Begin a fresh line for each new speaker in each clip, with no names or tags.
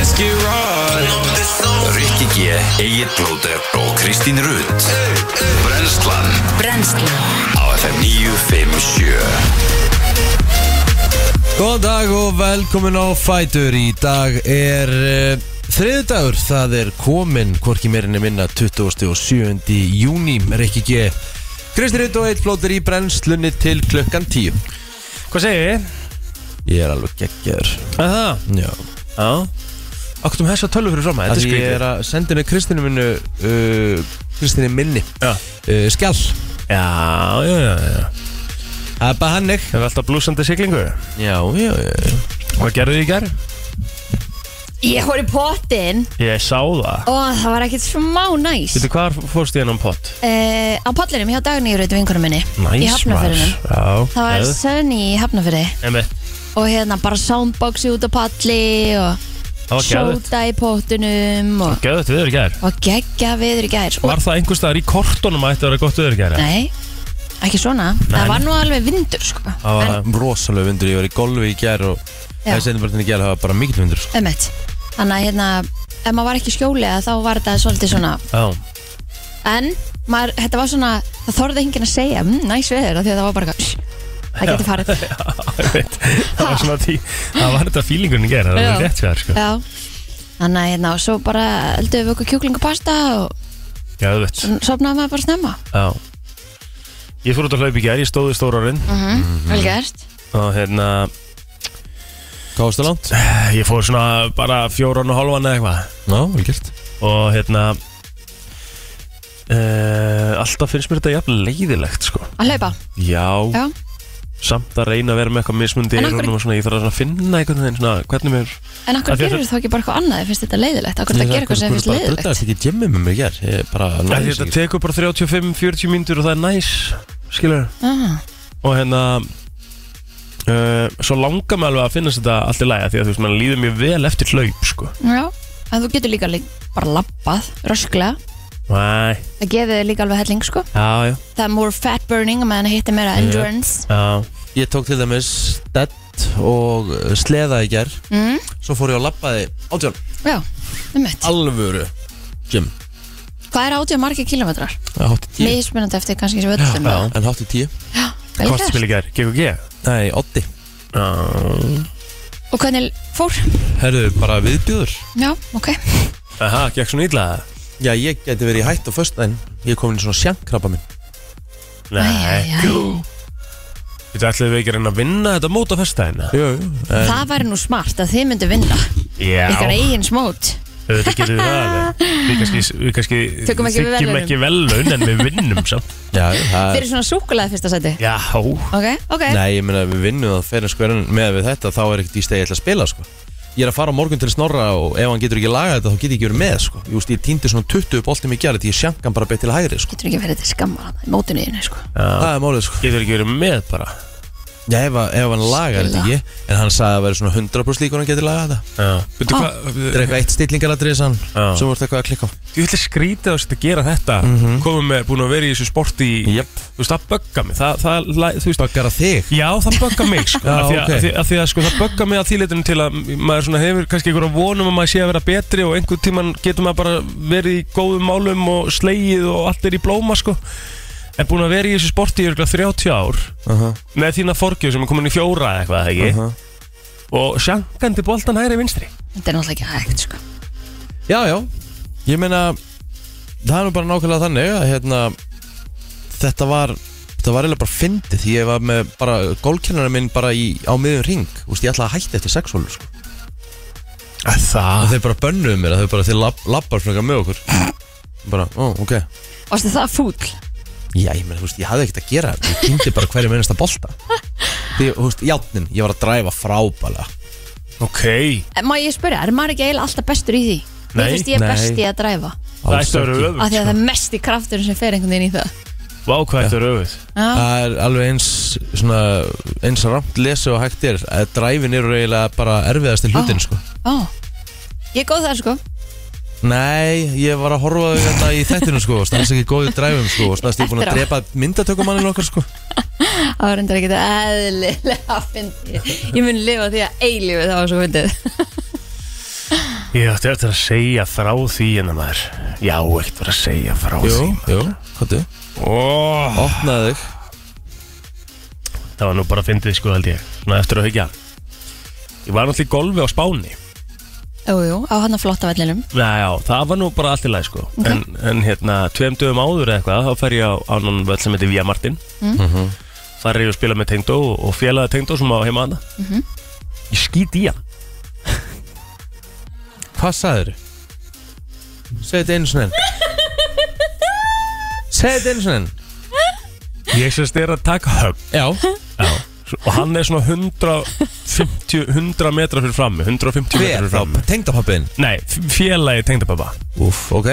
ekki right
Rikki G, Egil Blóter og Kristín Rutt Brenslan
Brennslan
á FM 957
Góðan dag og velkomin á Fætur Í dag er uh, þriðdagur Það er komin, hvorki meirinni minna 27. júni Rikki G Kristi Rutt og Eitt Flóter í brennslunni til klukkan 10
Hvað segir þið?
Ég er alveg geggjaður
Það?
Já
Já Akkur um hessa tölvu fyrir fram að
Þetta ég er
þetta skrýtir
að senda henni Kristinu minnu uh, Kristinu minni
Já,
uh, Skjall
já, já, já, já.
Það er bara hannig
Það er alltaf blúsandi siglingu
Já, já, já
Hvað gerðu þið í gerð?
Ég fór í pottin
Ég sá það
og það var ekkert smá næs
Veitu hvað fórst í hennan pott?
uh, Á pollinum hjá Dagnýröð vinkunum minni
Næs,
Í Hafnafyrðinum
maður. Já
Það var
Eð-
Sunny í Hafnafyrði
einmitt.
og hérna bara soundboxi út á palli og
Það var gæðut
sjóta í pottinum og,
Gæðut viður í gerð
og geggja viður í gær og,
Var það einhvers staðar í kortunum að þetta vera gott viður í gerð?
Nei, ekki svona
Nei.
Það var nú alveg vindur sko
Það var
Rosalega vindur, ég var í golfi í gær og
Já.
þessi endabröndin í gær hafa bara mikil vindur sko.
Ömmett Þannig að hérna ef maður var ekki í skjóli að þá var þetta svolítið svona
Já
en maður, þetta var svona það þorði enginn að segja, mmm, næs veður af því að það var bara eitthvað, "Shh, það getur farið
Ég veit, það var svona tí, það var þetta fílingurinn í gerð, það var
Já.
rétt sér sko.
já, þannig að hérna og svo bara elduðum við okkur kjúklingapasta og
Já, þú veit,
sopnaði maður bara snemma
já. Ég fór út að hlaupa í gerð, ég stóði stórarinn
Mhm.
Mhm.
vel gert,
og hérna,
Hvað varstu langt?
ég fór svona bara fjóran og hálfan eða eitthvað
Já, vel gert
og hérna, uh, alltaf finnst mér þetta jafn leiðilegt sko.
að hlaupa
Já,
já,
samt að reyna að vera með eitthvað mismundi
En
í
af hverju-
eyrunum og svona, ég þarf að svona finna einhvern veginn svona, hvernig mér
en akkur
Af því að
gerur
það-
þá ekki bara eitthvað annað, finnst þetta leiðilegt akkur það gerir eitthvað sem þér finnst
Þetta er
leiðilegt
ekki djemmi með mér í gær Ég er bara
Af því
næs
Þetta
ekki.
tekur bara 35-40 mínútur og það er næs, skilur
Ah,
og hérna uh, svo langar mig alveg að finnast þetta allt í læga því að þú veist, mann líður mjög vel eftir hlaup sko.
já, en þú getur líka lí- bara labbað, rösklega
Næ,
það gefið þér líka alveg helling sko
já, já,
það er more fat burning, meðan að hitti meira endurance
já
Ég tók til dæmis stedd og uh, sleða í gær
mm,
Svo fór ég að labbaði átján
já, ummitt
Alvöru Jim
hvað er átjóð margir kilometrar?
Hátti tíu
mismunandi eftir kannski sem völlum
Já.
En hátti tíu
Vel
Hvort
gert.
spil í gær, GKG
Nei, ótti
Já,
og hvernig fór?
Herðu, bara viðbjöður
já, ok
Aha, gekk svona illa
Já, ég geti verið í hætt á föstudaginn Ég er komin í svona sjankrabba minn
Nei,
Æ, æ, æ.
þetta ætlum við ekki að reyna að vinna þetta mót á festæðina
Jú, jú
það væri nú smart að þið myndu vinna
Já,
ykkar eigin smót
þetta getur við það alveg. Við kannski, við kannski
Tökum ekki við
þiggjum
verðlaunum.
ekki velun en við vinnum samt
Já, það
fyrir svona súkulega fyrsta seti
Já,
ok, ok,
Nei, ég meina við vinnum það fyrir sko en með við þetta þá er ekkert í stegi ætla að spila sko Ég er að fara á morgun til snorra og ef hann getur ekki lagað þetta þá get ég ekki verið með sko Ég, veist, ég týndi svona 20 boltum í gerð því ég sjank hann bara beitt til hægri sko
getur ekki verið til skamma þarna í mótinu þínu, sko.
Það er málið sko
getur ekki verið með bara
Já, ef, að- ef hann lagar þetta ekki en hann sagði að það væri svona 100% líkur hann getur lagað þetta
Já, veitu
Ah.
hvað
Þetta er eitthvað eitt stillingaladrið sann
Já.
sem voru eitthvað að klikka á
Ég ætla skrítið á þess að gera þetta mm
Mhm.
Komum með, búin að vera í þessu sporti í
Jöp.
Þú veist, það bögga mig það, það, það, Þú veist,
Bakkar að þig
já, það bögga mig sko,
Já,
af því,
ok.
að, okay. því, að, því að sko, það bögga mig að þýleitinu til að Maður svona hefur kannski einhverja vonum að maður sé að vera betri Og einhvern tíman getur maður bara verið í góðum málum Og slegið og allt er í blóma sko. En búin að vera í þessu sporti í örugglega 30 ár
uh -huh.
Með þína forgjöf sem er komin í fjóra eða eitthvað, ekki?
Mhm.
Og sjankandi boltan hægri vinstri
þetta er náttúrulega ekki hægt sko.
Já, já Ég meina það er nú bara nákvæmlega þannig að hérna þetta var þetta var eiginlega bara fyndið því ég var með bara gólkennarinn minn bara í, á miðjum ring Úst, ég ætlaði að hætta eftir sexhólur sko.
Það
og þeir bara bönnuðu mér að þau bara þeir lab, labbar svona eitthvað með okkur bara, ó, ok
varstu það fúll?
Já, ég meina, þú veist, ég hafði ekkert að gera þetta. Ég kynnti bara hverju mennast að bolta Því, þú veist, játnin, ég var að dræfa frábælega
Ok,
En Eh, má ég spyrja, er maður ekki eiginlega alltaf bestur í því?
Nei, Sko.
ég finnst ég
nei.
besti að dræfa
það ætti að vera
af því að það
öfugt
er mest í krafturinn sem fer einhvern veginn í það
Vá, hvað ætti að vera öfugt
já,
Það er alveg eins svona, eins ramt lesi og hægt er að dræfin eru eiginlega bara erfiðasti hlutin,
Ó.
sko
ó ég er góð það sko
Nei, ég var að horfa á þig þetta í þættinu sko og stannst ekki góðið dræfum sko og stannst ég búin að
Eftir á.
drepa myndatökumannin okkar sko
Það var reyndar ekkert eðlilega fyndið. Ég mun lifa því að eilífi það var svo fyndið.
Ég ætti eftir að segja frá því en maður Já, ekkert verið að segja frá
Jú,
því
jú, hættu
oh.
Opnaði þig
Það var nú bara að fyndið sko held ég Svona eftir að hugja Ég var náttúrulega í golfi á Spáni
Jú, jú, á hann að flotta vellinum
Já, já, það var nú bara allt í lagi sko en, en hérna, tveim dögum áður eða eitthvað Þá fer ég á annan völd sem heitir Vía Martin Mhm. Þar er ég að spila með Tengdó Og félaga Tengdó sem á heima hana Ég skýt í hann
Hvað sagður? Segð þetta einu svona enn Segð þetta einu svona enn
Ég sérst er að taka högg
Já,
Já. Og hann er svona 150, 100 metra fyrir frammi 150 metra
hver
fyrir
þá?
frammi
Tengdapappin
Nei, f- félagi tengdapappa
Úf, ok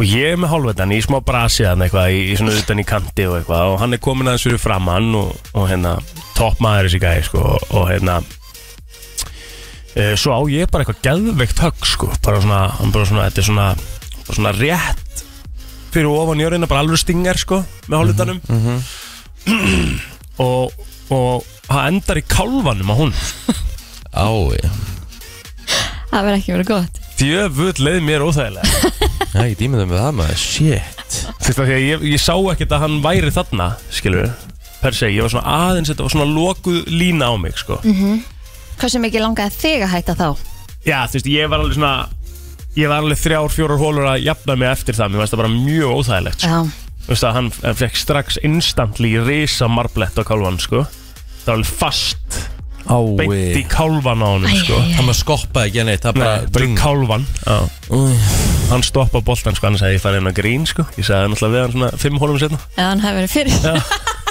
Og ég er með hálfvetan í smá brasi hann eitthvað Í, í svona utan í kanti og eitthvað Og hann er komin aðeins fyrir framann Og, og hérna, topp maður þessi gæði sko Og, og hérna e, Svo á ég bara eitthvað geðveikt högg sko Bara svona, hann bara svona, þetta er svona bara Svona rétt Fyrir ofan jörðina, bara alveg stingar sko Með hálfvetanum Og, og hann endar í kálfanum á hún
Á, já
Það verður ekki verið gott
Djöfull leið mér óþægilega
Æ, ég dýmið það með það maður, shit
Þú veist af því að ég, ég sá ekkert að hann væri þarna Skilur Per se, ég var svona aðeins Þetta var svona lokuð lína á mig sko.
Mhm. Hversu mikið langaði þig að hætta þá?
Já þú veist ég var alveg svona Ég var alveg þrjár, fjórar hólur að jafna mig eftir það Mér varst það bara mjög óþægilegt sko.
Já,
Þú veist að hann, hann fekk strax instantly Risa marblett á kálvan sko. Það var alveg fast Beint í
Ái
kálvan á honum
Æ,
sko.
æ, æ.
Það maður skoppaði ekki að neitt, það bara
Nei, bara í kálvan Já. Hann stoppa boltan sko, hann sagði ég farið inn á grín sko. Ég sagði náttúrulega við hann svona fimm hólum setna
eða hann hefði verið fyrir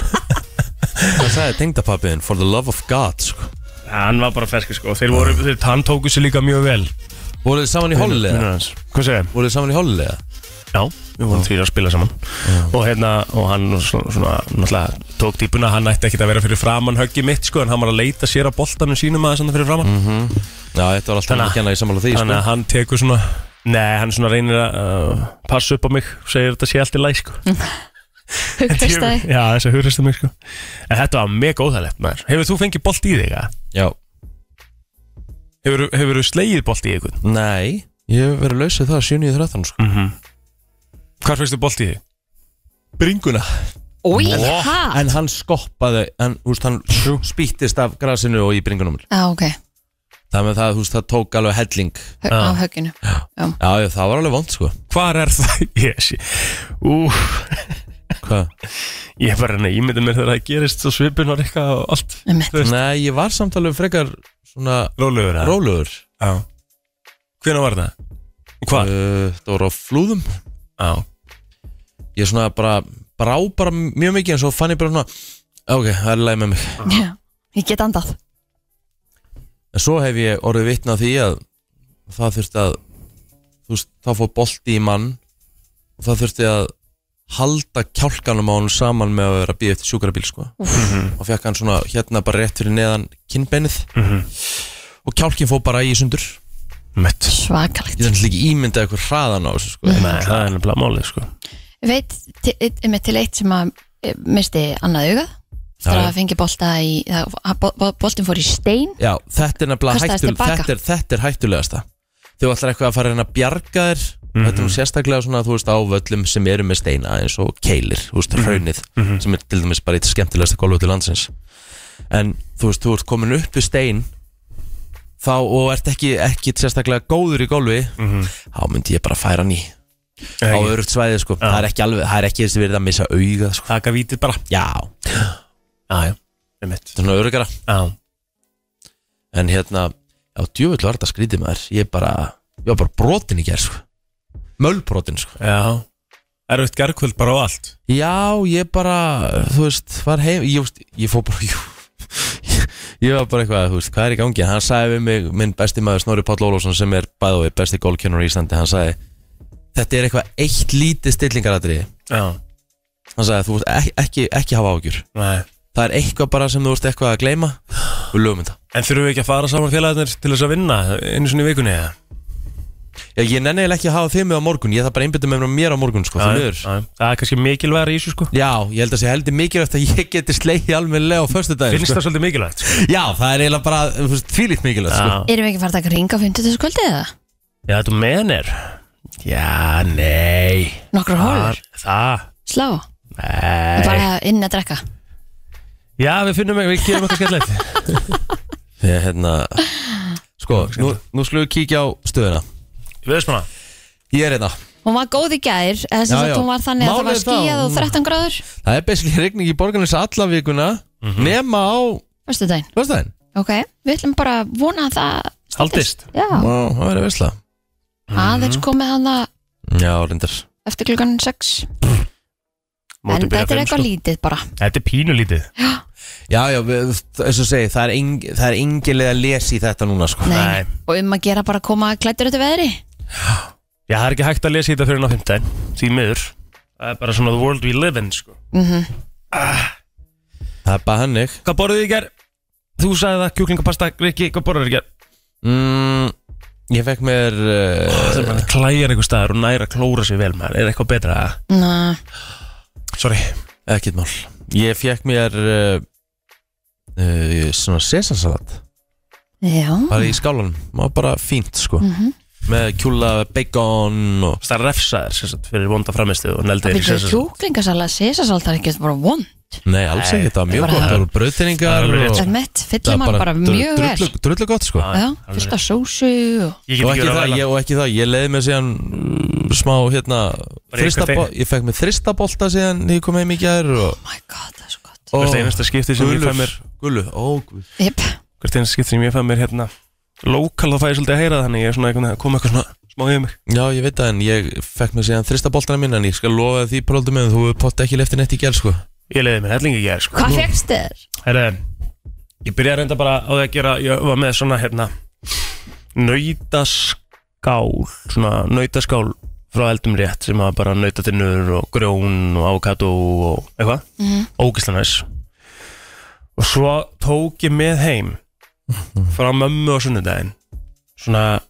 Það sagði tengdapappin, for the love of God sko.
Ja, hann var bara ferski sko Þeir voru, þeir, hann tóku sér líka mjög vel
Voruð þið saman í hollilega?
Vinur hans. Hvað segir
Voruð þið saman í hollilega?
Já, við vorum því að spila saman Og hérna, og hann svona, svona Náttúrulega tók típuna, hann ætti ekkit að vera fyrir framann Höggi mitt sko, en hann var að leita sér að boltanum sínum að þess fyrir framann
Já, þetta var alltaf
Þannig að-
ekki hennar í samanlega því
Þannig
sko.
að hann tekur svona Nei, hann svona reynir að uh, passa upp á mig Segir þetta sé allt í læg sko
hugfyrstaði
Já, þess að hugristu mig sko En þetta var mega óþægilegt maður Hefur þú fengið bolt í þig, að?
Já,
Hefur, hefur þú slegið bolt í ykkur?
nei Ég hef verið lausið það 7.13 sko.
Hvar fyrstu bolt í þig?
Bringuna
Új,
Ó,
hæ?
En hann skoppaði, en úst, hann spýttist af grasinu og í bringunum
Já, ok,
Það með það, þú veist, það tók alveg helling
Hö- á högginu
Já, já, það var alveg vond, sko
Hvar er það? Yes. Úf,
Hvað?
Ég er bara að reyna að ímynda mér þegar það gerist svo svipin var eitthvað og allt
Einmitt.
Nei, ég var samt alveg frekar svona
Rólegur eða?
rólegur
Já Hvenær var það? Og hvað?
uh, Það voru á flúðum
Já
Ég svona bara, brá bara mjög mikið En svo fann ég bara svona Ok, það er leið með mig
Já. Ég get andað
En svo hef ég orðið vitna því að það þurfti að þú veist, þá fór bolti í mann og það þurfti að halda kjálkanum á hann saman með að vera að býja eftir sjúkrabíl sko. og fekk hann svona hérna bara rétt fyrir neðan kinnbeinið og kjálkin fór bara í sundur
Mött
ég
Svakalegt
þannig líka ímyndað eitthvað hraðan á þessu sko.
Nei, það er nefnilega málið sko
Ég veit, til- e, einmitt til eitt sem að eh, misti annað augað eftir
Já,
að
já.
það fengi bolta í það- að bo- bo- boltinn fór í stein
Já, þetta er nefnilega
Kastaðist
hættul,
tilbaka.
þetta er, þetta er hættulegasta Þú ætlar eitthvað að fara að reyna að bjarga þér Þetta er nú sérstaklega svona, þú veist, á völlum sem eru með steina eins og keilir, þú veist, hraunið sem er til dæmis bara eitt skemmtilegasta golf til landsins En þú veist, þú ert komin upp við stein þá og ert ekki, ekki sérstaklega góður í golfi þá myndi ég bara færa hann í á
Áður
örugt svæði, sko Það er ekki alveg, það er ekki þessi verið að missa auga, sko
Taka vítið bara
Já,
Já, já Mött
þetta er svona örugara
Já
en hérna, já, djúvill var þetta skrítið maður ég bara, ég var bara brotin í gerð sko. mölbrotin sko.
Já Erfitt gerkvöld bara á allt
já, ég bara, þú veist var heim, ég, veist, ég fór bara jú, ég var bara eitthvað, þú veist hvað er í gangi, hann sagði við mig minn besti maður Snorri Páll Ólafsson sem er bæði og besti gólkjörnur í Íslandi, hann sagði þetta er eitthvað eitt lítið stillingaratri
Já
hann sagði, þú veist, ekki, ekki, ekki hafa ágjur
Nei
það er eitthvað bara sem þú veist eitthvað að gleyma og lögum þetta
En þurfum við ekki að fara saman félagarnir til þess að vinna einu sinni í vikunni eða?
Ég, ég nenni eiginlega ekki að hafa þið með á morgun Ég þarf bara einbytta með mér á morgun sko, því miður.
já. Það er kannski mikilvægur í þessu sko
Já, ég held að sé heldur mikilvægt að ég geti slegið almennilega á föstudaginn
Finnst
sko.
það svolítið mikilvægt sko.
Já, það er eiginlega bara tvílít mikilvægt sko.
Já,
Erum við ekki að fara að taka ring á 50. kvöldi eða?
já þú menir Já, nei
Nokkra hólur?
Það, það,
Slá?
nei
Bara inn að drekka?
Já, við finnum ekki, við gerum eitthvað skemmtilegt
Ég, hérna, Sko, nú, nú slugum við kíkja á stöðuna
Við veist maður
Ég er hérna
Hún var góð í gær, eða
Já,
sem sagt
já.
hún var þannig að það
Málið
var
er það,
skíðað og
hún-
13 gráður
Það er basically regning í borgarnes alla vikuna
Mhm.
Nema á
Verstu daginn,
föstudaginn
ok Við ætlum bara að vona að það
Haldist
Já,
Vá, Það verður veistla
aðeins komið hann
Já, reyndar
eftir klukkan 6
Mótið
En þetta
byrja
er
fimm,
eitthvað
sko.
lítið bara
Þetta er pínulítið
Já, já, við- eins og segi, það er, eng, það er engin leið að lesa í þetta núna sko.
Nei. Og um að gera bara að koma klættur út í veðri
Já, það er ekki hægt að lesa þetta fyrir ná 15 Því miður Það er bara svona the world we live in sko.
mm
Það er bara hannig
Hvað borðuðu í ger? Þú sagði það, kjúklingapasta, Rikki, hvað borðuðu í ger?
mm, Ég fekk mér uh,
Það klæjar einhver staðar og næra klóra sér vel maður Er eitthvað betra að
Ná,
Sorry
Ekkert mál Ég fekk mér uh, uh, Svona sesansalat
Já,
Bara í skálanum Má bara fínt sko
Mhm.
Með kjúla, bacon og
Það refsaðir sem sagt, fyrir vonda framistu og
það
neldir
byrjuðu kjúklingasala Sesasalt er ekki bara vond
Nei, alls
Nei,
ekki, það var mjög
bara-
gott Það voru
Það er
brauðteiningar
alveg rétt,
og-
sko.
Það mitt, fyllir mann bara
dru-
mjög vel
drullu- Drullu gott sko
Já, fullt af sósu og-
Ég
Og
get
ekki,
ekki verið
það,
að ræla
ég, og ekki það, ég leiði mér síðan mm, smá hérna
Bara í
þrista,
kaffi.
Ég fekk mér þristabolta síðan þegar ég kom heim í gær og,
Oh my god, það er svo gott
og
Hvert einasta skipti sem ég fæ mér
Gullu, ó guð
Jep,
Hvert einasta skipti sem ég fæ mér hérna Lókal þá fæ ég svolítið að heyra það Þannig ég er svona einhvern veginn að koma eitthvað svona smá yfir mig
Já, ég veit það en ég fekk mér síðan þristaboltana mín en ég skal lofa því próldum en þú hefur pott ekki leftin eitt í gær sko
Ég leiði mér hellingi í gær sko.
hvað fegst þér?
Herra, ég byrjaði að reynda bara á því að gera, ég var með svona hérna nautaskál, svona nautaskál frá eldum rétt sem var bara nautatinnur og grjón og avokado og eitthvað, mm
Mhm.
-hmm. ógislega næs. Og svo tók ég með heim frá mömmu á sunnudaginn, svona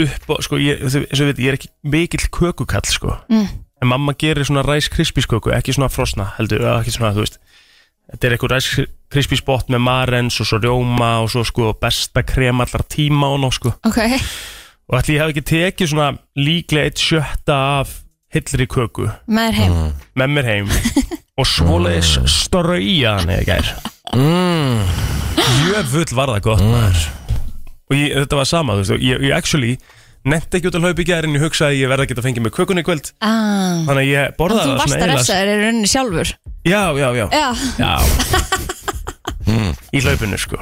upp og, sko, ég, þið- eins og við veit, ég er ekki mikill kökukall, sko.
Mm.
En mamma gerir svona Rice Krispies köku, ekki svona frosna, heldur, eða ekki svona, þú veist, Þetta er eitthvað Rice Krispies bot með marens og svo rjóma og svo sko besta krem allar tíma og ná sko.
Ok,
Og ætli ég hafi ekki tekið svona líklega eitt sjötta af hillri köku
með þér heim
með mér heim og svoleiðis strauja hann eða gær.
mm.
Jöfull var það gott maður. Og ég, þetta var sama, þú veist, og ég, ég actually nefndi ekki út að hlaupa í gær en ég hugsaði að ég verði að geta að fengið með kökunni í kvöld.
ah.
Þannig að ég
En
borðaði
Þú
það
varst
svona
að
eiginlega-
refsa þér í rauninni sjálfur
Já, já, já.
Já,
Já. í hlaupinu sko.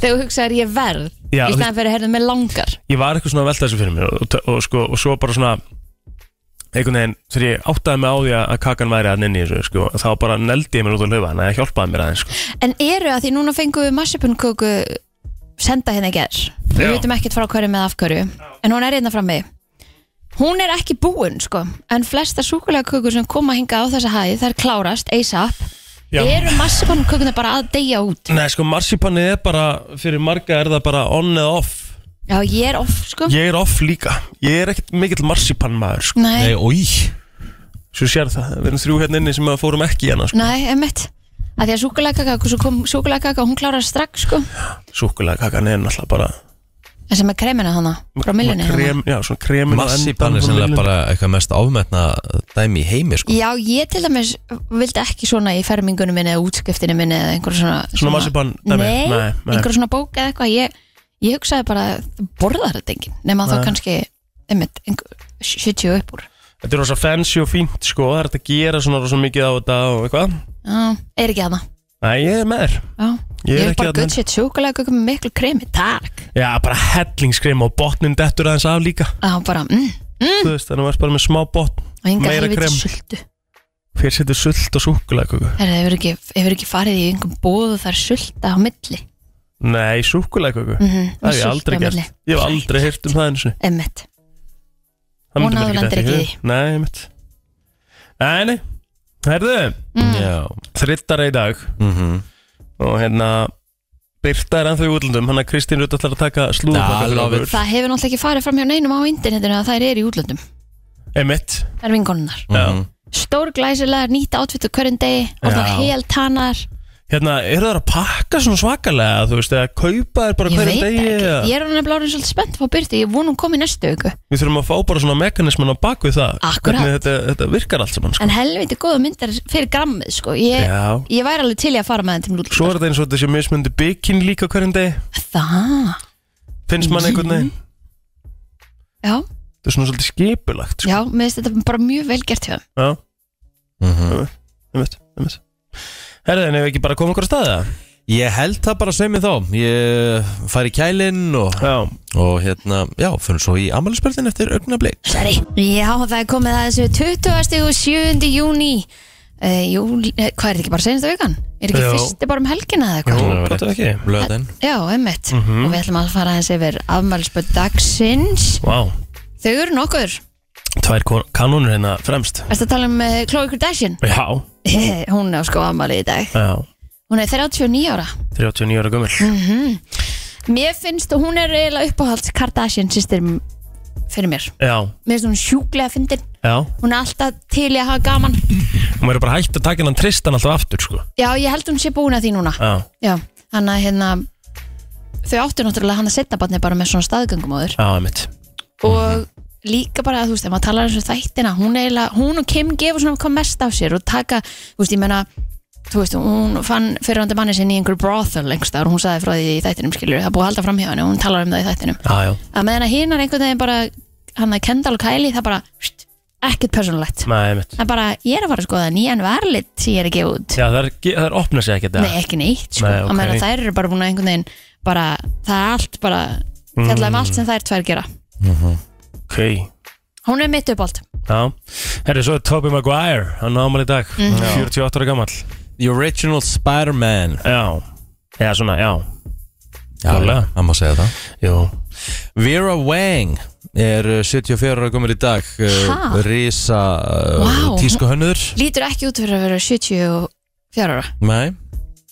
þegar þú hugsaðir ég verð
Já,
Í
þú-
staðan fyrir að herðu mig langar
ég var eitthvað svona að velta þessu fyrir mér og, og, og, sko, og svo bara svona einhvern veginn, þegar ég áttaði mig á því að kakan væri að nynni þessu, sko, þá bara neldi ég mér út á laufa, þannig að hjálpaði mér aðeins sko.
En eru að því núna fengum við massipunköku senda hérna í ger Við
Já.
vitum ekkert frá hverju með af hverju En hún er hérna frammi Hún er ekki búin sko En flesta súkulegakökur sem koma hinga á þessa hæð Þær klárast ASAP
Já.
Eru massipunkökunar bara að deyja út
Nei, sko, marsipanið er bara fyrir marga er það bara on eða off
Já, ég er off sko
ég er off líka, ég er ekkert mikill marsipanmaður, sko.
Nei,
Nei, ói
svo sér það, við erum þrjú hérna inni sem að fórum ekki hérna, sko.
Nei, emmitt að því að súkulegakaka, svo kom súkulegakaka hún klárar strax sko,
súkulega kakan er náttúrulega bara
en sem er kremina hana frá hérna. millunni hana.
krem, já, svona kremin
Massipan er sennilega bara eitthvað mest ámetna dæmi í heimi sko
Já, ég til dæmis vildi ekki svona í fermingunum minni eða útskriftinu minni eða einhverju svona
Svona marsipan
Nei,
dæmi? Nei, nei.
einhverju svona bók eða eitthvað ég, ég hugsaði bara, þú borðar þetta enginn nema þá kannski, emmitt 70 upp úr
þetta er rosa fancy og fínt, sko, það er hægt að gera svona rosa mikið á þetta og eitthvað
Já, er ekki hana
Nei, ég er með þér
Já,
Ég
ég
er ekki
er bara
þarna.
gutt sétt súkulegakaka með miklu kremi, takk
Já, bara hellingskrem og botnin dettur aðeins af líka
Já, bara, mm,
Þú veist, þannig að varst bara með smá botn
og enga
Meira
helviti
krem.
sultu
Hver setur sult og súkulæköku?
Herra, hefur ekki, hefur ekki farið í einhver bóð og það er sulta á milli
Nei, súkulæköku
Mhm,
Það hef ég aldrei gert Ég hef aldrei heyrt um það eins og
Emmett,
Það
Hún
myndi mér
áður
detta
lendir ekki í
hug. Nei, mitt Nei, nei Herðu,
Já
Mm.
þrittara í dag
mm -hmm.
Og hérna Birta er ennþá í útlöndum Þannig að Kristín Rutt ætlar að taka slúðurpakka
Da, love it.
Það hefur náttúrulega ekki farið fram hjá neinum á internetinu að þær eru í útlöndum
Emitt
Það er vinkonunnar
Mhm.
Stór glæsilegar, nýtt átfitt á hverjum degi Orðnar
Já.
hel tannar
Hérna, eru það að pakka svona svakalega Þú veist, eða kaupa er bara
Ég
hverjum
veit
degi
ekki,
eða-
ég er hann að blára svolítið spennt Fá byrti, ég vonum komið næstu auku
Við þurfum að fá bara svona mekanismin á baku það
Akkurat.
Hvernig þetta, þetta virkar allt saman sko.
En helviti góða myndar fyrir grammið sko. ég,
Já.
ég væri alveg til í að fara með þeim til nútl
Svo er þetta eins og þetta sé mismundi byggjinn líka á hverjum degi
Það,
Finnst mann einhvern veginn
Mhm. já,
Þetta er svona svolítið skipulagt sko.
já, mér finnst þetta bara mjög vel gert hjá þeim
Já,
Mhm.
einmitt, einmitt Herðu, en ef við ekki bara koma okkur á staða
Ég held það bara sem ég þá Ég fari í kælinn og,
Já,
og hérna, já, fyrir svo í amalisperðin eftir augnablik
Sorry. Já, það er komið að þessu 20. og 7. júni uh, júli, eh, Hvað er þetta ekki bara senast vikan? Er ekki
Jú.
fyrsti bara um helgina eða
Jú.
hvað?
Nú, gott ef ekki. Mhm.
Löðin
Já, einmitt Og við ætlum að fara aðeins yfir afmælisböð dagsins
vá
Þau eru nokkur
Tvær kon- kanónur hérna fremst
Ertu að tala um uh, Chloe Kardashian?
Já,
Hún er á sko afmæli í dag
já
Hún er 39 ára
39 ára gömul
Mér finnst og hún er eiginlega uppáhalds Kardashian sýstir fyrir mér
Já,
Mér finnst hún sjúklega fyndin
já
Hún er alltaf til í að hafa gaman
Hún verður bara hægt að taka hennan tristan alltaf aftur sko
Já, ég held hún sé búin að því núna
Já,
Já, hann að hérna þau áttu náttúrulega hann að setja barni bara með svona staðgöngum áður
já, einmitt
og líka bara að þú veist, ef maður talar eins og þættina hún, eiginlega, hún og Kim gefur svona hvað mest af sér og taka, þú veist, ég menna þú veist, hún fann fyrirhandi manni sinni í einhver brothel lengst þar og hún sagði frá því í þættinum skilur, það er búið að halda framhjá henni og hún talar um það í þættinum
Já, já,
að meðan að hinnar einhvern veginn bara hann að Kendall og Kylie, það bara st, ekkert persónulegt,
Nei, einmitt
það er bara ég er að fara að skoða nýjan verlit sem ég er að gefa út
Já, það er, það er opna sig ekkert eða?
Nei, ekki neitt, sko.
Nei,
Nei,
ok.
okay. meina, þær eru bara búin að einhvern veginn bara, það er allt bara fjallar um allt sem þær tvær gera
Ok,
Hún er mitt uppáld
Já, herri, svo er Tobey Maguire hann ámali í dag, 48 ára gammal
The original Spider-Man
Já, eða svona, já Klálega.
það má segja það
Jú,
Vera Wang er uh, 74 ára komur í dag
Ha?
uh, Risa uh,
Vá.
tísku hönnur
Lítur ekki út fyrir að vera 74 ára
Nei,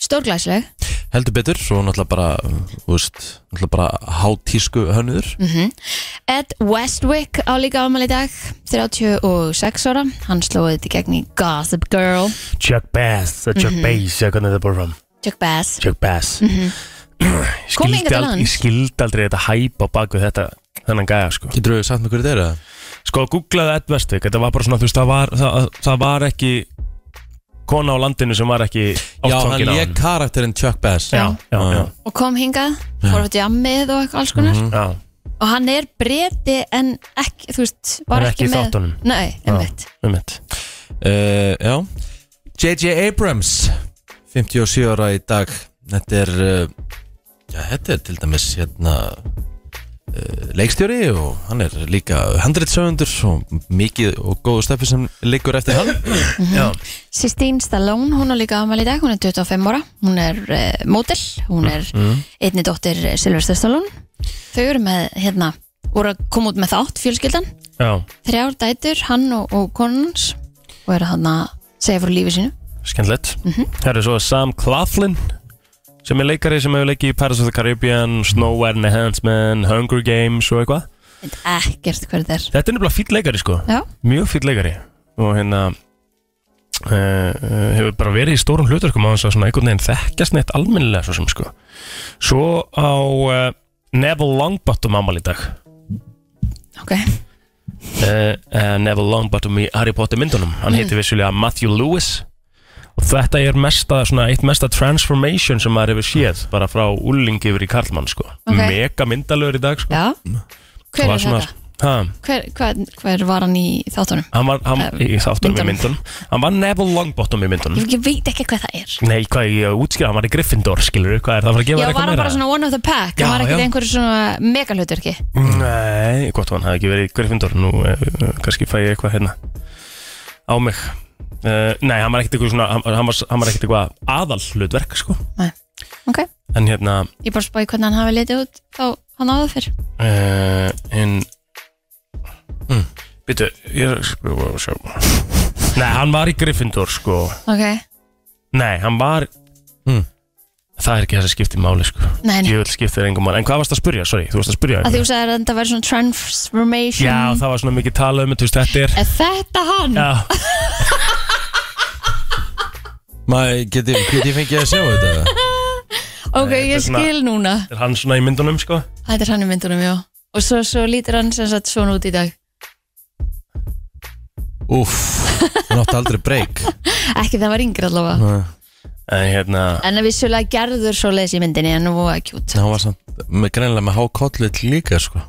Stórglæsleg
heldur betur Svo náttúrulega bara, uh, þú veist Náttúrulega bara hátísku hönnur
Ed Westwick á líka ámæli í dag 36 ára Hann slóði þetta í gegn í Gossip Girl
Chuck Bass, eða Chuck Bass, eða hvernig þetta búið fram
Chuck Bass
Chuck Bass mm -hmm.
Komið Mhm. hingað til lands.
Ég skildi aldrei þetta hæpa bak við þetta þennan gæja, sko
Getur við sagt með hverju þeirra?
Sko, googlaði Ed Westwick, þetta var bara svona, þú veist, það var, það, það var ekki kona á landinu sem var ekki
Já, hann
ástfangin á
lék karakterinn Chuck Bass
Já, já, já,
og kom hingað, fór að jammið og eitthvað alls konar
já.
og hann er breyti en ekki, þú veist, var
En
ekki,
ekki í
með
þáttunum.
Nei, einmitt
einmitt
Uh, já J.J. Abrams 57 ára í dag Þetta er uh, Já, þetta er til dæmis hérna uh, leikstjóri og hann er líka 100 sögundur og mikið og góðu steffi sem liggur eftir hann
Mhm.
Já,
Sistine Stallone, hún er líka afmæli í dag, hún er 25 ára, hún er uh, mótil, hún er
Mhm.
einni dóttir eh, Sylvester Stallone. Þau eru með, hérna, voru að koma út með þátt, fjölskyldan,
já,
þrjár dætur, hann og, og konans og eru hann að segja frá lífi sínu.
skemmtilegt
Mhm.
Herri, svo er Sam Claflin sem er leikari sem hefur leikið í Paris of the Caribbean Snow and the Handsman, Hunger Games og eitthvað
Veit ekkert hver þetta er.
Þetta er nefnilega fýll leikari sko
Já,
mjög fýll leikari og hérna Uh, uh, hefur bara verið í stórum hlutverkum á þess að svona einhvern veginn þekkjast neitt almennilega svo sem sko svo á uh, Neville Longbottom ámali í dag
ok.
uh, uh, Neville Longbottom í Harry Potter myndunum
Mm.
hann heitir vissulega Matthew Lewis og þetta er mesta, svona, eitt mesta transformation sem maður hefur séð bara frá ulling yfir í Karlmann sko.
Ok.
mega myndalögur í dag sko.
Já, hver
Var
er
svona-
þetta?
ha,
Hver, hver, hver var hann í þáttunum?
hann var hann,
Eh,
í þáttunum í
myndunum.
myndunum hann var Neville Longbottom í myndunum
Ég, ég veit ekki hvað það er.
nei, hvað ég útskýra, hann var í Gryffindor skilur, hvað er það að fara að gefa
Já, var hann
þér
bara
eitthvað meira
svona one of the pack,
Já,
hann var ekkert
já.
einhverju svona megalhutverki.
nei, gott ef hann hafði ekki verið í Gryffindor nú eh, eh, kannski fæ ég eitthvað hérna á mig uh, nei, hann var ekkert eitthvað svona hann, hann var, hann var ekkert eitthvað aðal hlutverk sko.
Ok,
en hérna
ég bara spáði hvernig hann hafi litið út þá hann áður fyrr.
uh, en mm. býtu, ég er að skrifa og sjá nei, hann var í Gryffindor sko
Ok,
nei, hann var
Mm.
Það er ekki það sem skiptir máli sko
Nei, nei.
Ég vil skipta þér engum máli En hvað varst að spyrja, sorry, þú varst að spyrja
að því þú sagðir að þetta væri svona transformation
Já, það var svona mikið talað um, þú veist, þetta er
Er þetta hann?
Já,
Maður, get, ég- get ég fengið að sjá þetta?
ok,
Nei, þetta er
ég
svona-
skil núna
er hann svona í myndunum sko
Þetta er hann í myndunum, já Og svo, svo lítur hann sem sagt svona út í dag
Úff, hann átti aldrei breyk
Ekki það var yngri allavega
Hann
En hérna,
En vissulega gerður svo leis í myndinni En hún var kjút
var samt með greinlega með há kollvit líka sko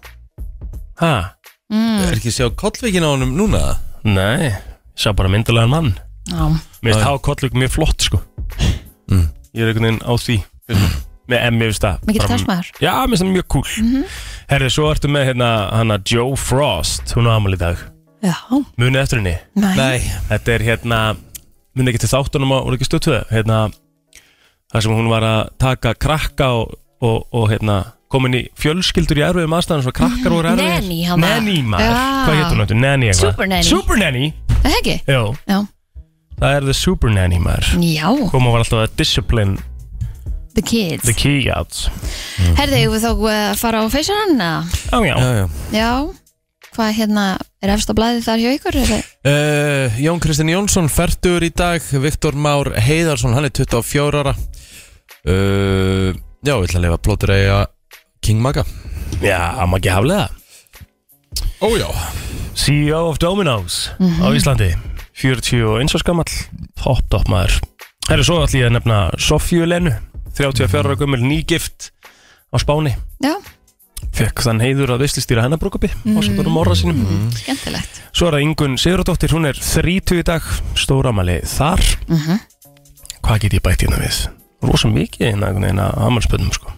ha,
Er ekki að sjá kollvikin á honum núna?
nei Sá bara myndulegan mann
Já,
Mér
Já.
finnst Há Kollug mjög flott sko Ég er einhvern veginn á því Með emmi, veist það
mikið
bara-
talsmaður
Já, mér finnst það mjög cool Herri, svo ertu með hérna, hana Joe Frost Hún á amal í dag
Já,
Munið eftir henni
næ
Nei,
Þetta er hérna Munið ekki til þáttunum á Úrleiki stöttuðu Hérna þar sem hún var að taka krakka og, og, og hérna komin í fjölskyldur í erfiðum aðstæðan svo krakkar voru erfiðir
Nanny, hana.
Nanny maður
Já.
Hvað hétt hún eftir? Nanny eitthvað
Super nanny.
Super Nanny
Það er ekki?
Jó
Já,
Það er the Super Nanny maður
já,
Koma var alltaf að discipline
the kids
the key out
Herði, eigum við þá að fara á feysarann? eða?
Já, já
já, já
Já, hvað hérna er efst á blæði þar hjá ykkur? Er það-
Uh, Jón Kristinn Jónsson, færtur í dag Viktor Már Heiðarsson, hann er 24 ára uh, Já, við ætla að lifa plótur eiga King Maga
Já, maður ekki haflega
Ó já
CEO E of Domino's á Íslandi 41 svo skamall Top, top maður Herri, svo ætlum ég að nefna Sofíu Lenu 34 ára gömul nýgift á Spáni
Já,
Fekk þann heiður að veistlistýra hennar brúkupi á svolítunum orra sínum
Mhm. skemmtilegt
Svo er það Ingun Sigurðardóttir, hún er 30 í dag Stóramæli þar
Mhm.
Hvað get ég bætt hérna við? Rosa mikið hérna einhvern veginn að amalspöndum sko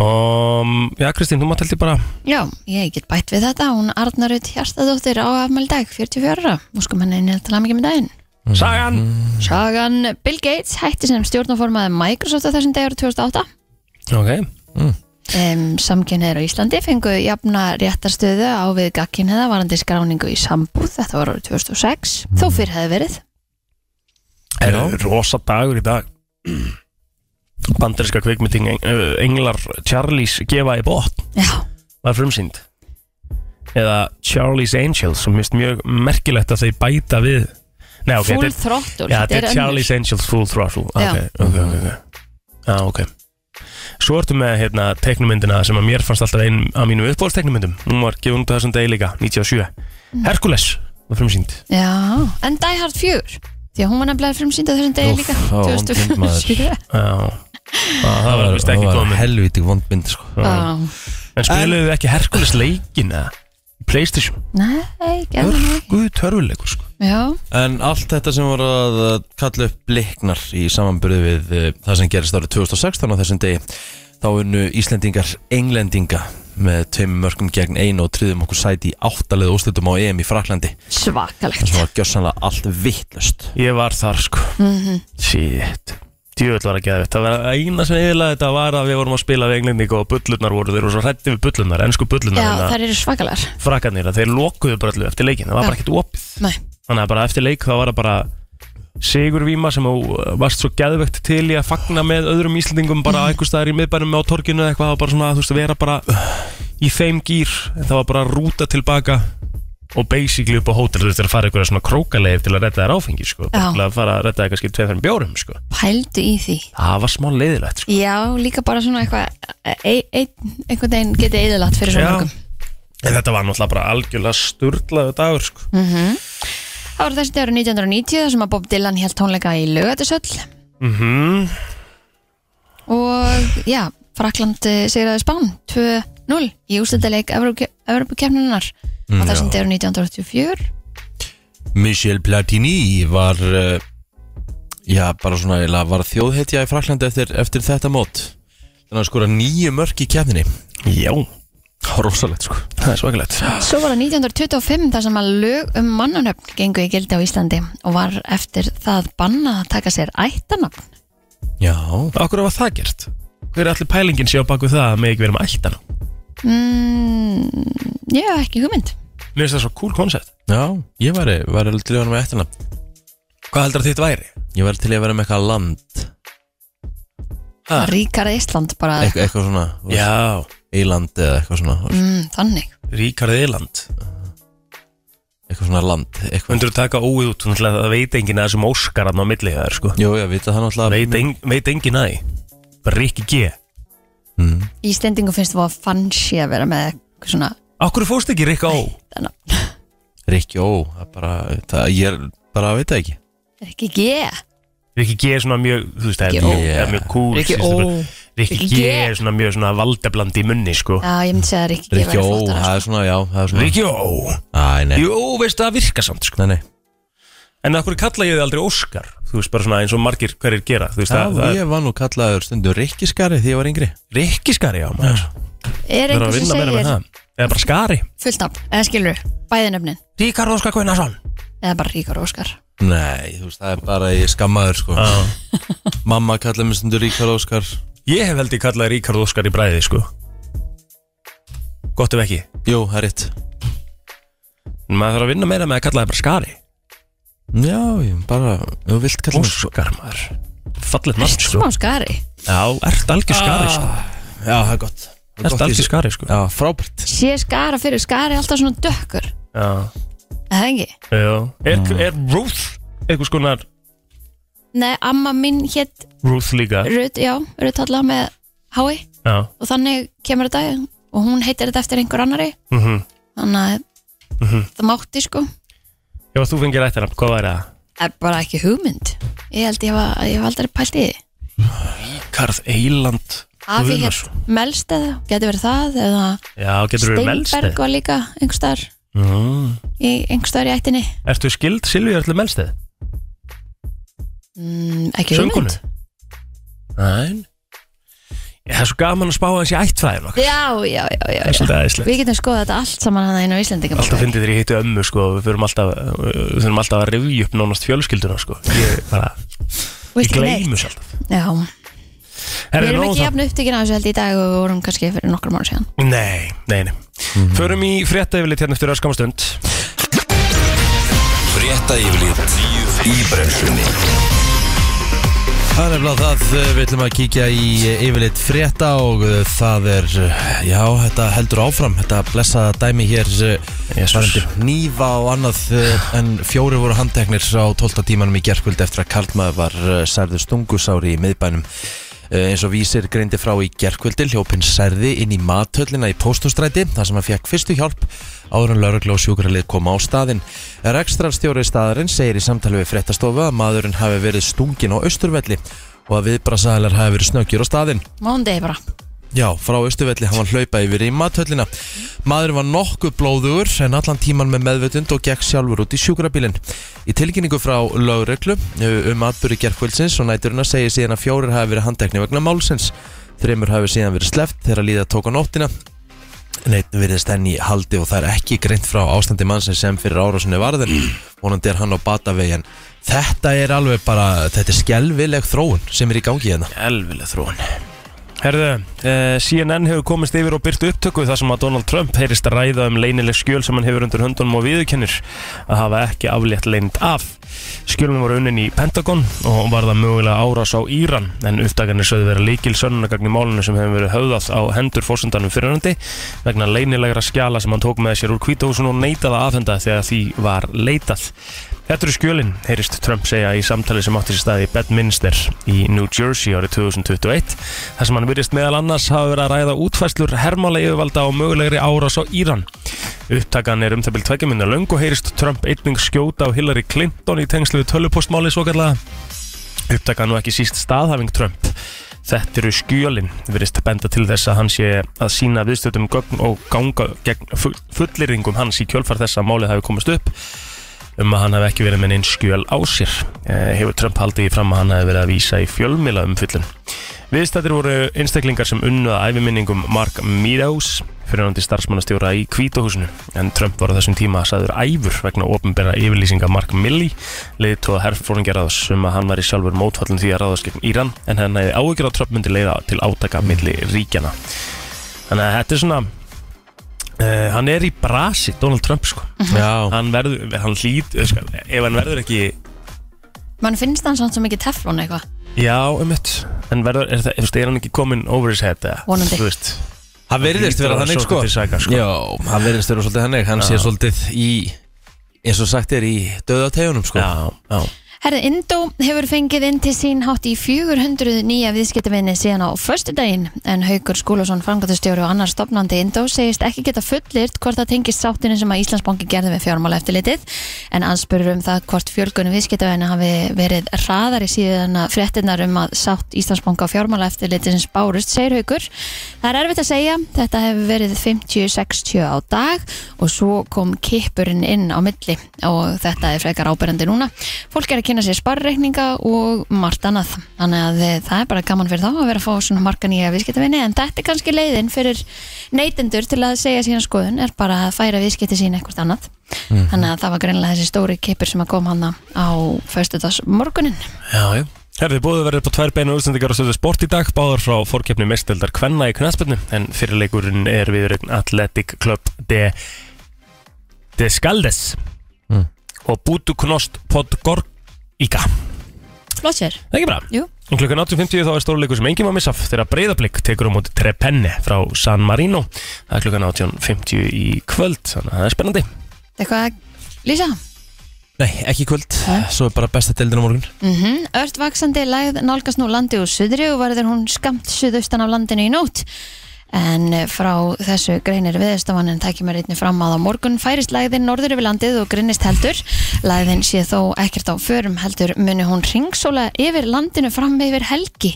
Og mm, já, Kristín, þú mátt heldur bara
Já, ég get bætt við þetta Hún Arnarut Hjartadóttir á afmæli dag 44 ára, múskum henni inn til að mikið með daginn
Sagan!
Mm,
Sagan Bill Gates hætti sem stjórnarformaði Microsoft á þessum dagur 2008
Ok,
um, Samkynniðir á Íslandi fengu jafna réttarstöðu á við gagkynniða varandi skráningu í sambúð þetta var árið 2006, þó fyrr hefði verið
er rosa dagur í dag bandaríska kveikmynding Eng- Englar Charlies gefa í botn
Já,
var frumsýnd eða Charlie's Angels sem mist mjög merkilegt að þeir bæta við Nei, ok,
full
þetta er,
throttle
já, þetta er
önnur.
Charlie's Angels Full Throttle
Já.
ok, ok, ok, ok Já, ok Svo ertu með hérna, teknumyndina sem að mér fannst alltaf einn af mínu uppbóðsteknumyndum Hún var gefun út á þessum degi líka, 97
Mm.
Hercules var frumsýnd
Já, en Die Hard 4 Því að hún var nefnilega frumsýnd á þessum degi
Úff,
líka
það var vond mynd, maður.
2007
Já, Já, það var Ah. vist ekki góð mynd
Helvítið vondbind sko
Já.
En spiluðu þið ekki Herkules leikin eða? Í Playstation?
Nei, gerðum við ekki
Guð törfuleikur sko
Já,
En allt þetta sem voru að að kalla upp bliknar í samanburði við uh, það sem gerist árið 2016 á þessum degi þá unnu Íslendingar englendinga með tveimur mörgum gegn einu og triðum okkur sæti í áttalegu úrslutum á EM í Fraklandi
svakalegt
sem var gjössanlega allt vittlust
Ég var þar sko mm
Mhm.
-hmm. Shit Djöfull var að geða þetta Það var að eina sem eðlaði þetta var að við vorum að spila við englendinga og bullurnar voru Þeir voru svo hrætti við bullurnar, ennsku bullurnar
Já,
hérna,
þær eru svakalar
Frakkarnir að þeir lokuðu bara allu eftir leikin Það var
Já.
bara ekkert opið
Nei,
Þannig að bara eftir leik þá var það bara Sigurvíma sem þú uh, varst svo geðvegt til í að fagna með öðrum Íslendingum bara einhvers staðar í miðbænum á torginu eða eitthvað það var bara svona þú veist að vera bara í þeim gýr en það var bara að rúta tilbaka og basically upp á hótel þú veist að fara einhverja svona krókaleif til að redda þér áfengi sko bara
Já.
til að fara að redda þér kannski tveim-fem bjórum sko
pældu í því
það var smá leiðilegt sko
Já, líka bara svona eitthvað e e einhvern veginn getið eðalagt fyrir svona mörgum
en þetta var náttúrulega bara algjörlega sturlaðu dagur sko
Það var þessi dagur 1990 þar sem að Bob Dylan held tónleika í lögatisöll
mm
og já, Frakland eh, sigraði Spán 2-0 í úslendaleik Evropakefnunar á þessum dagur 1984
Michel Platini var uh, já, bara svona eiginlega var þjóðhetja í Fraklandi eftir, eftir þetta mót þannig að skora nýju mörk í kefninni
já,
rosalegt sko
það er svakalegt
Svo var það 1925 þar sem að lög um mannanöfn gengu í gildi á Íslandi og var eftir það banna að taka sér ættanöfn.
já,
Akkur var það gert? Hver er allir pælingin sé á baku það að mig ekki vera með ættan?
Mm, ég hef ekki hugmynd.
Mér finnst það svo cool koncept
já, ég væri, væri til í að vera með eftirna
Hvað heldur að þitt væri?
ég væri til í að vera með eitthvað land
Ha.
ríkara Ísland bara
Eit- Eitthvað svona
Já,
Íland eða eitthvað svona
mm, þannig
ríkar eðland
Eitthvað svona land eitthvað.
Myndur þú taka óið út, þannig að það veit enginn að þessum Óskar hann á milli það er sko
Jó, ég veit að hann alltaf
Veit, en, veit enginn að því Bara Rikki G
Íslendingu finnst það að fansi að vera með eitthvað svona
Akkur fórst ekki Rikka Ó?
þannig
Rikki, ó, það er bara það, Ég er bara að veit það ekki
Rikki G
Rikki G er svona mjög, þú veist, það
Rikki
er
Ó.
mjög, það er mjög cool
Rikki
þú
Ó
veist, bara- Rikki
Rikki
G
G.
er svona mjög svona valdablandi í munni sko
Já, ég myndi segja að Rikki G
Rikki,
væri
ó,
flottar
það er svona, já það er svona
Rikki Ó
Æ, nei,
Jú, veist það virka samt sko
nei, nei
En af hverju kalla ég þið aldrei Óskar? Þú veist bara svona eins og margir hverjir gera Þú veist
Já,
það, það er
ég var nú kallaður stundum Rikkiskari því ég var yngri
rikkiskari á maður
Er
Það er
einhver
að
sem
vinna meira með
segir
það Eða bara skari
fullt nafn, eða skilur bæði nöfnin,
Ríkar Óskar Gunnarsson
eða bara Ríkar Óskar
Nei, þú veist, það er bara ég skammaður sko
Ah.
Mamma kallaði mig stundum Ríkar Óskar
Ég hef held ég kallað Ríkar Óskar í bræði sko Gott ef ekki
Jú, það er rétt
En Maður þarf að vinna meira með að kalla það bara skari
Já, ég bara, ef þú vilt kalla mig
Óskar maður Fallet nafn sko
Smá skari
Já, ert algjör skari sko
Já, það er gott Það er
Ert
gott í
algjör
þessu.
skari sko
Já, frábært
Sé skara fyrir skari alltaf svona dökkur
Já,
Er Það ekki?
já Er, er Ruth einhvers konar
Nei, amma mín hétt
Ruth líka
Rut, já, Rut Halla með Hái
Já,
og þannig kemur þetta og hún heitir þetta eftir einhver annari
mhm
þannig að það mátti sko
Ef að þú fengir ættarnafn, hvað væri það?
er bara ekki hugmynd ég held ég var, ég var aldrei pælt í því
Karð Eiland
Afi hétt Melsteð, getur verið það eða
Já, sko. getur verið
Steinberg
Melsteð
var líka einhverstaðar
mm.
í einhverstaðar í ættinni
Ertu skild Silvíu Erlu Melsteð?
mm, ekki
Söngkonu?
hugmynd
Næn Það er svo gaman að spá hans í ættfræðin okkar
já, já, já, já,
Það er
já.
svolítið aðeinslega
við getum skoðað þetta allt saman hann einu á Íslendingum
Alltaf fyndið þér í hittu ömmu sko og Við fyrirum alltaf, við fyrirum alltaf að rifja upp nánast fjölskylduna sko Ég bara, ég gleymus alltaf
já, við
Herra,
erum
nóg um
ekki
það
jafn upptökin á þessu held í dag og við vorum kannski fyrir nokkrum ára síðan
Nei, nei, nei
Mhm.
Förum í frétta yfirleitt hérna eftir öskamastund
Frétta yfirlit í brennslunni
Það er nefnilega það, eh, við ætlum að kíkja í eh, yfirleitt frétta og eh, það er, eh, já, þetta heldur áfram, þetta blessaða dæmi hér eh,
Jesús.
varandi nýfa og annað eh, en fjóri voru handteknir á 12. tímanum í gerkvöld eftir að Karlmaður var eh, særður stungusári í miðbænum. Eh, eins og vísir greindi frá í gerkvöldi hljópin særði inn í matöllina í póstustræti þar sem hann fekk fyrstu hjálp áður en laurugla og sjúkralið koma á staðin Rekstrarstjóri staðarinn segir í samtali við fréttastofu að maðurinn hafi verið stungin á austurvelli og að viðbrasæðalar hafi verið snöggjur á staðin
mándegi bara
Já, frá Östuvelli hann var hlaupa yfir í matöllina. Maðurinn var nokkuð blóðugur en allan tíman með meðvutund og gekk sjálfur út í sjúkrabílinn. Í tilkynningu frá lögreglu uh, um atbyrri gerkvöldsins og næturina segir síðan að fjórir hafi verið handtekni vegna málsins. Þreymur hafi síðan verið sleft þegar líða tók á nóttina. Neitt virðist enn í haldi og það er ekki greint frá ástandi mannsins sem fyrir árásunni varðin. Vonandi er hann á batavegin. Þetta er alveg bara, þetta er skelvileg þróun sem er í gangi hérna.
Elvileg þróun Herðu, uh, CNN hefur komist yfir og byrtu upptöku þar sem að Donald Trump heyrist að ræða um leynileg skjöl sem hann hefur undir höndunum og viðurkennir að hafa ekki aflétt leynd af. Skjölunum voru unnin í Pentagon og var það mögulega árás á Íran en uppdagarnir sögðu vera líkil sönnunagagn í málunum sem hefur verið höfðað á hendur fórsendanum fyrirhandi vegna leynilegra skjala sem hann tók með sér úr kvítahúsun og neitaði að afhenda þegar því var leitað. Þetta eru skjölin, heyrist Trump segja í samtali sem átti sér staði í Bedminster í New Jersey árið 2021 þar sem hann virðist meðal annars hafa verið að ræða útfæslur hermála yfirvalda og mögulegri árás á Íran. Upptakan er um það byrjum tveggjaminna löng og heyrist Trump einning skjóta á Hillary Clinton í tengslu við tölupostmáli svo kallega. Upptakan nú ekki síst staðhæfing Trump. Þetta eru skjölin, virðist benda til þess að hann sé að sína viðstöðum gögn og ganga gegn fu- fullyrðingum hans í kjölfar þess að málið hafi komist upp um að hann hafi ekki verið með neins skjöl á sér. Eh, hefur Trump haldið í fram að hann hafi verið að vísa í fjölmila umfyllun. Viðstættir voru einstaklingar sem unnuða æfiminningum Mark Meadows, fyrirhandi starfsmannastjóra í Kvítóhúsinu, en Trump var á þessum tíma sæður æfur vegna ofnbæra yfirlýsinga Mark Milley, leiðtóða herfóringjarraðs um að hann væri sjálfur mótfallin því að ráðast gegn Íran, en hann hefði áhyggjur á Trump myndi leiða til átaka milli ríkjana. Þannig að þetta er svona, uh, hann er í brasi, Donald Trump sko
Já,
hann verður, hann hlýt sko, ef hann verður ekki
mann finnst hann samt svo mikið teflon eitthvað
Já, um En verður, er, það, er, er hann ekki komin over his head eða?
Vonandi.
Þú veist
Það verðist
hlýtur
vera
að
þannig
vera
sko.
svolítið til saka, sko.
Já, það verðist vera svolítið þannig Hann sé svolítið í, eins og sagt er, í döðategunum sko.
Já, já
Herði, Indó hefur fengið inn til sín hátt í 400 nýja viðskiptavinni síðan á föstudaginn en Haukur Skúlason, frangatustjóri og annar stopnandi Indó segist ekki geta fullirt hvort það tengist sáttinu sem að Íslandsbanki gerði með fjármála eftirlitið en anspurur um það hvort fjölgunum viðskiptavinni hafi verið hraðari síðan að fréttinnar um að sátt Íslandsbanka og fjármála eftirlitið sem spárust, segir Haukur. Það er erfitt að segja, þetta hefur verið 50-60 á dag og svo kom kippurinn inn á milli og þetta er frekar ábyrjandi núna. Fólk er að kynna sér sparreikninga og margt annað. Þannig að eh, það er bara gaman fyrir þá að vera að fá svona marga nýja viðskiptavinni en þetta er kannski leiðin fyrir neytendur til að segja sína skoðun er bara að færa viðskipti sín eitthvað annað. Þannig að það var greinlega þessi stóri kippur sem að kom hann á föstudags morgunin.
já, já.
Herði, búið verður upp á tvær beina útsendingar á stöðu sport í dag, báðar frá fórkeppni mestildar Kvenna í knæspilnu, en fyrirleikurinn er við Athletic Club de, de Skaldes
Mm.
og Bútu Knost Podgorika.
Flott sér.
Það er ekki bra?
Jú.
Um klukkan 8.50 þá er stóruleikur sem enginn má missa af þegar breyðablík tekur um út Trepenne frá San Marino. Það er klukkan 18.50 í kvöld, þannig að það er spennandi.
Eitthvað að lýsa?
Nei, ekki í kvöld Svo er bara besta deildin á morgun
Mm Ört vaksandi lægð nálgast nú landi úr suðri og varður hún skamt suðaustan af landinu í nótt. En eh, frá þessu greinir viðstofanin tækir mér einnig fram að á morgun færist lægðin norður yfir landið og grinnist heldur. Lægðin sé þó ekkert á förum heldur muni hún ringsóla yfir landinu fram yfir helgi.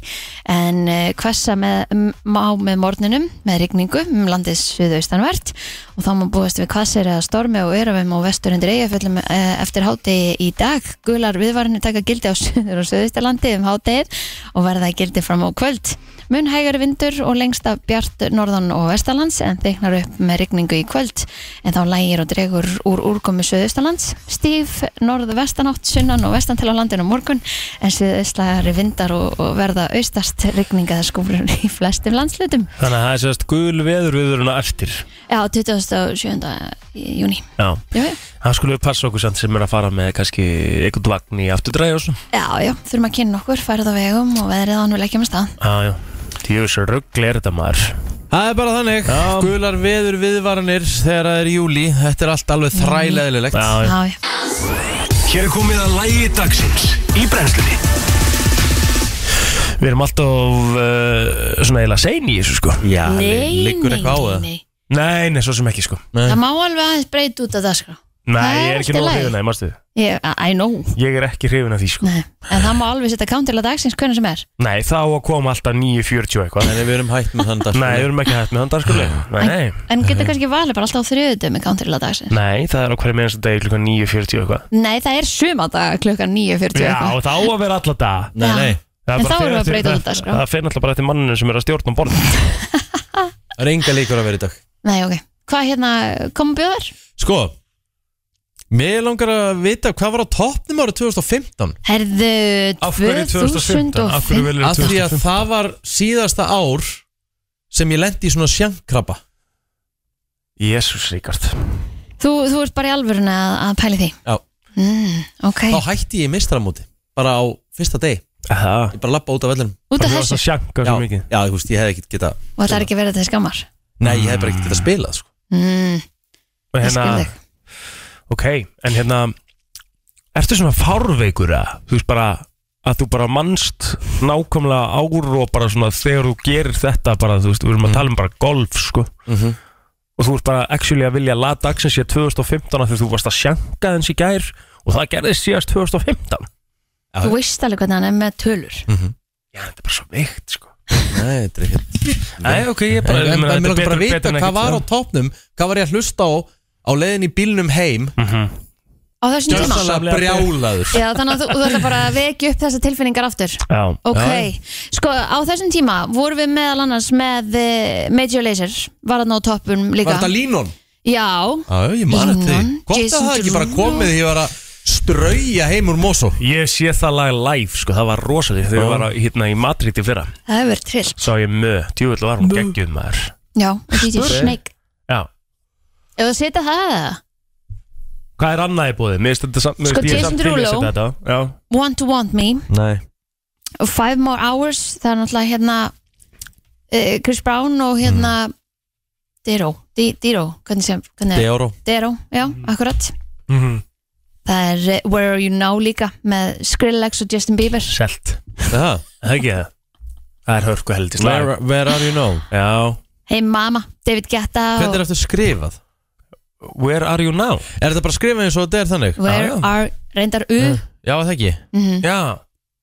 En eh, hvessa með, m- má með morgunum með rigningu um landið suðaustanvert og þá má búast við hvassir eða stormi og örafum og vestur undir eigaföllum eftir hátegi í dag. Gular viðvarnir taka gildi á suður og suðaustalandi um hátegið og verða í gildi fram á kvöld. Mun hægari vindur og lengst af bjart norðan og vestalands en þeiknar upp með rigningu í kvöld en þá lægir og dregur úr úrkomi söðustalands. Stíf norðvestanátt sunnan og vestan til á landinu á morgun en söðustlægari vindar og, og verða austast rigninga það skúflur í flestum landslutum.
Þannig að það er sérst gul veður viðuruna eftir.
Já, 27. júni.
Já.
Já, já.
Það skulum við passa okkur samt sem er að fara með kannski einhvern vagn í afturdræði og svona.
Já, já, þurfum að kynna okkur, færið á vegum og veðrið án vil ekki með stað.
Já, já. Tjóðs ruggli er þetta maður.
Það er bara þannig
Já.
Gular veður viðvaranir þegar það er júli Þetta er allt alveg þræleðilegt
Já, já.
Já, já.
Hér er komið að lægi dagsins í brennslunni
Við erum alltaf uh, svona eiginlega sein í þessu sko.
Já,
Nei,
liggur
nei,
eitthvað á það
nei.
Nei, nei, svo sem ekki sko.
Það má alveg aðeins breyta út af það sko. skrá.
Nei,
Það
ég
er
er
allt í
ekki nóg
lagi.
hrifin að því, mástu.
Ég, I know
Ég er ekki hrifin að því sko.
Nei. En það má alveg setja countila dagsins hvernig sem er
Nei, þá að koma alltaf 9.40 eitthvað.
Þannig við erum hætt með þann dag sko.
Nei, við erum ekki hægt með þann dagskóli. Nei,
En
Mhm.
getur kannski valið bara alltaf á þriðutu með countila dagsins
nei, það er á hverju meðanstu degi klukkan 9.40 eitthvað.
Nei, það er sumadag klukkan 9.40
Já,
eitthvað.
þá að vera alltaf dag.
Nei, nei,
Það
En
bara
þá erum við að
fer
breyta
eftir-
út dagskrá.
Það fer náttúrulega bara eftir manninu sem er að stjórna um borðin.
það er enga líkur að vera í dag
Nei, ok Hvað hérna, komum bjóðar?
Sko Mér langar að vita hvað var á toppnum árið 2015
Herðu
Af hverju 2015? Af hverju
2005
velurðu
Af því að
2015?
það var síðasta ár sem ég lendi í svona sjankrabba
Jésús, Ríkard.
þú, þú ert bara í alvörun að, að pæli því
Já.
mm, Ok,
Þá hætti ég mistramóti bara á fyrsta deg
Það.
Ég bara lappa út af vellinum
út af
Það varst
þessu
að sjanka svo
Já,
mikið.
já, þú veist, ég hef ekki geta
Og það er ekki verið til skammar
Nei, ég hef bara ekki geta spilað sko.
mm,
Og
Ég skil
hérna,
þig
ok, en hérna Ertu svona fárveikur að Þú veist bara að þú bara manst nákvæmlega ár og bara svona þegar þú gerir þetta bara, þú veist, við
Mm.
erum að tala um bara golf, sko, og þú ert bara actually að vilja lata dagsins ég 2015 af því þú varst að sjanka þens í gær og það gerðist síðast 2015
Þú veist alveg hvernig hann er með tölur
Já, þetta er bara svo veikt, sko
Nei, þetta er ekki
Nei, ok, ég
En
bara, ég
en-
meina,
en mér langar bara
þetta er
að
betur-
vita
betur en
hvað
ekkert, sko.
var á
já.
toppnum Hvað var ég að hlusta á á leiðin í bílnum heim
Á þessum tíma
Gjörsamlega brjálaður
Já, þannig að þú, þú ætla bara að vekja upp þessar tilfinningar aftur
Já,
Ok,
Já.
sko á þessum tíma vorum við meðal annars með eh, Major Lazer, var hann á toppum
Var
líka
þetta Línon?
Já,
Já, ég man
Línon,
þetta Hvort að
Jason
það ekki bara
Derulo.
komið þegar ég var að strauja heim úr Mosó
Ég sé það lag live, sko, það var rosalega þegar ég var á- hérna í Madrid í fyrra
það hefur verið trill
Sá ég mö, djúvill var hún geggjuð maður
Já, og DJ Snake
Já,
Ef þú setja það eða,
hvað er annað í búðið? Mér finnst þetta samt
Sko,
mér finnst ég
Jason
samt til í að
Derulo.
setja þetta á. Já,
Want to Want Me
Nei
og Five More Hours það er náttúrulega hérna uh, Chris Brown og hérna mm. Dero, Di- Diro hvernig sem, hvernig er
Deoro
Dero, já,
Mm.
akkurat
Mhm.
það er eh, Where Are You Now líka með Skrillex og Justin Bieber
Selt
Aha.
Það er ekki það Það er hörku heldist
where, where are you now?
Oh.
Já
Hey Mama, David Guetta
Hvernig er
og
eftir skrifað?
Where are you now?
Er þetta bara skrifað eins og þetta er þannig? Eh,
Where
já.
Are Reyndar U Mhm.
Já, það ekki
Já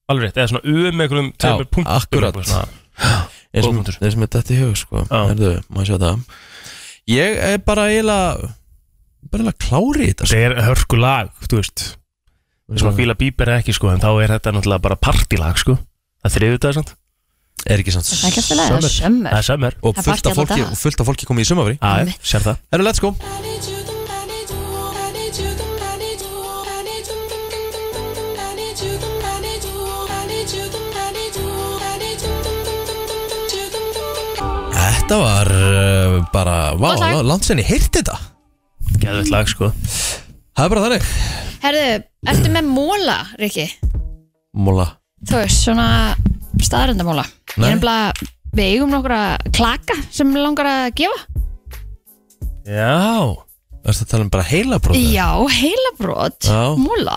Alveg rétt, eða svona U með einhverjum tveimur punktum,
akkurat.
eitthvað svona.
Eins og
Góðbúndur.
þeir sem er dætt í hug sko
Já.
Herðu, maður sjá það Ég er bara eiginlega bara eiginlega klári í þetta sko.
Þetta er hörku lag, þú veist Þess
Mm.
að fíla bíber ekki sko En þá er þetta náttúrulega bara partylag sko Það þriðu þetta samt
Er ekki sant
það er ekki alltaf leið, það er sömmur
Það er sömmer
Og
Það er
fullt af
partí alla
fólki,
daga.
og fullt af fólki komið í sumafri
Æ,
Einmitt.
sér það
Herru, let's go Þetta var uh, bara, vá,
Gott lag.
landsinni, heyrti þetta
Geðvitt lag sko
Það er bara þannig
Herðu, ertu með móla, Rikki?
Móla
Þú veist, svona staðarendamóla Ég
Nei.
er nefnilega, við eigum nokkra klaka sem mig langar að gefa
Já
Það er að tala um bara heila bróðið
Já, heilabrót,
Já.
móla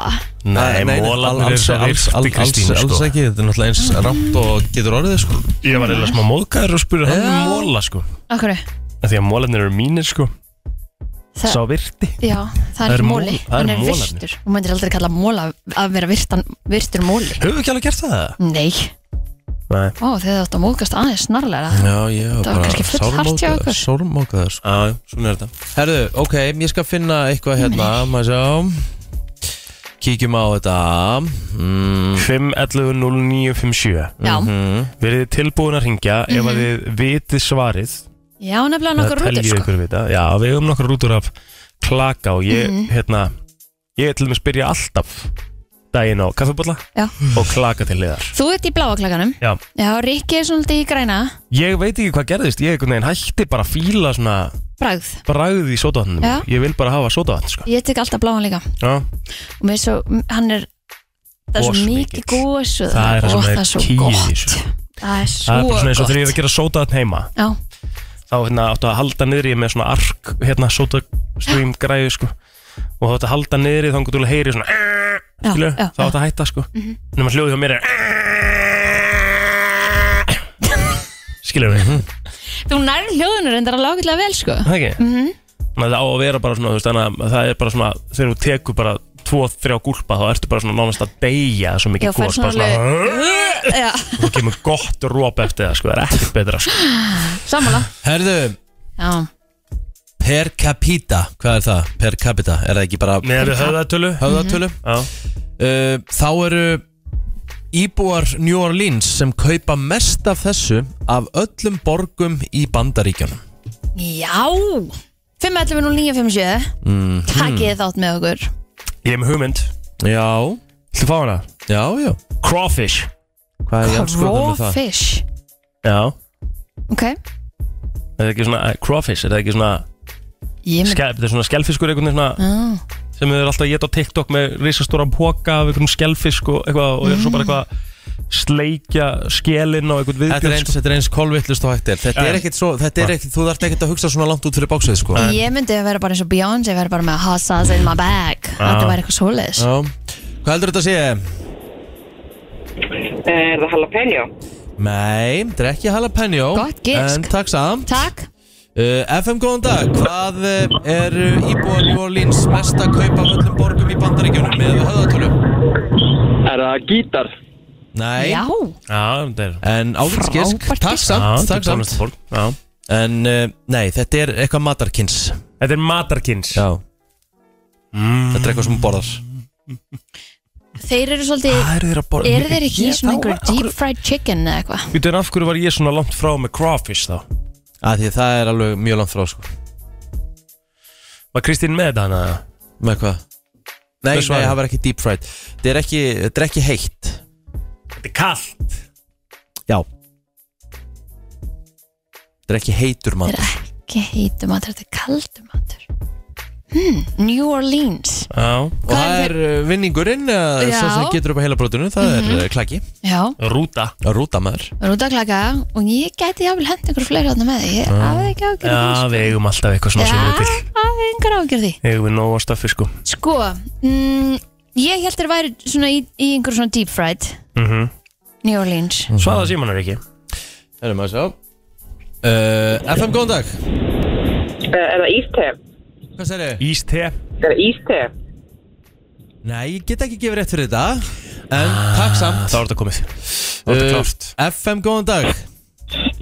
Nei, mólarnir eru
alls,
svo
alls,
virti
alls, alls,
Kristín
alls
sko
ekki Þetta er náttúrulega eins rámt og getur orðið sko
Ég var eða smá móðgæður og spurði hann um
Já.
móla sko
Akkur,
Af Því að mólarnir eru mínir sko
Þa-
Sá virti
já, það
Það
er
eru
ekki
mól-
móli
það eru
Hann er
mólarnir.
virtur, hún myndir aldrei kalla móla að vera virtan, virtur móli
Höfum við ekki alveg gert það?
Nei,
Nei
ó, þið áttu að móðgast aðeins snarlega
Já, ég var
Það var kannski full hart hjá
bara
ykkur.
sármókaður sko
Já,
Svona er þetta Herðu, ok, ég skal finna eitthvað hérna Maður sjá Kíkjum á þetta mm,
5.11.09.57
Já,
Verið þið tilbúin að ringja ef að þið vitið svarið
já, nefnilega nokkra
Eða
Mhm. rútur
teljið
sko
ykkur vita Já, við höfum nokkar rútur af klaka og ég,
Mhm.
hérna Ég er til að spyrja alltaf daginn á kaffibólla
Já.
og klaka til liðar
Þú ert í bláa klakanum
Já,
Já, Rikki er svona í græna
ég veit ekki hvað gerðist Ég einhvern veginn hætti bara að fíla svona
Bragð,
bragð í sótavatnum
Já.
Ég vil bara hafa sótavatn sko.
ég tek alltaf bláan líka
Já.
og mér er svo, hann er það er svo
Gosmikill.
mikið gós og
Það er það sem
og
er
það er svo
kýið í
gott
þessu.
það er svo
Það er bara svona eins og
gott
þegar ég er að gera sótavatn heima
já,
þá hérna, áttu að halda niðri með svona ark hérna, sotastream græðu sko. og þá áttu að halda niðri þá til að heyri svona "Eh",
Já,
skilur,
já, Mhm.
þá áttu að hætta sko. mm -hmm. nema hljóðið hjá mér er "Eh", skilur við
þú nærð hljóðunur reyndar alveg ágætlega vel sko
Hm, það ekki mm -hmm. það á að vera bara svona, þú veist, þannig að það er bara svona þegar þú tekur bara tvo, þrjá gúlpa þá ertu bara svona nánast að deyja svo
Já,
mikið
fær
gos,
svona
bara svona "Eh",
já,
og þú kemur gott róp eftir það, sko, það er ekkert betra sko.
sammála
Herðu,
já,
per capita Hvað er það? Per capita, er það ekki bara
með við höfðatölu
höfðatölu?
Já.
uh, þá eru íbúar New Orleans sem kaupa mest af þessu af öllum borgum í bandaríkjunum
já 511 0957
Mhm.
takkið þátt með okkur
ég er með hugmynd,
Já,
ætlu að fá hana
já, já
crawfish
Hvað er ég að skoða með það?
crawfish
Já,
ok,
er það ekki svona eh, crawfish, er það ekki svona
ég mynd
skjál, þetta er svona skjálfiskur einhvern veginn svona
Ah,
sem þau eru alltaf að geta á TikTok með risastóra póka af einhvern skjálfisk og eitthvað og eru svo bara eitthvað að sleikja skjelin og einhvern
Þetta er
viðbjörn
eins,
sko.
þetta er eins kolvillust og hægt er Þetta er
Já.
ekkit svo, þetta er ekkit, þú þarft ekkit að hugsa svona langt út fyrir bóksveið sko
ég myndi að vera bara eins og Beyonce vera bara með Hassas in my bag þetta væri eitthvað svoleiðis
Já, hvað heldur þetta að sé?
Er það jalapeno?
Nei, þetta er ekki jalapeno
Gott gisk.
En takk samt
takk,
uh, FM góðan dag, hvað uh, er uh, íbúar New Orleans mest að kaupa af öllum borgum í bandaríkjunum með höfðatölu?
Er það gítar?
Nei
já
Já, þetta er
En ágætt gisk,
Frábært
takk
gisk.
Já,
samt,
þetta er
takk samt
tónlistarfólk. Já.
En uh, nei, þetta er eitthvað matarkins
Þetta er matarkins
Þetta er eitthvað sem hún borðar
þeir eru svolítið
Hvað eru þeir að borða?
Er þeir ekki í svona einhver deep
deep
fried chicken eða eitthvað?
Þú veit, af hverju var ég svona langt frá með crawfish þá?
að Því að það er alveg mjög langt frá sko
Var Kristín með þetta hana?
Með hvað? Nei,
Með
nei,
svarið.
það var ekki deep fried Þetta er ekki, þetta er ekki heitt
Þetta er kallt
Já Þetta er ekki heitur
Þetta
matur
er ekki heitur matur, þetta er kaldur matur hmm, New Orleans
Já,
Og
Hvað
það
er
er uh, vinningurinn uh,
Já.
Svo sem getur upp á heila brotinu Það er uh, klaki
Já,
rúta
Rúta maður
rúta klaka og ég gæti jáfnvel hend ykkur fleiri átna með því, ég hafði ekki ágjörð
Já, við eigum alltaf eitthvað svona sem við til
hafði engar ágjörð því
Eigum við nóg á staffi sko
Sko, mm, ég held þér væri svona í, í einhver svona deep fried
mm
New Orleans
Mhm.
Svaða símanar ekki
Erum að sjá uh, FM, góðan dag
Er það íste?
Hvað sér ég?
Íste
Er það íste?
Nei, ég get ekki gefið rétt fyrir þetta En takk samt
Það var þetta komið Það var þetta klárt
Uh, FM, góðan dag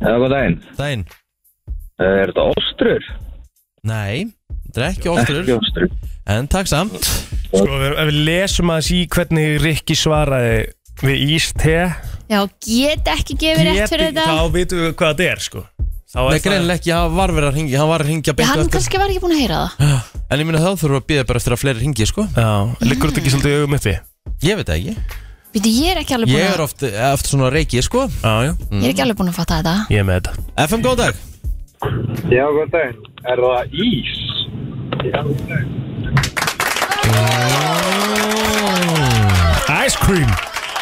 Já, góð daginn. Eh,
Dæin
Er þetta ostrur?
Nei, þetta er ekki óttur
ostrur.
En takk samt
Sko, ef ef við lesum aðeins í hvernig Rikki svaraði við Íste
Já, get ekki gefið rétt fyrir þetta
Þá vitum við hvað þetta er sko Þá
Nei,
er það
greinilega ekki, hann var verið að ringja Hann var að ringja
Já,
beint
Hann
eftir
kannski var ekki búin að heyra það
En ég minna þá þurfum við að bíða bara eftir að fleiri ringi, sko
Já, liggur þetta ekki svolítið í augum uppi
Ég veit það ekki
Býtu, ég er ekki alveg búin
Ég er
að,
oft, oft svona reiki, sko
Já, já,
ég er ekki alveg búin að fatta þetta
ég er með þetta
FM, góðan dag
Já, góð daginn. Er það ís? Já, góð daginn.
Ice cream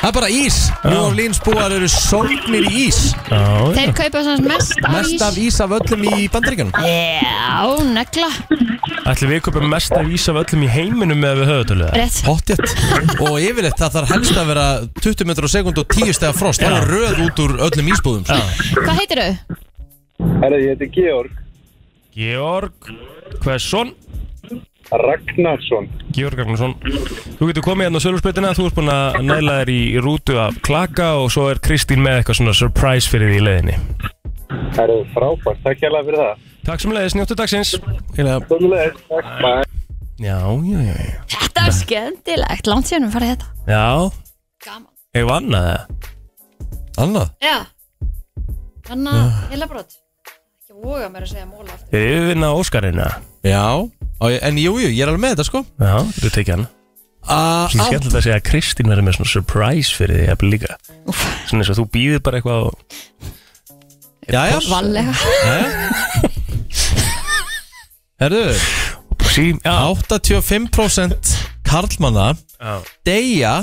Það er bara ís New Orleans búar eru sólgnir í ís
Já, já
Þeir kaupa svona mest af
Mest af
ís
ís af öllum í bandaríkjunum
Já, negla
Ætli við köpum mest að vísa af öllum í heiminum með við höfutölu
Rétt
Hottjett Og yfirleitt það þarf helst að vera 20 metrar á sekund og 10 stega frost Það er röð út úr öllum ísbúðum sko.
Hvað heitir þau?
Er það, ég heiti Georg
Georg Hversson
Ragnarsson.
Georg Ragnarsson Þú getur komið hérna á sölursbreytina Þú ert búin að næla þér í rútu af klaka Og svo er Kristín með eitthvað svona surprise fyrir því í leiðinni
Er það frábært. Takk hérlega fyrir það.
Takk sem leiðis, njóttu dagsins
Eiginlega-
Sjónulegis. Takk. Bæ.
Já, já, já já.
Þetta er skemmtilegt, langt síðan við farið í þetta
Já,
Gaman
ég vann að það
Annað
Já Þannig að heilabrot Ekki voga mér að segja móla aftur
Þeir yfirvinna Óskarina
Já, á ég- en jú, jú, ég er alveg með þetta sko
Já, þú tekið hann
Ah,
Svo
á-
skemmtilegt að segja að Kristín verður með svona surprise fyrir því jafnvel líka Svona eins og þú býðir bara eitthvað og...
ah. Jæja
Vallega
Herðu,
Sí, já,
85% karlmanna
já
deyja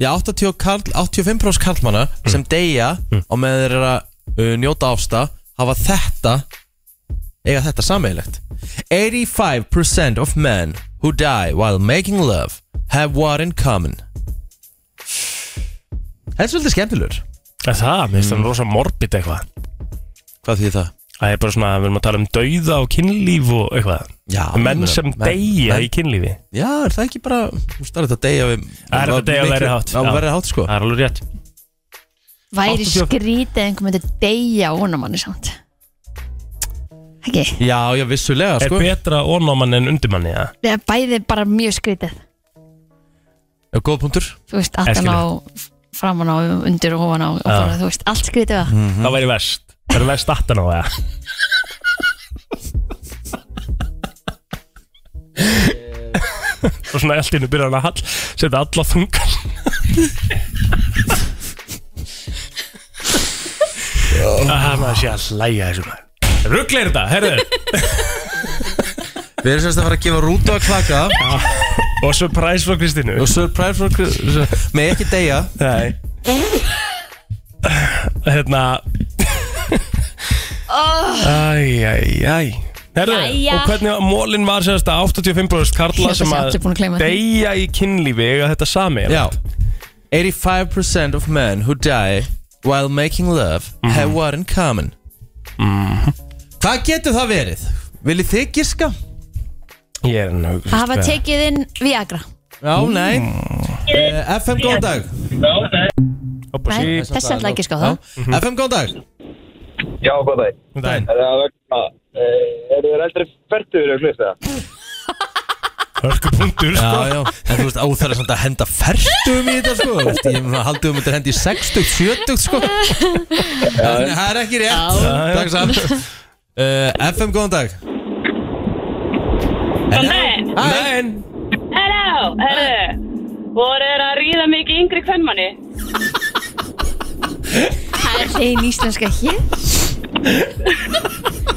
Já, 80 karl, 85% karlmanna sem deyja og með þeir eru að uh, njóta ásta hafa þetta eiga þetta sammeilegt 85% of men who die while making love have what in common Þetta er svolítið skemmtilegur
Það, það, mér
Mm.
finnst það rosa morbid eitthvað
Hvað því það?
Það er bara svona, við erum að tala um dauða og kynlíf og eitthvað
Já,
Menn
ég meina,
sem
menn-
deyja
menn-
í kynlífi
Já, er það ekki bara, þú veist, það er þetta að deyja við
Það er þetta að deyja á
miklu-
verri hátt,
Á
já.
verri hátt, sko
Það er alveg rétt
Væri
88.
skrítið einhver myndi deyja óna manni samt Ekki
Já, já, vissulega,
Er
sko
betra onáman en undirmanni, ja?
Eða Bæði bara mjög skrítið
Já, Góð punktur
Þú veist, aftan á framan á, undir og ofan á og bara, þú veist, allt skrítið það
Það væri verst Það er verst aftan á það Og svona allt innu byrjar hann að hall Setja alla þungan Það er maður sé að hlæja þessu maður Ruggleir þetta, herðu
Við erum semst að fara að gefa rútu að klaka
Og surprise frá Kristínu
Og surprise for Með ekki deyja
Nei Hérna Æj, æj, æj Herðu,
Jæja.
og hvernig mólinn var sérst að 85% karla
Ég held að
sem
sé
að
allir búin að gleyma því.
deyja í kynlífi eiga þetta sami
Já 85% of men who die while making love have what in common Mm-hmm. Hvað getur það verið? Viljið þið giska?
Ég er enn
Að hafa tekið inn Viagra
Já, nei uh, FM, góðan dag
Nei,
tekið
þess ætla ekki sko það
Já. FM, góðan dag
Já, góð daginn. Er það vegna... eh, Eru þér eldri færtugur að hlusta það?
Hörku punktur
Já,
sko.
já, en þú veist, óþæra samt að henda færtum í þetta, sko Þú veist, Ég meina, haldið um þetta hendi í 60, 70, sko En það er ekki rétt
já.
Takk samt uh, FM, góðan dag Góðan
Nein
Hello, herru Voru þeir að ríða mikið yngri kvennmanni?
Það er ein íslenska hér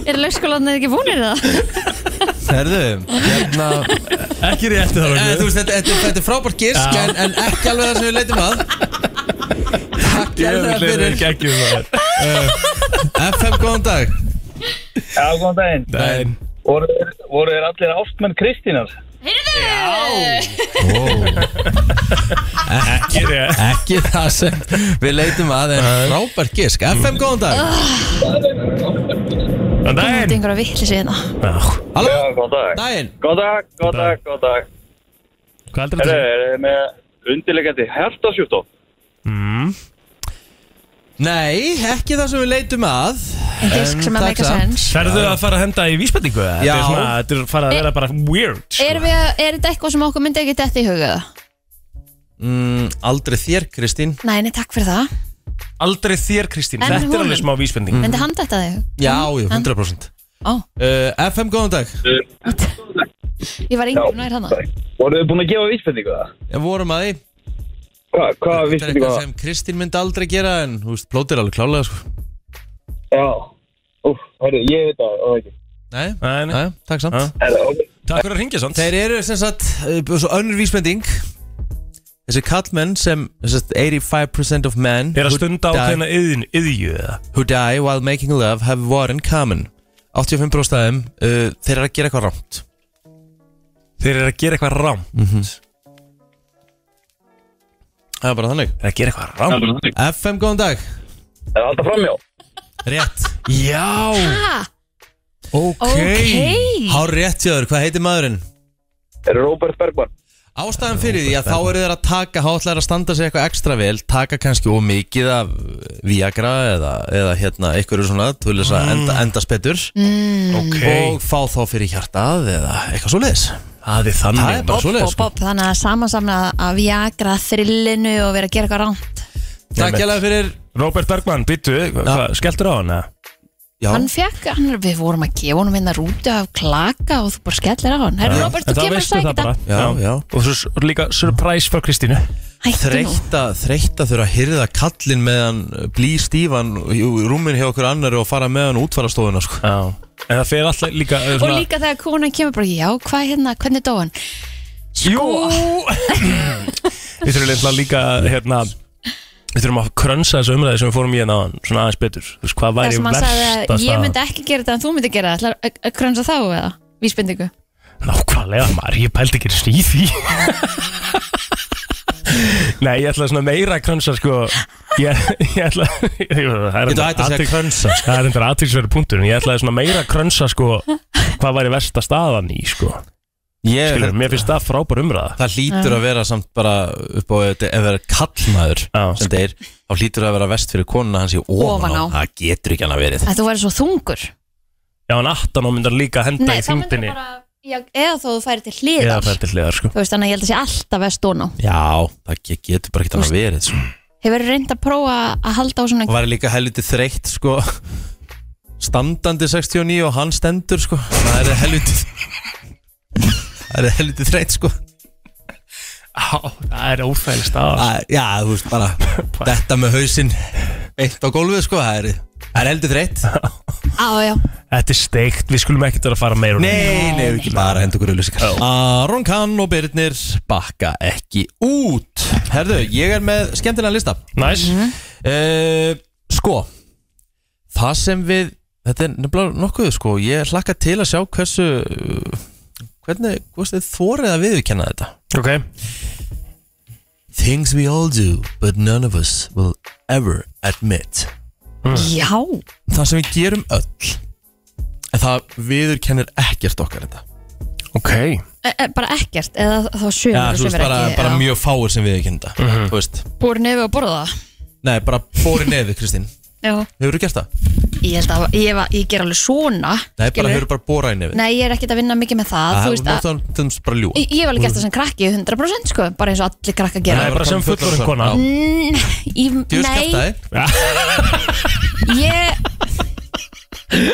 Er lögskólanir ekki búinir það?
Herðu, hérna
Ekki rétt það
Eh, Þú veist, þetta, þetta, þetta er frábært gisk
Já.
en, en ekki alveg það sem við leitum að Takk kærlega fyrir
Ekki um
FM, góðan dag
Já, góðan daginn
það
Voru, voru þeir allir ástmenn Kristínar?
Ekki rétt
E, Ekki það sem við leitum að en frábært gisk FM, góðan dag
Góðan
Það er
daginn
einhverja vittlisi hérna
Já,
Halló,
góðan dag
daginn
Góðan dag, góðan dag, góðan dag
Hvað heldur
Herru,
þetta?
er þið með undirlegjandi hertasjúkdóm?
Nei, ekki það sem við leitum að
En disk sem
Takk
að make a
samt.
sense
Ferðu að fara að henda í vísbendingu? eða? Þetta
Já.
er svona, þetta er farið að vera bara weird sko.
Er, við, er þetta eitthvað sem okkur myndi ekki detta í huga það?
mm, Aldrei þér, Kristín
Nei, nei, takk fyrir það
Aldrei þér Kristín,
En
þetta er
honum.
alveg smá vísbending
Myndi hann detta þig?
Já, já, 100%
Ó,
uh, FM, góðan dag
ég var yngri nær hann
Voru þið búin að gefa vísbendingu um það?
Við vorum að því
Hva,
Þetta
hvað
er
vísbendingu
eitthvað
það?
sem Kristín myndi aldrei gera en, þú veist, plótir alveg klálega, sko
Já, úf, herru, ég veit það, það ekki
Nei,
Nei, nei.
nei, takk samt
Já.
Herru, ok
Takk fyrir að ringja samt
Þeir eru sem sagt uh, svo önnur vísbending Þessi kallmenn sem sem sagt, 85% of men
Er að
who
stunda á
die-
hvernig yðin, yðju eða
Who die while making love have war in common 85% af þeim uh, Þeir eru að gera eitthvað rámt
Þeir eru að gera eitthvað rám
Mm.
Þeir
Það er bara þannig
eru að gera eitthvað rám
FM, góðan dag
Er það alltaf framjá?
Rétt
Já,
Ha,
Ok,
Ókei.
Há rétt hjá þér, hvað heitir maðurinn?
Er Robert Bergman?
Ástæðan fyrir því að þá eru þeir að taka hátlæra að standa sig eitthvað ekstra vel taka kannski ómikið af Viagra eða, eða hérna einhverju svona til þess
Mm.
að enda, endast betur
ok
og fá þá fyrir hjartað eða eitthvað svoleiðis
Það er þannig
Það er bara
maður.
svoleiðis
bob,
sko.
bob, þannig að samansamna að viagra þrillinu og vera að gera eitthvað ránt
Takk hjá fyrir
Robert Bergman, byttu, hvað, skelltur á hann eða?
Já,
Hann fekk, hann, við vorum að gefa honum vinna rútu af klaka og þú bara skellir á hann Herru Robert,
En
þú
það
kemur að
veistu
sækja
það bara.
Já,
þetta
já.
Og svo s- líka surprise fyrir Kristínu
Hættu nú
þreytt að þreytt að þurfa að hyrða kallinn meðan blí stífan í rúmin hjá okkur annar og fara með hann útfarastofuna sko.
Já En það fer alltaf líka eh,
Og
svona,
líka þegar konan kemur bara, já, hvað hérna, hvernig dó hann? Sko,
Jú Við þurfum eitthvað líka hérna Við þurfum að krönsa þessu umræði sem við fórum í hérna áðan Svona aðeins betur Þú veist hvað
Það
væri
sem hann sagði
versta
að ég myndi ekki gera þetta en þú myndi gera þetta, ætlar að- að krönsa þá eða? Vísbendingu
Nákvæmlega maður, ég pældi ekki einu sinni í því Nei, ég ætla svona meira að krönsa sko Ég, ég ætla ég, það er
Getur hægt
enda
að segja
athygl-
krönsa sko.
Það er endur aðtilsverið punktur En ég ætlaði svona meira að krönsa sko Hvað væri versta staðan í sko
Ég,
Skilur, Mér finnst það frábær umræða
Það hlýtur að vera samt bara upp á ef það er kallmaður
Já.
sem þeir, þá hlýtur að vera vest fyrir konuna hans í ofan
Ofan
á,
á.
það getur ekki hann að verið
að þú væri svo þungur
Já, en aftan á myndar líka henda
Nei,
í
þá myndir
þungdinni
bara, já, eða þó þú færi til
Eða
hliðar
færi til hliðar sko
Þú veist, þannig að ég held að sé alltaf veist dóna
Já, það ge- getur bara ekki hann að verið sko.
Hefur reynd að prófa að halda á svona
og var líka helviti þreytt sko standandi 69 og hann stendur sko það er helviti það er helviti þreytt sko
Á, það er óþægileg staða
Að- já þú veist bara þetta með hausinn eitt á gólfið sko það er, það er helviti þreytt
Á, já,
Ah. Þetta er steikt, við skulum ekkert vera að fara meira úr
nei nei við ekki bara hendur okkur auðlýsingar Aron Kahn og Birnir bakka ekki út herðu ég er með skemmtilega lista
henni. Næs
Mhm.
Uh, sko Það sem við Þetta er nefnilega nokkuð sko Ég hlakka til að sjá hversu uh, Hvernig, hversu þið þórið að viðurkenna þetta
Ok,
Things we all do But none of us will ever admit
já
Það sem við gerum öll En það viðurkennir ekkert okkar þetta
ok
e, e, Bara ekkert, eða þá sömur
Já,
og
þú veist,
sömur
bara,
ekki
bara
já.
mjög fáir sem viðurkenna þetta Þú veist,
Búin yfir að borða það
nei, bara bóri nefið, Kristín
Já,
Hefur þú gert það?
ég held að ég, var, ég ger alveg svona
Nei, bara
skilurðu.
hefur bara bóra í nefið
Nei, ég er ekkert að vinna mikið með það,
Það
þú
er
veist að
náttúrulega bara ljúa
Ég ég hef alveg gert það sem krakki 100% sko, bara eins og allir krakka
Nei,
gera
bara sem fullorðin kona.
Í,
Djöfus
Nei,
kæftæði
ég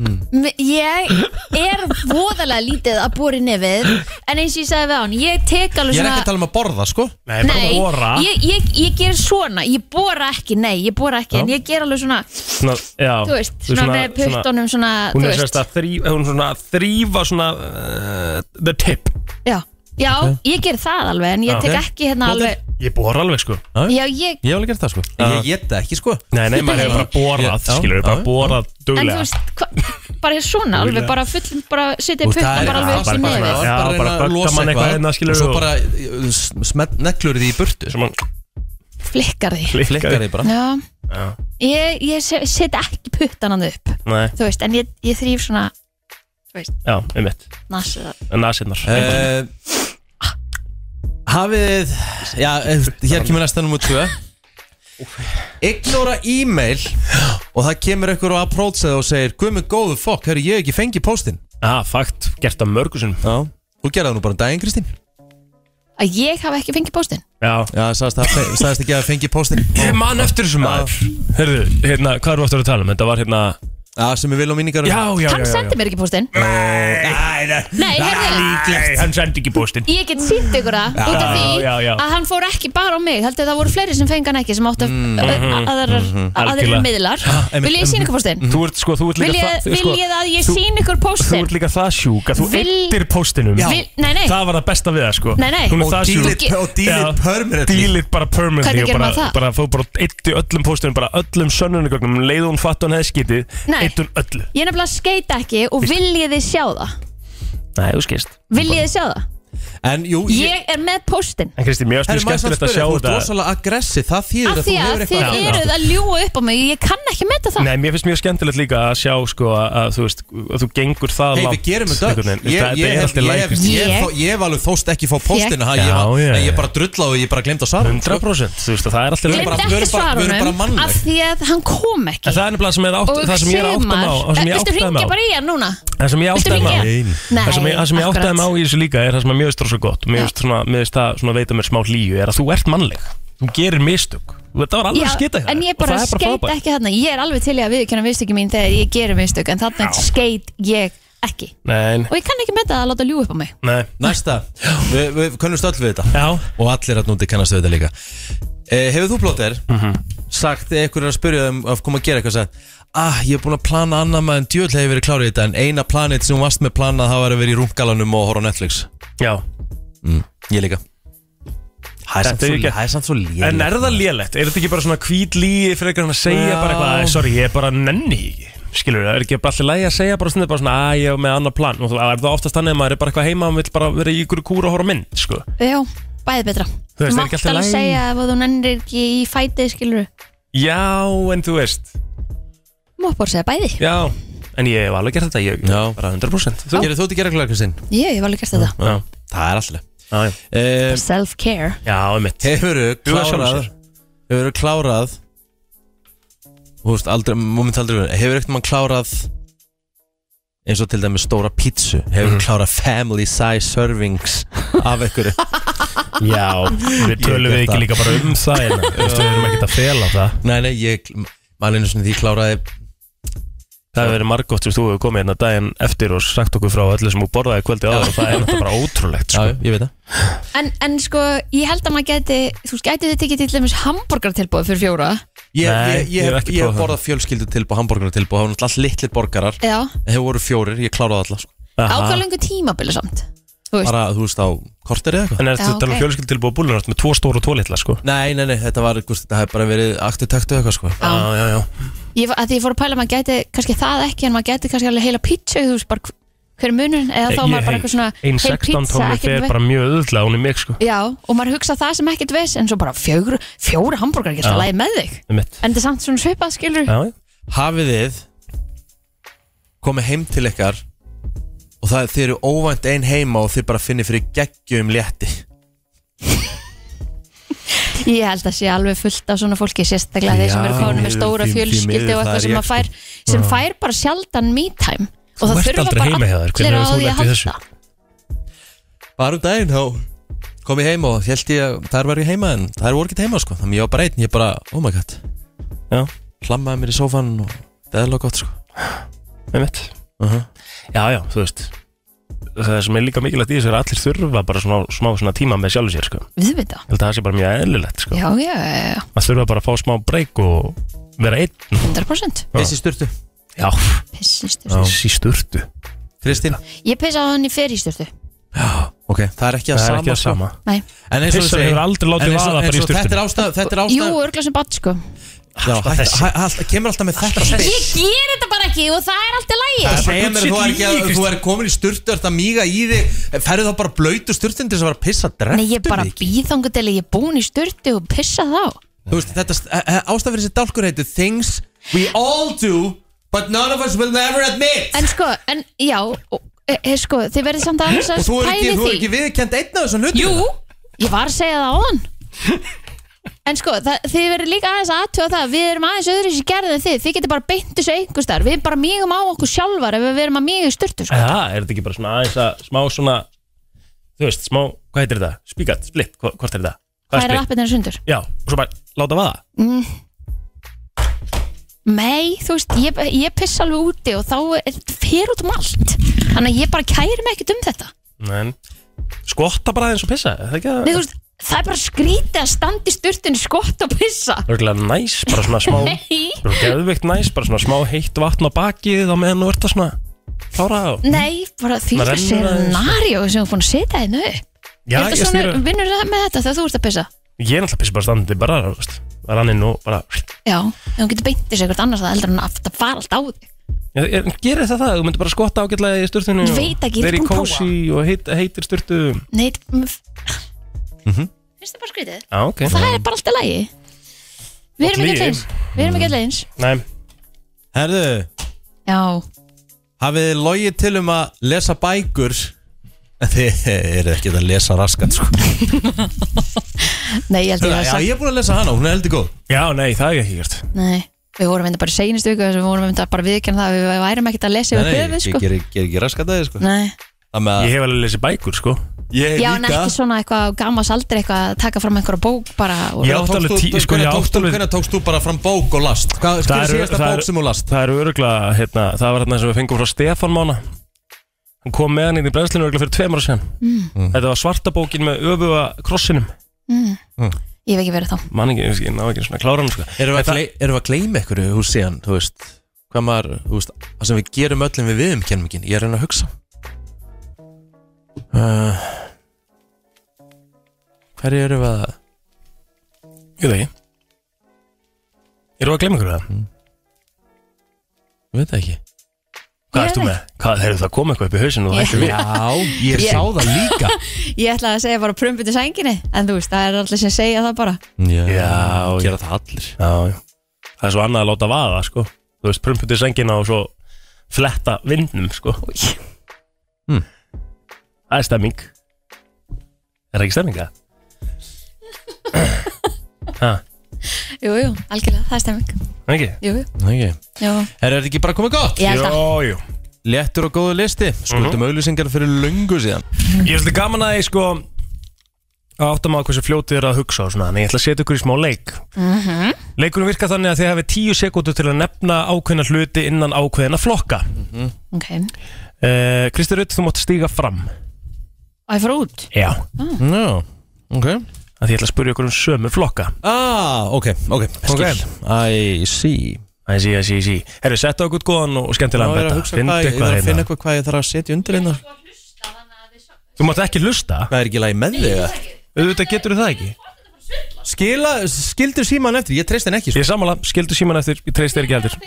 M- Ég er voðalega lítið að bóri nefið En eins og ég sagði við hann Ég tek alveg
Ég er
svona
ekki að tala um að borða, sko
Nei, bara bóra
ég, ég, ég ger svona, ég bóra ekki, nei, ég bóra ekki
Já.
En ég ger alveg svona,
svona, já,
þú veist, svona, með puttunum svona,
Hún
þú
er sérst
veist
að þrýfa, hún svona að þrýfa svona uh, the tip
Já, já ég ger það alveg, en ég
Já.
tek
Ok.
ekki hérna
Flottir.
alveg
Ég bóra alveg sko
Já, ég,
Ég hef alveg gert það, sko Ég geta ekki, sko
Ah. Nei, nei, maður hefur bara borað,
Já,
skilur,
já,
bara
já.
borað
en þú
duglega
veist, hva, bara svona alveg, bara fullum, bara setja
Og það
puttan
er
bara alveg upp í
bara- bara-
nefið
bara- Já,
reyna
bara
að
bögga
losa
mann eitthvað hérna, skilur
og svo
og-
bara uh, smell neglur því í burtu
sem hann
flikkar því
flikkar
klikkar
því bara
Já,
Já.
ég, ég se- set ekki puttanand upp
Nei,
þú veist, en ég, ég þrýf svona
já, um mitt
nasa
Nasinnar
Eh, Hafið Já, eh, hér kemur næsta nummer 2 Ignora e-mail Og það kemur einhver og approachað og segir Guð mig góðu fokk, hefur ég hef ekki fengið póstinn
Já, Ah, fakt, gert það mörgu sinum
Já Þú gerði það nú bara um daginn, Kristín
að ég hafa ekki fengið póstinn
Já
Já, sagðist, það, sagðist ekki að fengi póstinn
Ég man eftir þessu maður Herðu, hérna, hvað eru aftur að tala um? Þetta var hérna
Já, sem við viljum minningar
Já, já, já,
hann
já,
sendi mér ekki póstinn
Nei,
Nei, hérna,
nei, hann sendi ekki bústinn
ég get sínt ykkur það út af því
já, já.
að hann fór ekki bara á mig heldur það voru fleiri sem fengi hann ekki sem áttu mm, aðrar
mhm, Algjörlega.
aðrir miðlar
einmitt,
Vil ég sína ykkur póstinn?
Þú ert sko, þú ert
Vil
líka
ég,
það
vil
sko,
ég að ég
þú-
sín ykkur
Þú
póstinn?
ert líka það sjúk að þú
Vil-
eddir póstinum
Vil- Nei, nei,
Það var það besta við það sko
Nei, nei.
Hún er
Og
það
deal
sjúk
it- og deal it
Já.
permanently.
Deal it bara
Hvernig
permanently og
gerir
bara,
maður það?
bara, fór bara eittu öllum póstinum bara öllum sönnunugögnum leið hún fatt hún hefði skitið
Nei.
eittu hún öllu
ég er nefnilega skeita ekki og viljið þið sjá það
Nei, þú skist
Viljið þið sjá það?
En jú,
Ég er með póstinn
En Kristi, mér finnst
Herri,
mjög
maður
skemmtilegt
sann
að sjá
spyrja, þú ert
þetta
rosalega aggressi Það þýðir
Af
að
því
þú hefur
að þið
eitthvað
annað.
eruð að ljúa upp á mig Ég kann ekki metta það
Nei, mér finnst mjög skemmtilegt líka að sjá sko að að þú veist, að þú gengur það
Hei, við gerum þetta öll.
einhvern veginn.
Ég-
Þetta-
Ég
Þetta er
hef-
alltaf
ég hef-
lækist
ég hef- ég hef alveg þóst ekki fá póstina ha, Ég
Já,
var-
já,
nei, ég
já.
bara drullaði og ég bara glemd að svara
100% Þú veist að það er alltaf
Ég
lækist
bara-
Glemt
við
ekki
erum bara- við erum bara
svarunum
mannleg.
af því að hann kom
En
ekki
það er nefnilega sem er átt,
Og
það sem ég er átt að má Það sem ég
Viltu
átt að má
ringja bara í hann núna?
Það sem ég
Viltu
átt að má
hringja? Nei,
Það sem ég, það sem ég átt að má
akkurat.
í þessu líka er það sem að mjög stróð svo gott Mjög veist svona, mjög veist það svona veita mér smá hlýju er að þú ert mannleg Þú gerir mistök Þetta var alveg
Já,
að skita
en ég bara skeit ekki þarna Ég er alveg til í að viðkjöna viðstöki mín þegar ég gerir viðstök En þarna skeit ég ekki
Nei,
Og ég kann ekki með það að láta ljú upp á mig
nei
Næsta, við vi, könnumst öll við þetta
Já,
Og allir að núti kannast við þetta líka eh, Hefur þú plóter
Mhm.
sagt þegar ykkur er að spyrja um að koma að gera eitthvað sagt, Ah, ég er búin að plana annað maður en djöðl hefur verið klárið þetta En eina planið sem þú varst með planað það var að vera í rúmgalanum og horfa á Netflix
já
Ég líka Það er samt
Þetta er
svo-
ekki-
það er samt svo lélega
En er það lélegt? Er þetta ekki bara svona hvít líi fyrir eitthvað að segja bara eitthvað, "Æ, sorry, ég er bara nenni því ekki Skilur það, er ekki bara allir lægi að segja bara stundið bara svona, að ég er með annar plan og þú er það oftast þannig að maður er bara eitthvað heima og vill bara vera í ykkur kúra og horfa á mynd, sko
Já, bæði betra
Þú veist,
Þú
er ekki
mátt
allt í
alveg
lagi?
segja ef þú nennir ekki í fætið skilur
Já, en þú veist,
Mátt bara segja bæði
já En ég hef alveg gert þetta, ég
Já.
bara 100% Þú?
Gerið þú þetta gera klárið sinn?
Ég hef alveg gert þetta
Já,
Það er alltaf
já, já,
eh,
Self-care
já, mitt
Hefurðu
Huga sjálfum
klárað
sér.
Hefurðu klárað Þú veist aldrei, moment aldrei verið Hefurðu ekkert mann klárað eins og til dæmis stóra pítsu Hefurðu klárað family size servings af einhverju
Já, við tölum
gert
við ekki
það.
líka bara um það en við erum ekkert að fela það
Nei, nei, ég Mælinu svona því ég kláraði
Það hefur verið margótt sem þú hefur komið hérna daginn eftir og sagt okkur frá öllu sem þú borðaði kvöldi áður og það er náttúrulega bara ótrúlegt sko.
Já, ég veit það
en, en sko, ég held að maður geti Þú veist, gæti þið tekið til dæmis hamburgartilbóð fyrir fjóra
Ég,
Nei,
ég,
ég hef
ég,
ekki
ég
prófað
borða fjölskyldu tilbúð, hambúrguna tilbúð Það var náttúrulega allt litlir borgarar
Já,
En hefur voru fjórir, ég kláraði alla sko.
Aha.
ákvæðlengu tímabili samt Þú veist,
Bara, þú veist, á kortir eða eitthvað
En er
Já,
þetta okay.
ok.
um fjölskyldtilbúið búlunar með tvo stóru og tvo litla sko?
Nei, nei, nei, þetta var, gust, þetta hefur bara verið aktutektu eitthvað sko.
Já.
já, já
ég, að því ég fór að pæla að maður gæti kannski það ekki en maður gæti kannski alveg heila pizza þú veist bara hv- hver er munurinn eða þá maður bara eitthvað svona
Einn
heil
16
pizza
tónni
ekkert
fer
ve-
bara mjög öðvöldlega hún í mig sko
já og maður hugsa það sem ekkert ves en svo bara fjögur, fjóra hambúrgar getur
Já.
að lægi með þig
Það er mitt
en þetta er samt svona svipað skilur
Já,
hafið þið komið heim til ykkar og það þið eru óvænt ein heima og þið bara finnir fyrir geggjum létti
ég held að sé alveg fullt af svona fólki sérstaklega þeir sem
Já,
eru komin
því
með stóra
miður, því
fjölskyldu
miður,
og
það er sko.
eitthvað sem,
ég,
maður fær, sem fær bara sjaldan me time og það
ert
þurfa
aldrei
bara
heima hjá þér,
allir
hvernig
á
hefur þú
því að
lent í þessu?
halda
bara um daginn þá kom ég heim og held ég að þar var ég heima en þær voru ekki heima sko þannig ég var bara einn, ég bara, oh my god
já
hlammaði mér í sófan og það er alveg gott sko
einmitt
Mhm.
Já, já, þú veist Það sem er líka mikilvægt í þessu er að allir þurfa bara smá, smá svona tíma með sjálfu sér sko. Ég
við veit það
held að það sé bara mjög eðlilegt sko.
já, já, já, já,
að þurfa bara að fá smá breyk og vera einn
100%
Þessi styrtu
Já,
pissistur
Já.
sí sturtu
Kristín
ég pissa á hann í fyrirsturtu
Ok, það er ekki að
Það er
sama,
ekki að
sko.
sama
nei,
En eins og
Pissar
þú segir-
hefur aldrei látið
en eins og-
vaða bara
eins
í
og
sturtunni.
Þetta er ástæð Þetta er
jú,
ástæð
örgla sem bat sko
Já,
Alltaf
hætt-
þessi.
hæ- alltaf- Kemur alltaf með þetta spil
ég ger þetta bara ekki og það er alltaf
Það er
lægir
segja mér að þú er ekki
Shit,
að
líka.
þú er komin í sturtu, ert að míga í þig Ferðu þá bara blöytu sturtin til þess að vera að pissa dreftum
nei, ég bara býð þangu til að ég er búin í sturtu og pissa þá
Þú veist, þetta ástafir þessi dálkur heitir Things we all do But none of us will never admit
en sko, en já og, e, e, sko, þið verðið samt aðeins
Og
að
þú er ekki,
pæli
þú er
því
ekki viðkjönd einn af þessum hlutum
Jú, ég var að segja það á hann En sko, það, þið verður líka aðeins að aðtjóða það Við erum aðeins öðru sér gerðið en þið Þið getur bara beint þessu einhvers þar Við bara mýgum á okkur sjálfar ef við erum að mýga í styrtu sko.
Já, er þetta ekki bara svona aðeins að smá svona Þú veist, smá, hvað heitir þetta? Spíkat, splitt, hva- hvort er þetta?
Hvað er
splitt?
appið þennan sundur?
Já, og svo bara láta vaða
Nei, þú veist, ég, ég pissa alveg úti og þá er þetta fyrir út um allt Þannig að ég bara kæri mig ekkert um þetta
Men, skotta bara aðeins og pissa er Það er ekki
Nei, þú
að
veist, það er bara skrítið að standa í sturtunni skott og pissa
Örgulega næs, bara svona smá
Nei,
Bara geðveikt næs, bara svona smá heitt vatn á bakið á meðan þú ert að svona Klára það og-
nei, bara því
Maður
að
rennur aðeins.
scenaríu sem þú er búin að setja þinn upp
Já,
Er
ég
þetta
snýra
svona, vinnur það með þetta þegar þú ert að pissa?
Ég er náttúrulega pissi bara standandi bara, þú veist Ranninn og bara
Já, en þú getur beintið sér eitthvað annars að heldur en aftur að fara allt á þig
Já, er- Gerir það það? Þú myndir bara skotta ágætlega í sturtunni
Ég veit ekki, ég er
Veri
ekki búin að prófa.
kósi og heit, heitir sturtu
Nei, mm, f- finnst það bara skrítið?
Já, ok
Það er bara alltaf lægi Við erum ekki alltaf
lygi.
eins Við erum ekki alltaf eins
Nei,
Herðu,
Já,
hafið þið logið til um að lesa bækur En þið eru ekki að lesa raskat sko.
nei, ég held ég að
Já,
sagt
ég er búin að lesa hana, hún er heldur góð
Já, nei, það hef ég ekki gert
Nei, við vorum enda bara í seinustu viku þar sem Við vorum enda bara að viðkjann það að Við værum ekkert að lesa yfir höfuð,
ég
sko
ger ger ekki raskat aðeins sko.
Nei,
Það með
Ég
að
hef alveg lesið bækur, sko
ég
já, en ekki svona eitthvað á gamals aldrei eitthvað að taka fram einhverja bók bara og
Já. Ég átti alveg tí- sko, ég átti alveg-
Hvernig tókst þú bara fram bók og last? Hvað hver er síðasta bók sem þú last?
Það er öruglega, hérna, það var hérna sem við fengum frá Stefán Mána Hann kom með hann inn í brennslinu öruglega fyrir tveim ára sen mm. Þetta var svarta bókin með öfuga krossinum
Ég hef ekki verið þá
Man ekki, ég ná ekki svona kláran, sko
Erum við að gley- erum við að gleyma ykkur þú séðan, þú veist hvað maður, þú veist, það sem við gerum öllum við viðum kennum ekki, ég er að reyna að hugsa uh, Hverju erum við að
Ég veit ekki Erum við að glemma ykkur það?
Mm.
Ég veit það ekki
Hvað
Ég
erst þú
veit
með? Hvað, hefur það komið eitthvað upp í hausinu og það hættir við?
Já, ég sá það líka
Ég ætlaði að segja bara prumbutu sænginni En þú veist, það er allir sem segja það bara
Já,
Já,
gera það allir
Já, já Það er svo annað að láta vaða, sko Þú veist, prumputi sengina og svo fletta vindnum, sko Hm.
Hmm.
Það er stemming Er það ekki stemming, það? Ha,
Jú, jú, algjörlega, það er stemming
er ekki?
Jú, jú,
okay.
jú,
Er þetta ekki bara komið gott?
ég held að
Jó, jú
Léttur og góðu listi, skuldum auðlýsingar fyrir löngu síðan
Ég er svolítið gaman að ég, sko að átta maður hversu fljótið er að hugsa og svona, en ég ætla að setja ykkur í smá leik Leikurinn virkar þannig að þið hafi tíu sekundur til að nefna ákveðna hluti innan ákveðina flokka
Ok, og
uh, Kristi Rutt, þú mátt stíga fram
ég fór út
Já,
Já, ok
að því ég ætla að spyrja ykkur um sömu flokka
Ah, ok, ok,
Ok.
I see
Æ, sí, æ, sí, sí Herru, settu okkur góðan og skemmtilegan
Ég er að
betta
hugsa
Finn
hvað, ég
eitthvað
þarf að finna
hérna
eitthvað hvað ég þarf að setja undir hérna
Þú mátt ekki hlusta
Hvað er ekki lægi með þig? eða?
Auðvitað getur það ekki
Skila, skildu síman eftir, ég treyst henn ekki sko.
Ég er sammála, skildu síman eftir, ég treyst þér ekki heldur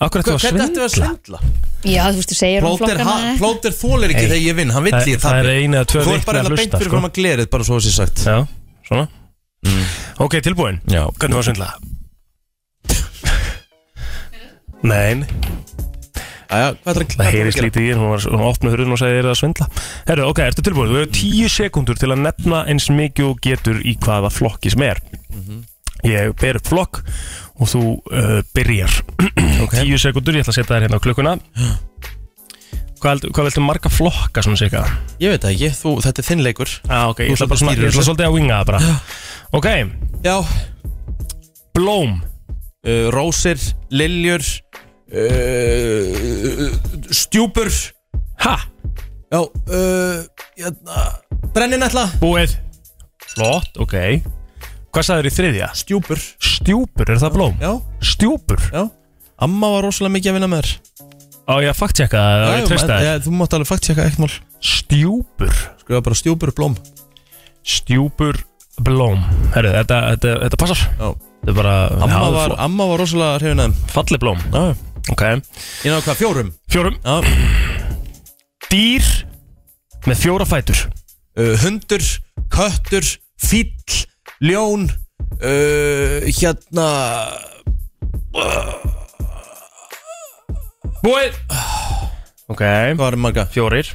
Akkur ættu að
Hvernig ættu að
svindla
svindla?
Já, þú veist, þú segir um
Plóter,
flokkana
ha- plóter þólir ekki
Nei.
þegar ég vinn, hann vill
Það-
ég
það er eina eða tvö
Þú
vitni
er bara
að
hérna
hlusta,
beint fyrir
sko.
fram að glerið, bara svo þessi sagt
Já, svona Mm. Ok, tilbúin
Já
Hvernig var að svindla? Nein,
Æja, hvað er
það heyrist lítið í henn, hún var hún opnaði hurðin og sagði þér að svindla Herru, ok, ertu tilbúin? Þú hefur tíu sekundur til að nefna eins mikið og getur í hvaða flokki sem er Ég ber upp flokk og þú uh, byrjar
Ok.
Tíu sekundur, ég ætla að setja þær hérna á klukkuna Hvað, held- hvað viltu marga flokka svona sigga?
Ég veit það ekki, þú, þetta er þinn leikur
Ah, ok, ég
Þú
ætla bara svona,
stýrir
ég ætla
þessu.
svolítið að winga það bara Ok,
Já
blóm
uh, Rósir, liljur, uh, Stjúpur Já,
Ha,
uh, hérna Brenninætla
búið Flott, ok Hvað sagður í þriðja?
Stjúpur
Stjúpur, er það blóm?
Já,
Stjúpur?
já Amma var rosalega mikið að vinna með þér
Á ég að fakttjekka það, á ég að treysta það
ja, Þú mátt alveg fakt tjekka ekkert mál
Stjúpur
Skrifa bara stjúpur blóm
Stjúpur blóm Herru, þetta, þetta, þetta passar
Já.
Þetta er bara
Amma,
já,
var,
fl-
amma var rosalega hrefinæðum
Falleg blóm
Já,
Ok
ég náðu hvað, fjórum?
Fjórum
Já.
Dýr með fjóra fætur
uh, hundur, köttur, fýll, ljón, uh, hérna,
Búið Ok
hvað er marga?
Fjórir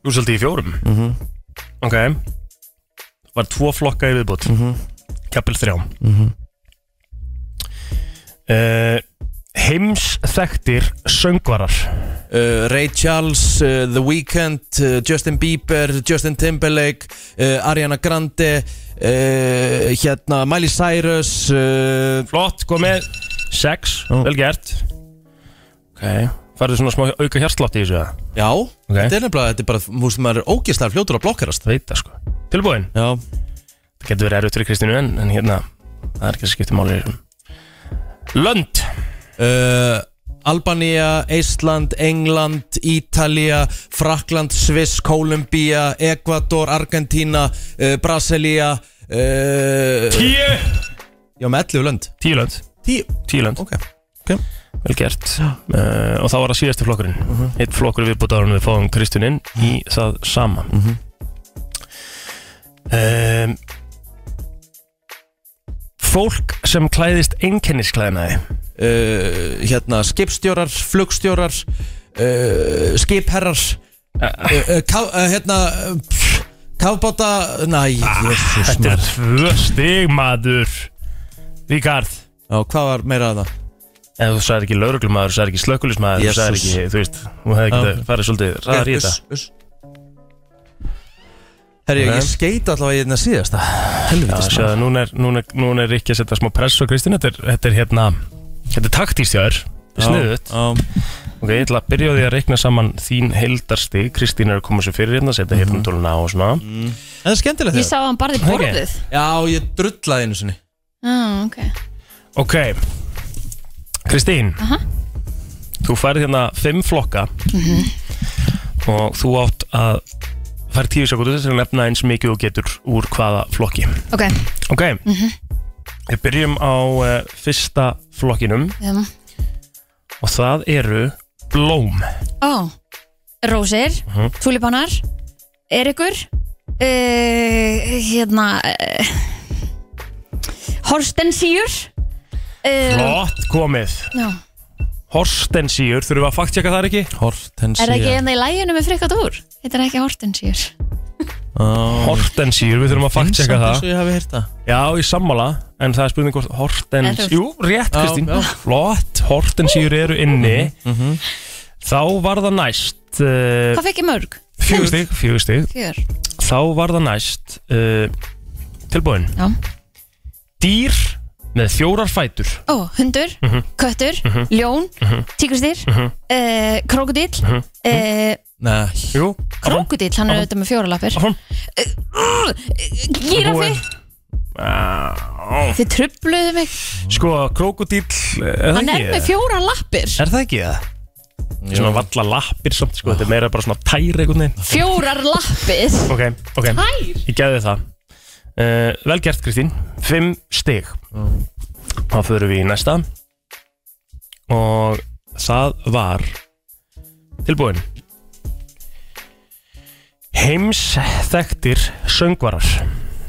Þú seldi í fjórum -hmm.
Mhm.
Ok Var tvo flokka í viðbútt mm
Mhm.
-hmm. Kjapil þrjá mm Heims þekktir Eh, söngvarar
Uh, Ray Charles, uh, The Weeknd, uh, Justin Bieber, Justin Timberlake, uh, Ariana Grande, uh, hérna, Miley Cyrus, uh,
Flott, kom með Sex, vel gert Ok Færðu svona smá auka hjartslátt í þessu eða?
já,
Ok.
þetta er nefnilega, þetta er bara, þú veist, maður er ógeðslega fljótur að blokkarast.
Það veit það sko Tilbúin
Já,
Það getur verið erfitt fyrir Kristínu en, en hérna Það er ekki að skipta máli í þessum Lönd
uh, Albanía, Ísland, England, Ítalía, Frakland, Sviss, Kólumbía, Ekvator, Argentína, uh, Brasilía uh,
Tíu
Já, með 11 lönd
Tíu lönd
10,
Tíu lönd
ok
Vel gert uh, Og þá var það síðasti flokkurinn Eitt flokkur við búið ára Við fáum Kristínu inn í það sama mm Fólk sem klæðist einkennisklæðinaði
uh, Hérna, skipstjórar, flugstjórar, uh, skipherrar
Eh.
uh, uh, ká, uh, Hérna, uh, pff, kafbáta, næ, jésús
Ah, Þetta er tvö stig maður Ríkard
Já, hvað var meira að það?
En þú sagði ekki lauruglumadur, þú sagði ekki slökkulismadur, þú sagði
Jesus.
ekki, þú veist, þú hefði ekki
Já.
farið svolítið ræðar í þetta.
Herri,
Ok.
ég skeit allavega í þetta síðasta Helviti
Já, sjáðu, núna er, núna, er- núna er Rikki að setja smá press á Kristín, þetta er, þetta er hérna, þetta er taktíst hjá þér, þetta er sniðut. Ok, ég ætla að byrja á því að reikna saman þín heildarstig, Kristín er að koma sér fyrir hérna, setja mm hérna á og svona.
Það er skemmtilegt
Ég
þegar
sá að hann barði
Ok.
borðið
Já, ég drullaði einu sinni
ah, ok
Ok, Kristín, þú færið hérna fimm flokka og þú átt að færi tíu sekundur til að nefna eins mikið og getur úr hvaða flokki.
Ok,
Ok, við byrjum á uh, fyrsta flokkinum
um,
og það eru blóm.
ó Rósir, uh
Mhm.
tulipanar Erikur uh, Hérna uh, Horstensýr uh,
Flott komið.
Já.
Horstensíur, þurfum við að fakttjekka það ekki?
Hortensia
Er það ekki hérna í læginu með frikkat úr? Þetta er ekki hortensýr
Eh.
Hortensíur, við þurfum að fakttjekka það
Ég hafi heyrt það
Já, í sammála, en það er spurning hvort
En þú
hortens
veist-
Jú, rétt
Já,
Kristín Mhm,
já.
Flott, hortensíur eru inni Þá var það næst uh,
Hvað fekk ég mörg?
Fjögur stig, fjögur stig
Fjör
Þá var það næst uh, Tilbúin
Já.
Dýr með fjórar fætur
Ó, hundur,
Mhm.
köttur, ljón, tíkristýr, uh, krókudill,
Mhm.
uh,
Nei
Jú, áfram,
krókudill, hann er auðvitað með fjóralappir,
áfram
gíraffi,
Búin. Á.
þið trubluðu mig,
Sko, krókudíll er það
hann er
ekki?
með fjóralappir,
Er það ekki það? Svona valla lappir samt, sko, þetta er meira bara svona tæri einhvern veginn
fjórarlappir,
Ok, ok,
hær,
ég geði það uh, Vel gert Kristín, 5 stig Þá förum við í næsta Og það var Tilbúin Heims þekktir söngvarar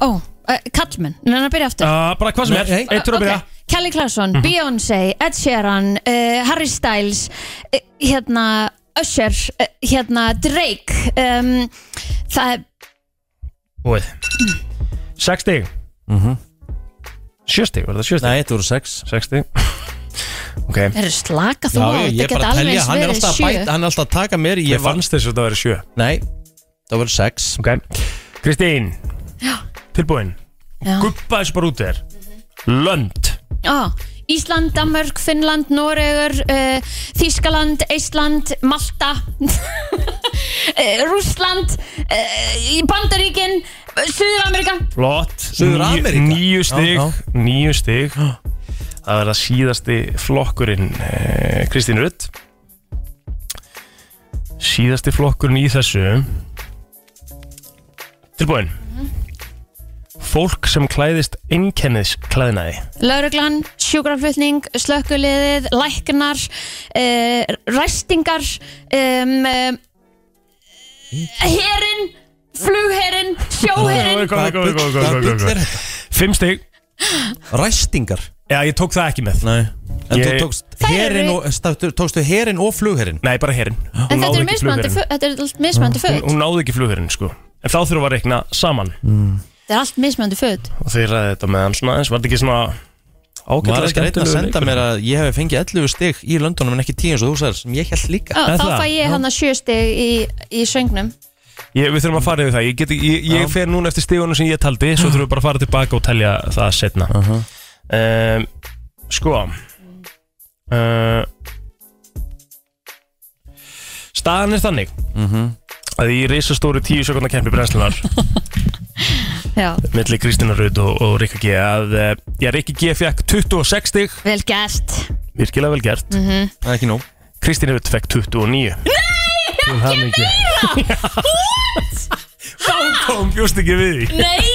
ó, uh, kallmenn, en hann er að byrja aftur,
uh, Bara hvað sem er,
Nei, nei.
eittur að byrja
Kelly Clarkson,
Mhm.
Beyoncé, Ed Sheeran, uh, Harry Styles, uh, hérna, Usher, uh, hérna, Drake, um, það er,
Búið 6 stig 7 stig, var það 7 stig?
Nei, þetta voru sex
6 stig Ok,
er slaka þú á,
ég er bara
þetta geta
að
alveg
telja
eins
Hann er
verið
alltaf að
sjö.
bæta, hann er alltaf að taka mér Ég
ég fannst þess að það verið 7
Nei, það voru sex
Ok, Kristín Já Tilbúin
Já. Mhm.
Guppa þessu bara út þér Lönd
Á, Ísland, Danmark, Finnland, Noregur, uh, Þískaland, Eistland, Malta, uh, Rússland, uh, Bandaríkin, uh, Suður-Amerika.
Flott
Suður-Ameríka.
Níu- Níu stig
Já, já.
Níu stig Það verða síðasti flokkurinn eh, Kristín Rutt Síðasti flokkurinn í þessu Tilbúin
Mhm.
Fólk sem klæðist einkennis klæðnaði
Lauruglan, sjúkraflutning, slökkuliðið, læknar, uh, ræstingar, um, um, herin, flugherin, sjóherin,
Hvað bull- hvað bull er þetta?
Fimm stig
Ræstingar
Já, ég tók það ekki með
Nei En þú
Ég-
tókst
Það eru-
herin og státtu- Tókstu herin og flugherin
Nei, bara herin
En þetta eru mismandi, fö- þetta eru allt mismandi föt
Hún náði ekki flugherin, sko En þá þurfum við að rekna saman
Þetta er allt mismandi föt
og þeir ræði þetta með hann svona aðeins, var þetta ekki svona
Var ekki reynd
ágætlega
að
skemmtilegur
senda
leikur?
mér að ég hef fengið 11 stig í löndunum en ekki 10 eins og þú sagðir sem ég held líka
Ó,
Er
Þá
það?
fæ ég hann að sjöstig í, í söngnum
Ég, við þurfum að fara yfir það, ég, get, ekki- ég,
Já.
ég fer núna eftir stígunum sem ég taldi, svo þurfum við bara að fara tilbaka og telja það setna um, Sko uh, Staðan er þannig að í reisastóri tíu sekundar kempi brennslunar
Já,
milli Kristina Rut og, og Rikki G að, uh, já, Rikki G fekk 26 stig,
vel gert
virkilega vel gert
Það er ekki nóg
Kristín Rutt fekk 29 Nei, ekki meira What? Þá kom bjóst ekki við því
Nei,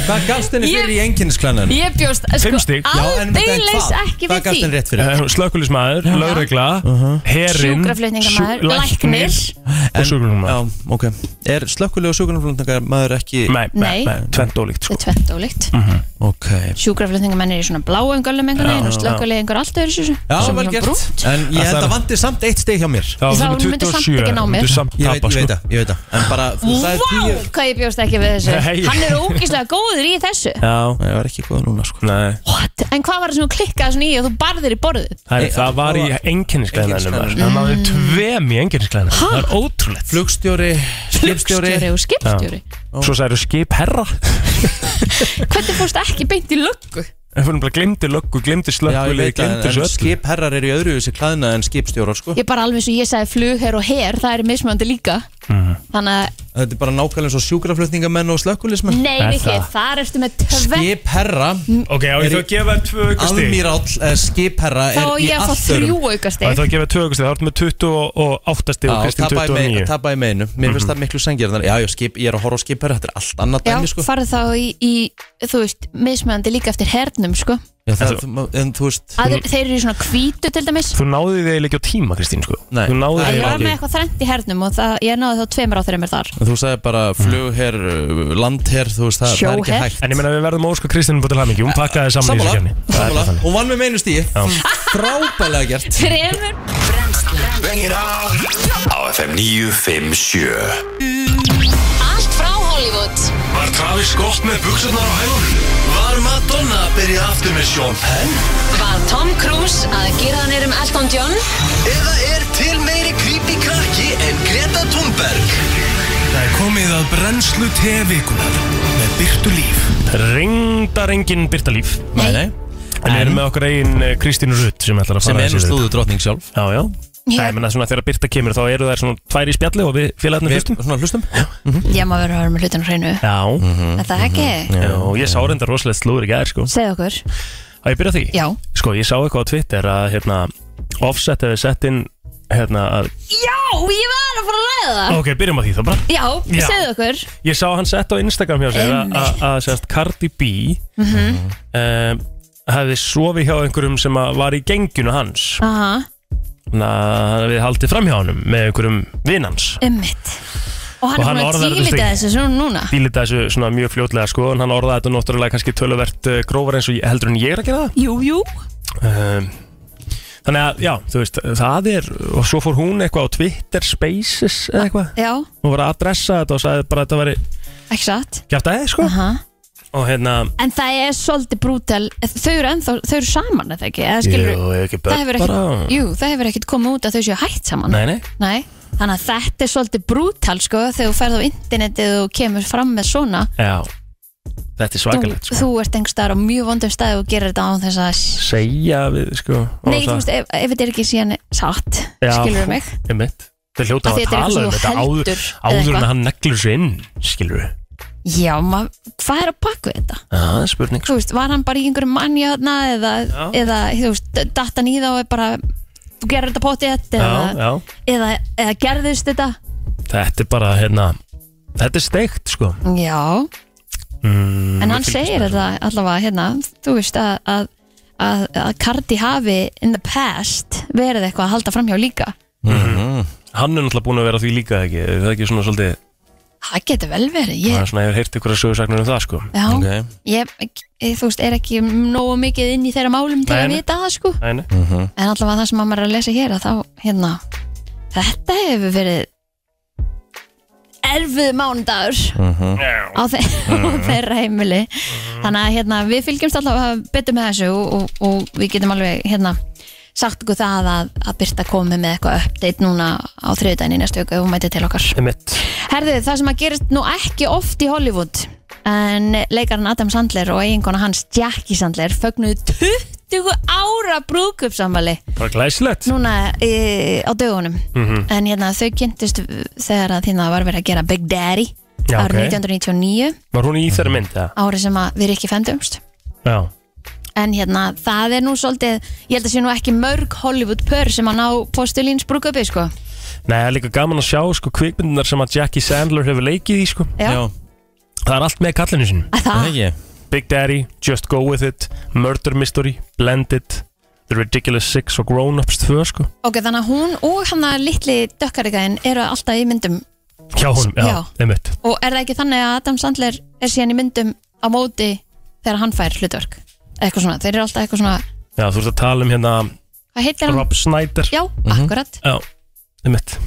Hvað gafst henni fyrir í enginnisklæðinu?
ég bjóst sko,
Fimm stig. Já,
aldeilis ekki
Hvað
við
gafst henni
því
rétt
Eh,
fyrir?
Slökkulismæður, lögregla, Uh-huh. herinn
Sjúkraflutningamaður, læknir
Sko.
og sjúkraflutningamaður
Já, ok Er slökkulega og sjúkunarflutningar maður ekki
Nei, nei,
Nei.
nei, tvent ólíkt
Þetta
sko
er tvent ólíkt
Mm. Ok
Sjúkraflutningamenn er í svona bláum göllum einhvern veginn og slökkulega einhver allt öðru sér
Já, vel gert En ég held að vandi samt eitt stig hjá mér
Það
Þá myndi samt ekki ná mér.
myndi samt
Ég veit,
tapa
ég veit
sko
það, ég veit Eh, það En bara, þú sagði tíu
Vá, hvað ég bjóst ekki við
Nei.
þessu Hann er ógíslega góður í þessu
Já,
Nei, það var ekki góð núna, sko
nei,
What? En hvað var það sem þú klikkaði svona í og þú barðir í borðið?
það,
Nei,
er, það var í
það var- Einkennisklæðunum.
enginnisklæðinanum Það náði tvem í enginnisklæðinanum Það er ótrúlegt
Flugstjóri, skipstjóri
Stjóri og skipstjóri
Svo særu skip herra
Hvernig fórst ekki beint í löggu?
Það fyrir bara glemdi löggu, glemdi
Já, ég
slökkulið,
veit það,
glemdi
en
svo öllu
skipherrar eru í öðru þessi klæðna en skipstjórar, sko
Ég er bara alveg eins og ég sagði flugherr og herr, það er mismöndi líka
Mm.
Þannig að,
Þetta er bara nákvæmlega svo sjúkraflutningamenn og slökkulismenn
nei
Er
Rikki,
það?
þar ertu með tvö
Skipherra,
Ok, á ég
Er
þú
í-
að gefa þér tvö aukastig
almiráll, eh, skipherra
Þá
er
er
í
ég að fá
allt
þrjú
öðrum
aukast
Það er það að gefa tvö aukastig, það er með 28 stig og Kristín
tappa í meginu,
29
tappa í meginu Mér finnst það miklu sengjarnar Já, já, skip, ég er að horfa á skipherra, þetta er allt annað
Já,
dæmi, sko
farið þá í, í þú veist, mismöndi líka eftir hernum, sko
Já, það, þú- En þú veist,
Aður, Þeir eru í svona hvítu til dæmis
Þú náði þig ekki á tíma Kristín sko
Nei.
Þú náði
Nei,
Ég
þig
var
ekki.
með eitthvað þrennt í hernum og það, ég náði þá tveimur á þeirra þar
þú sagði bara flugherr, eh, landherr, þú veist, það það er Mm. ekki
Sjóherr.
hægt
En ég meina við verðum að óska Kristín búið til hamingi Hún pakkaði saman í þessu
Sammála,
kemni
sammála Hún vann með meinu stíi Frábælega gert
Þreimur
Bengir á Á FM 957
Allt frá Hollywood
Var Travis gott með buksunar á hægunum? Var Madonna að byrja aftur með Sean Penn?
Var Tom Cruise að gera hann erum Elton John?
Eða er til meiri creepy krakki en Greta Thunberg? Það er komið að brennslu tevikunar með Byrtu Líf
Ringdarengin Birta Líf
Nei, nei
En við erum með okkar eigin eh, Kristín Rutt sem ætlar að
Sem
fara
er nú
yfir
slúðu drotning sjálf
þetta. Já, já
Já.
Það er meina svona þegar Birta kemur þá eru þær svona tvær í spjalli og við félagarnir
Við
fyrstum
svona hlustum
Ég má vera að vera með hlutin hreinu
Já,
Mhm,
Er það ekki?
já, og ég sá reynda rosalega slúður í gær sko
Segð okkur
Það ég byrja á því?
Já.
Sko, ég sá eitthvað á Twitter að hérna, Offset hefði sett inn hérna, að,
Já, ég var að fara að ræða það
Ok, byrjum á því þá bara
Já,
Já.
segðu okkur
Ég sá hann sett á Instagram hjá sér að- að- að sérst Cardi B um, hefði sofið hjá einhverjum sem að var í genginu hans
Aha,
þannig að hann hefði haldið fram hjá honum með einhverjum vinn hans
ummitt Og hann
Og
er
hann
búin að
orðar þetta
tílita
stríð.
þessu svona núna
Dýlita þessu svona mjög fljótlega sko en hann orðaði þetta náttúrulega kannski töluvert eh, grófar eins og ég- heldur en ég er að gera það
Jú, jú
um, Þannig að já, þú veist, það er og svo fór hún eitthvað á Twitter Spaces eða eitthvað
Já,
hún var að adressa þetta og sagði bara að þetta væri
ekki satt
kjátt aðeins sko
Aha.
og hérna
En það er svolítið brútal Þau eru ennþá, þau eru saman eða ekki eða skilur,
Jú, hefur ekki
það
börn
hefur
bara?
ekkit, Jú, það hefur ekkit komið út að þau séu hætt saman
Nei, nei
Nei. Þannig að þetta er svolítið brútal sko Þegar þú ferð á internetið og kemur fram með svona
Já Þetta er
þú,
svakalegt sko.
þú ert einhvers staðar á mjög vondum staði og gerir þetta án þess að
Segja við sko á
Nei, þú
það.
veist, ef, ef þetta er ekki síðan satt
Já.
skilur mig
Einmitt. Þau hljóta
Af því
að
þetta er
tala um
eitthvað sem
þetta
þú
áður,
heldur eða
áður en
eitthvað.
hann neglur sér inn, skilur við.
Já, ma, hvað er að baka við þetta?
Það er spurning. sko.
Þú veist, var hann bara í einhverjum manja þarna eða,
Já.
eða þú veist, datt hann í þá og er bara, þú gerir þetta potið þetta
Já,
eða,
já.
eða, eða gerðist þetta
Þetta er bara, hérna, þetta er steikt sko.
Já,
Mm,
en
ég
hann
fylgist
segir
með þessu.
þetta allavega hérna, þú veist að, að, að, að Cardi hafi in the past verið eitthvað að halda framhjá líka
Hann er náttúrulega búin að vera því líka ekki, Er það er ekki svona svolítið,
Það getur vel verið,
yeah.
ég,
svona hefur heyrt ykkur að sögursagnir um það sko.
já,
Ok.
ég, ég, þú veist, er ekki nógu mikið inn í þeirra málum til
Nei,
að
nei.
vita það sko
Æ, nei.
En allavega það sem að maður er að lesa hér að þá, hérna, þetta hefur verið erfið mánudagur á, þe á þeirra heimili. Þannig að hérna, við fylgjumst allavega betur með þessu og, og, og við getum alveg, hérna, sagt ykkur það að, að Birta komi með eitthvað update núna á þriðdæðin í næstu viku og mæti til okkar.
Einmitt.
Herðu, það sem að gerist nú ekki oft í Hollywood en leikarinn Adam Sandler og eiginkona hans Jackie Sandler fögnuðu 20 ára brúkupsamali
Bara glæsilegt.
núna e, á dögunum
Mhm.
en hérna þau kynntist þegar að þína var verið að gera Big Daddy
Já,
árið
ok.
1999
Var hún í þeirra mynd, eða?
árið sem að við erum ekki femdumst
Já.
en hérna það er nú svolítið ég held að sé nú ekki mörg Hollywood pör sem að ná postulíns brúköpi sko
Nei, það er líka gaman að sjá sko kvikmyndunar sem að Jackie Sandler hefur leikið í sko.
já,
Já,
Það er allt með kallinu sinu.
það
að það,
ekki
Big Daddy, Just Go With It, Murder Mystery, Blended, The Ridiculous Six og Grown Ups 2 sko.
ok þannig að hún og hann að litli dökkarikaðin eru alltaf í myndum
Hjá honum, já,
Já.
einmitt.
og er það ekki þannig að Adam Sandler er síðan í myndum á móti þegar hann fær hlutverk eitthvað svona, þeir eru alltaf eitthvað svona
Já, þú ert að tala um hérna
hvað heitir hann?
Rob Snyder.
Já, akkurat
Já, einmitt.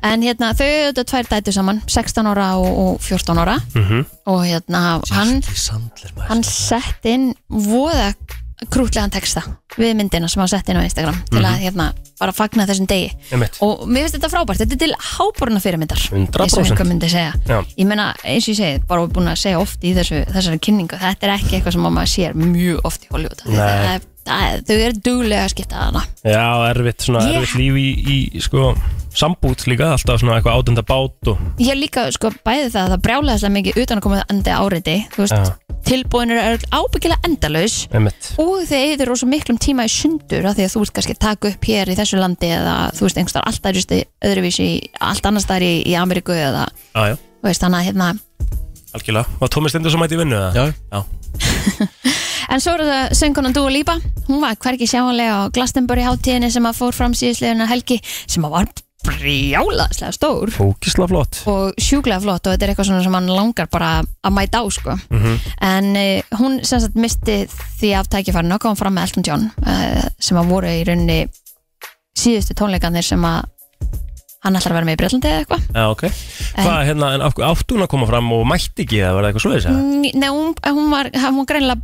En hérna, þau auðvitað tvær dætu saman 16 ára og, og 14 ára
Mhm.
og hérna, hann,
Jackie Sandler maður
hann sett inn voða krútlegan texta við myndina sem hann sett inn á Instagram til
Mhm.
að hérna, bara fagna þessum degi
Einmitt.
og mér finnst þetta frábært, þetta er til háborna fyrirmyndar
100%.
eins og einhver myndi segja
Já.
ég meina, eins og ég segi, bara búin að segja oft í þessu, þessari kynningu, þetta er ekki eitthvað sem að maður sér mjög oft í Hollywood
Nei.
það, er- það, er- þau eru duglega að skipta þarna
Já, erfitt, svona
Ég-
erfitt líf í, í sko, sambút líka, alltaf svona eitthvað átenda bát og...
Ég líka sko bæði það að það brjálaðislega mikið utan að koma andi áriti þú veist, ja. tilbúinir eru ábyggilega endalaus
Einmitt.
og þau eigður rosa miklum tíma í sundur af því að þú ert kannski að taka upp hér í þessu landi eða þú veist einhverstaðar allt aðristi öðruvísi í- allt annar staðar í, í Ameríku eða
Já, já,
þú veist þannig að hérna
algjörlega. Var Tómi Stendur sem mætti í vinnu eða?
Já,
en svo er það söngunan Dua Lipa hún var hvergi sjáanlega á Glastonbury hátíðinni sem að fór fram síðisleguna helgi sem að var brjálaðislega stór
Ókisla flott.
og sjúklega flott og þetta er eitthvað svona sem hann langar bara að mæta á sko.
Mhm.
en uh, hún sem sagt misti því af tækifærinu og kom fram með Elton John uh, sem að voru í rauninni síðustu tónleikanir sem að hann ætlar að vera með í Breitlandi eða eitthvað
Já, ok. Hvað, hérna, en af hverju- átti hún að koma fram og mætti ekki eða var það eitthvað svoleiðis eða?
N- Nei, hún, hún var hún greinlega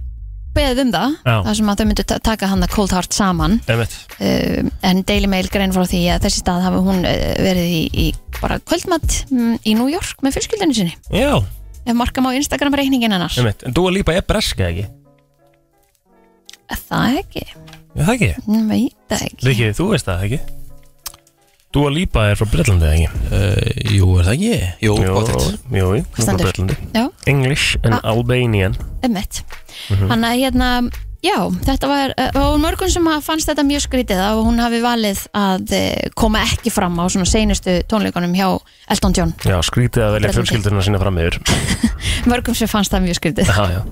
beðið um það
Já.
þar sem að þau myndu ta- taka hann að Cold Heart saman
Einmitt.
uh, en Daily Mail grein frá því að þessi stað hafi hún uh, verið í, í bara kvöldmatt mm, í New York með fjölskyldinu sinni
Já,
ef markam á Instagram reikningin hennar
einmitt. En Dua Lipa er breska, ekki?
Er Það ekki,
Er það ekki?
ég veit það ekki
Rikki, þú veist það, ekki? Dua Lipa er frá Breitlandi, ekki?
uh, Jú, er það ekki? Jú, pottet
jú, jú, hún er frá
stendur?
Bretlandi
Já, Ah.
English and Albanian
emmett
Mhm.
Þannig að hérna, já, þetta var uh, og mörgum sem að fannst þetta mjög skrítið að hún hafi valið að eh, koma ekki fram á svona seinustu tónleikunum hjá Elton John,
Já, skrítið að velja
Bretlandi.
fjölskyldurinn að sinna fram yfir
mörgum sem fannst það mjög skrítið
Já, já,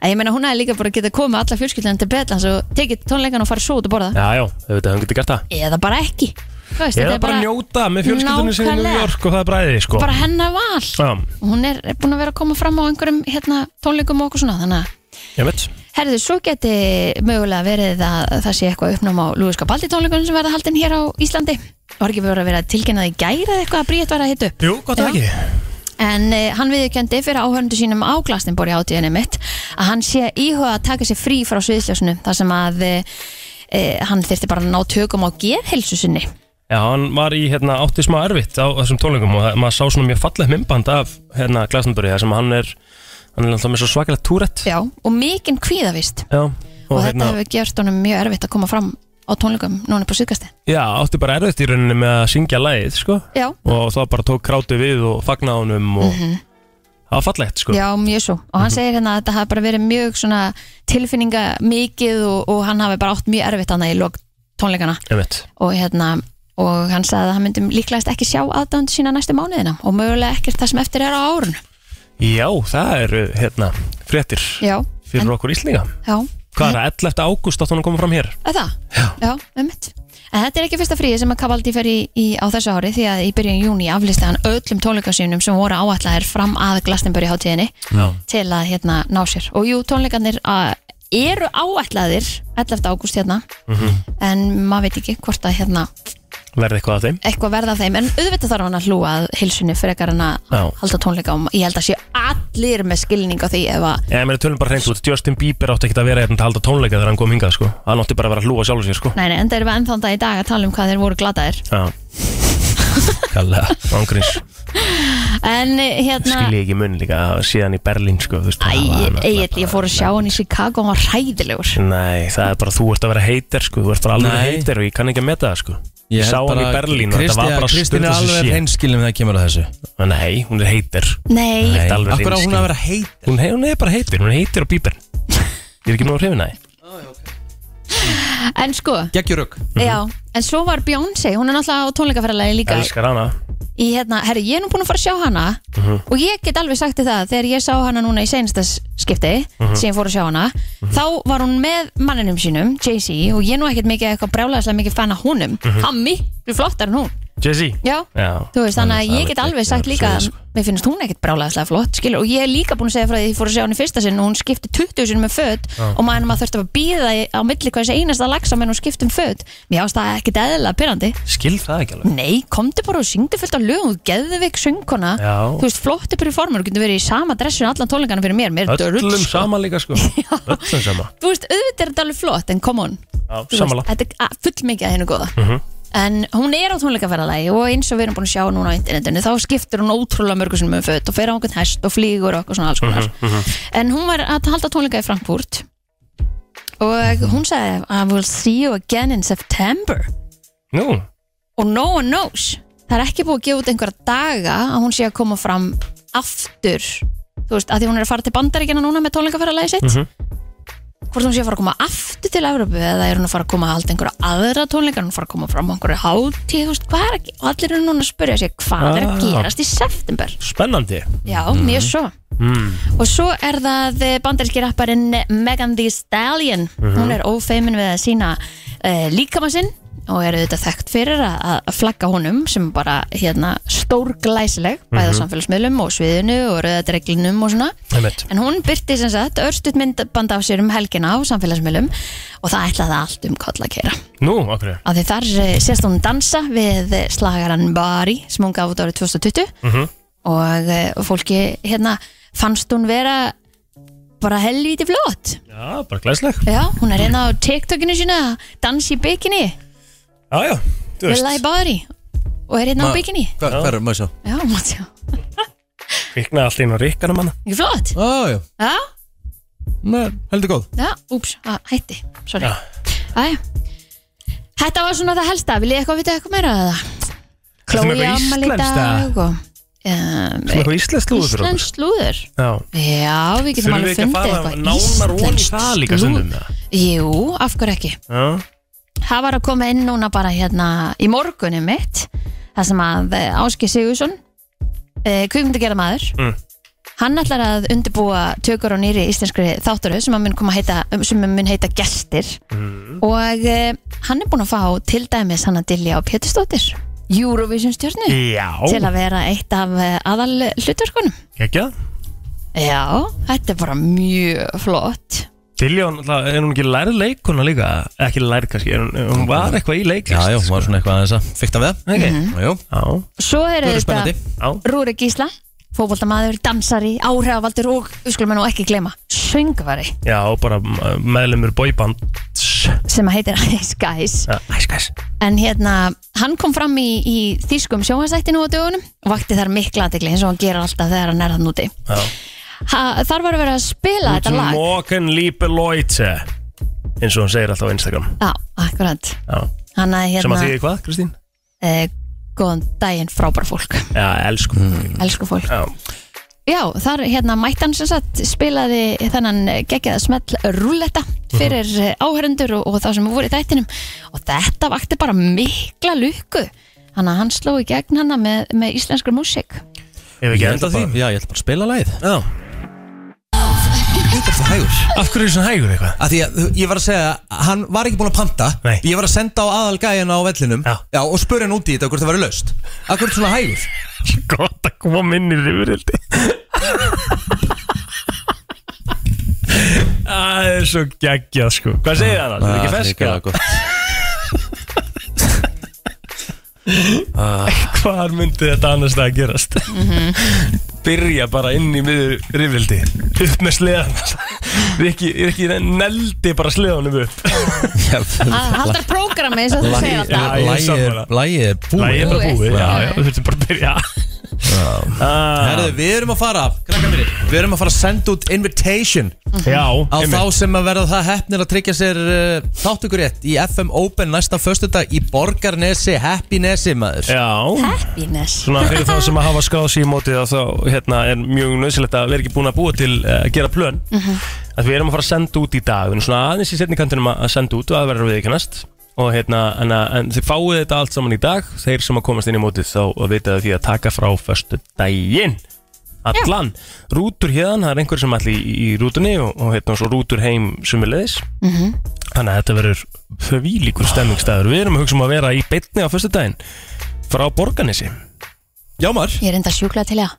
En ég meina hún hefði líka bara getað komið alla fjölskyldunum til Bretlands og tekið tónleikan og farið svo út að borða
já, já, þau veit að hann getur gert það
eða bara ekki Þú veist,
Eða bara njóta með fjölskyldurinn sinni í New
Nákvæmlega.
York og það er bræðið, sko
bara hennar val
Já,
Hún er búin að vera að koma fram á einhverjum hérna, tónleikum og okkur svona þannig að
ég veit
Herðu, svo geti mögulega verið að það sé eitthvað uppnám á Lúi Skapaldi tónleikunum sem verða haldin hér á Íslandi. Var ekki verið að vera tilkynnað í gæri eða eitthvað að Bríett var að hita upp.
Jú, gott
Já.
það ekki
En uh, hann viðurkendi fyrir áhörndu sínum á Glastonbury átíðinni mitt að hann sé íhuga að taka sér frí frá sviðsljósinu þar sem að uh, hann þyrfti bara að ná tökum á geðhelsu sinni.
Já, hann var í, hérna, átti smá erfitt á þessum tónleikum og það- maður sá svona mjög fallegt mymband af, hérna, Glastonbury þar sem hann er hann er alltaf með svo svakalega túrætt
Já, og mikinn kvíðavist
Já,
og,
og
þetta
hérna,
hefur gert honum mjög erfitt að koma fram á tónleikum núna på síðkasti
já, átti bara erfitt í rauninni með að syngja lagið, sko
Já,
og þá bara tók krátu við og fagnaði honum og það var fallegt, sko
Mhm. já, mjög svo og hann segir hérna að þetta hafi bara verið mjög svona tilfinninga mikið og, og hann hafi bara átt mjög erfitt hann í lok tónleikana
Einmitt.
og hérna og hann sagði að hann myndi líklegast ekki sjá aðdándu sína næstu mánuðina og mögulega ekkert það sem eftir er á árun
Já, það eru, hérna, fréttir
Já,
fyrir okkur Íslinga
já,
Hvað er það, 11. ágúst átt hún að koma fram hér?
að það Já, já einmitt. En þetta er ekki fyrsta fríi sem að Cavaldi fer í, í, á þessu ári því að í byrjun júni aflisti hann öllum tónleikasýnum sem voru áallæðir fram að Glastonbury hátíðinni
Já
til að hérna ná sér og jú, tónleikarnir uh, eru áætlaðir 11. ágúst hérna
Mhm.
en maður veit ekki hvort að hérna
Verði eitthvað af þeim?
eitthvað verða af þeim en auðvitað þarf hann að hlúa að hilsunni frekar en að
Já.
halda tónleika og ég held að sé allir með skilning á því ef að
Ég meina, tölum bara hreint út, Justin Bieber átti ekki að vera hérna til að halda tónleika þegar hann kom hingað, sko Hann átti bara að vera að hlúa sjálfur sér, sko
Nei, nei, enda erum við ennþánda í dag að tala um hvað þeir voru gladaðir
Já Kalla, ángríns
En eh, hérna,
Skil ég ekki mun líka, það var síðan í Berlín, sko þú veist,
æ,
það var náttúrulega
ég, ég fór að sjá hann í Chicago og hann var hræðilegur
Nei, það er bara, þú ert að vera heitir sko, þú ert bara alveg
Nei.
heitir og ég kann ekki að meta það sko Ég,
held
sá hann í
bara að
Berlín og
Kristi-
þetta var bara
Kristín
stund
er
þessi
alveg
sé
hreinskilin þegar kemur að þessu
Nei, hún er heitir
Nei,
Nei. alveg
Akkur á hún
hreinskilin.
að vera heit
hún, he- hún er bara heitir, hún er heitir á bíber Ég er ekki nú að hrifina það
en sko,
Geggjurögg
Mhm.
já En svo var Beyoncé, hún er náttúrulega á tónleikaferðalagi líka
Elskar hana
í hérna, herri, ég er nú búin að fara að sjá hana
Mhm.
og ég get alveg sagt þér það, þegar ég sá hana núna í seinasta s- skipti
Mhm.
sem ég fór að sjá hana, þá var hún með manninum sínum, Jay-Z og ég er nú ekkert mikið eitthvað brjálæðislega mikið fan af húnum hann miklu flottar en hún
Jay-Z
já,
Mhm. Já,
þú veist, þannig
hann
að
er
ég get
alveg
alveg sagt
geggjaður,
líka
svoleiðis,
að
sko.
mér finnst hún ekkert brjálæðislega flott, skilur, og ég er líka búin að segja frá því að ég fór að sjá hann í fyrsta sinn og hún skipti 20 sinni með föt og maður maður þurfti að býða á milli hvers einasta lagsa meðan hún skipti um föt mér ást það ekkert eðlilega pyrrandi
Skil það ekki alveg
Nei, komdu bara og syngdu fullt af lögum Geðvik söngkona Þú
Já.
veist, flottu performer, þú getur verið í sama dressun Allan tónleikana fyrir mér, mér er þetta
Öllum
rugl, sko.
sama líka sko Öllum sama
Þú veist, auðvitað er þetta alveg flott, en come on
Já,
Þú
Samala
veist, Þetta er a- full mikið að hennu góða
Mhm.
En hún er á tónleikaferðalagi Og eins og við erum búin að sjá núna á internetinu Þá skiptir hún ótrúlega mörgur sinni með fött Og fer á einhvern hest og flýgur og eitthvað svona alls konar
Mhm,
En hún var að halda tónleika í Frankfurt Og hún sagði I will see you again in September
Nú,
og no one knows það er ekki búið að gefa út einhverja daga að hún sé að koma fram aftur þú veist, að því hún er að fara til bandaríkina núna með tónleikaferðalagi sitt hvort hún sé að fara að koma aftur til Evrópu eða er hún að fara að koma að halda einhverja aðra tónleika er hún að fara að koma fram á einhverju hátíð þú veist, hvað er ekki, og allir eru núna að spyrja sig hvað er að
Ah.
gerast í september
spennandi
já, mjög svo og svo er það eh, bandaríski rapparinn Megan Thee Stallion hún er ófeimin við að sína uh, líkama sinn og er auðvitað þekkt fyrir að- að að flagga honum sem bara hérna, stórglæsileg bæða samfélagsmiðlum og sviðinu og rauðadreglinum og svona
Einmitt.
en hún byrti sem sagt örstuð myndband af sér um helgina á samfélagsmiðlum og það ætlaði allt um koll að kera
Nú, okkur
að því þar eh, sést hún dansa við eh, slagaran Bari sem hún gaf út árið 2020
Mhm.
og eh, fólki hérna fannst hún vera bara helvíti flott
Já, bara glæsleg
já, hún er hérna á TikTokinu sína dansi í bikini,
Já, já, þú
Villa í
veist
Bari og er hérna á
Ma-
bikini
Hvað hvað er maður svo?
já, mátt sjá,
Kviknaði allt inn á rikkanum hana
ekki flott
Á, já,
já,
Nei, heldur góð
já, úps, að, hætti sorry,
Já.
aðja Þetta var svona það helsta, vil ég eitthvað vita eitthvað meira að það?
Ertu með eitthvað
afmæli í
íslenskt,
dag og um,
Svona eitthvað íslenskt lúður fyrir okkur
Íslensk slúður
Já
Já, við getum
Þurfum við
alveg
ekki að
fundið
fara
eitthvað
nánar ofan í
íslenskt
það líka
slúður.
stundum eða?
Jú, af hverju ekki
Já,
Það var að koma inn núna bara hérna í morgunum mitt Það sem að Áski Sigursson eh, kvikmyndagerða maður
Mm.
Hann ætlar að undirbúa tökur á nýri íslenskri þáttaröð sem að mun koma að heita, um, sem mun heita Gestir
Mm.
og eh, hann er búinn að fá til dæmis hann að dilja á Pétursdóttir Eurovision stjórnu til
Já,
að vera eitt af eh, aðal hlutverkunum
ekki
Já, þetta er bara mjög flott
Diljón, er hún ekki lærið leikuna líka? Ekki lærið kannski, er hún, hún var eitthvað í
Já, já,
leiklist
hún var svona eitthvað aðeins að fykta við það
Ok,
Mhm.
Já, jú,
já,
Svo er
það er
þetta
spennandi
já,
Rúri Gísla, fótboltamaður, dansari, áhrifavaldur og, við skulum nú ekki gleyma, söngvari
já, bara uh, meðlumur bóiband
sem að heitir Ice Guys.
Æs, gæs
En hérna, hann kom fram í, í þýskum sjóhansættinu á dögunum og vakti þar mikla aðdegli eins og hann gerir alltaf þegar hann er þann úti.
Já, um
ha, þar var að vera að spila þetta lag
Morgan Liebe Leute eins og hún segir alltaf á Instagram
Já, akkurat
Já.
Hanna
sem
hérna
að þýðir hvað, Kristín?
eh, Góðan daginn, frábær fólk
Já, elsku mm.
Elsku fólk
Já,
Já, þar hérna mættan sem sagt spilaði þennan geggjaða smell rúletta
Mhm.
fyrir uh áhörendur og, og þá sem voru í þættinum og þetta vakti bara mikla lukku þannig að hann sló í gegn hana með, með íslenskri músík
ef ekki
ætla
enda því
bara- Já, ég ætla bara að spila lagið
Já,
Þetta er það hægur
af hverju er svona hægur eitthvað?
Af því að þú- ég var að segja, hann var ekki búin að panta
Nei.
Ég var að senda á aðal gæjana á vellinum
Já.
og spurði hann út í þetta hvort það var löst Akkur er svona hægur
Gott að koma inn í rifrildi Það er svo geggjað sko Hvað segir það annars? Það er
Ah,
ekki ferska
sko.
Hvar myndi þetta annars það að gerast?
Mhm.
Byrja bara inn í miður rifrildi Upp með sleðan Rikki, Rikki neldi bara sleðanum upp
Hann
gott
haldar prógrami eins og þú segir alltaf
Já, ég er sammála.
Lægið er
Það er
búið
bara búið Já, já, þú þurftum bara að byrja
Herðu,
Ah,
við erum að fara, krakka mér Við erum að fara að senda út invitation
Já,
á
einmitt.
þá sem að verða það hefnir að tryggja sér uh, þáttökur rétt í FM Open næsta föstudag í Borgarnesi, Happinesi maður
Já,
Happiness
svona fyrir þá sem að hafa skáð sér í mótið að þá hérna, er mjög nöðsilegt að vera ekki búin að búa til eh, að gera plön að við erum að fara að senda út í dag við erum svona aðeins í setni kantinum að að senda út og það verður við ekki næst og hérna, en, að- en þið fáið þetta allt saman í dag þeir sem að komast inn í mótið þá vitað því að taka frá förstu daginn allan, rútur hérna það er einhver sem allir í, í rútunni og, og hérna svo rútur heim sumulegis þannig að þetta verður þvílíkur stemmingstæður, við erum að hugsa um að vera í beinni á förstu daginn frá Borganesi
Já maður
Ég er enda sjúklega til það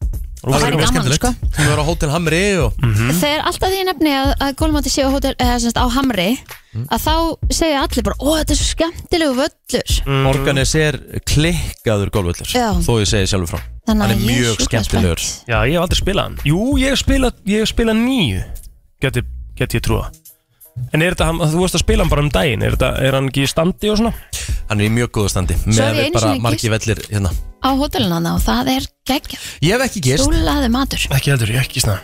Það
væri
mjög
gaman,
skemmtilegt. Mm.
sko.
Við erum á Hotel Hamri og
Mhm.
Þegar alltaf því nefni að, að gólmáti séu hótel, eða, semst, á Hamri
Mhm.
að þá segja allir bara, ó þetta er svo skemmtilegu völlur
Mhm.
Mm. Borgarnesi er klikkaður golvöllur
Já.
Þó ég segi sjálfur frá
Þannig
Hann er
að ég
mjög
sjúklega
skemmtilegur.
spennt.
Já, ég hef aldrei spilað hann Jú, ég hef spilað, ég hef spilað nýju Geti, geti ég trúa En er þetta, hann- þú veist að spila hann bara um daginn Er, þetta, er hann ekki í standi og svona?
Hann er í mjög góðu standi
Svo hef
Með
ég
við
einu
bara
sinni
margi
gist-
vellir hérna
á hótelunana og það er geggjað
Ég hef ekki gist
Súlaði matur
Ekki heldur, ég ekki svona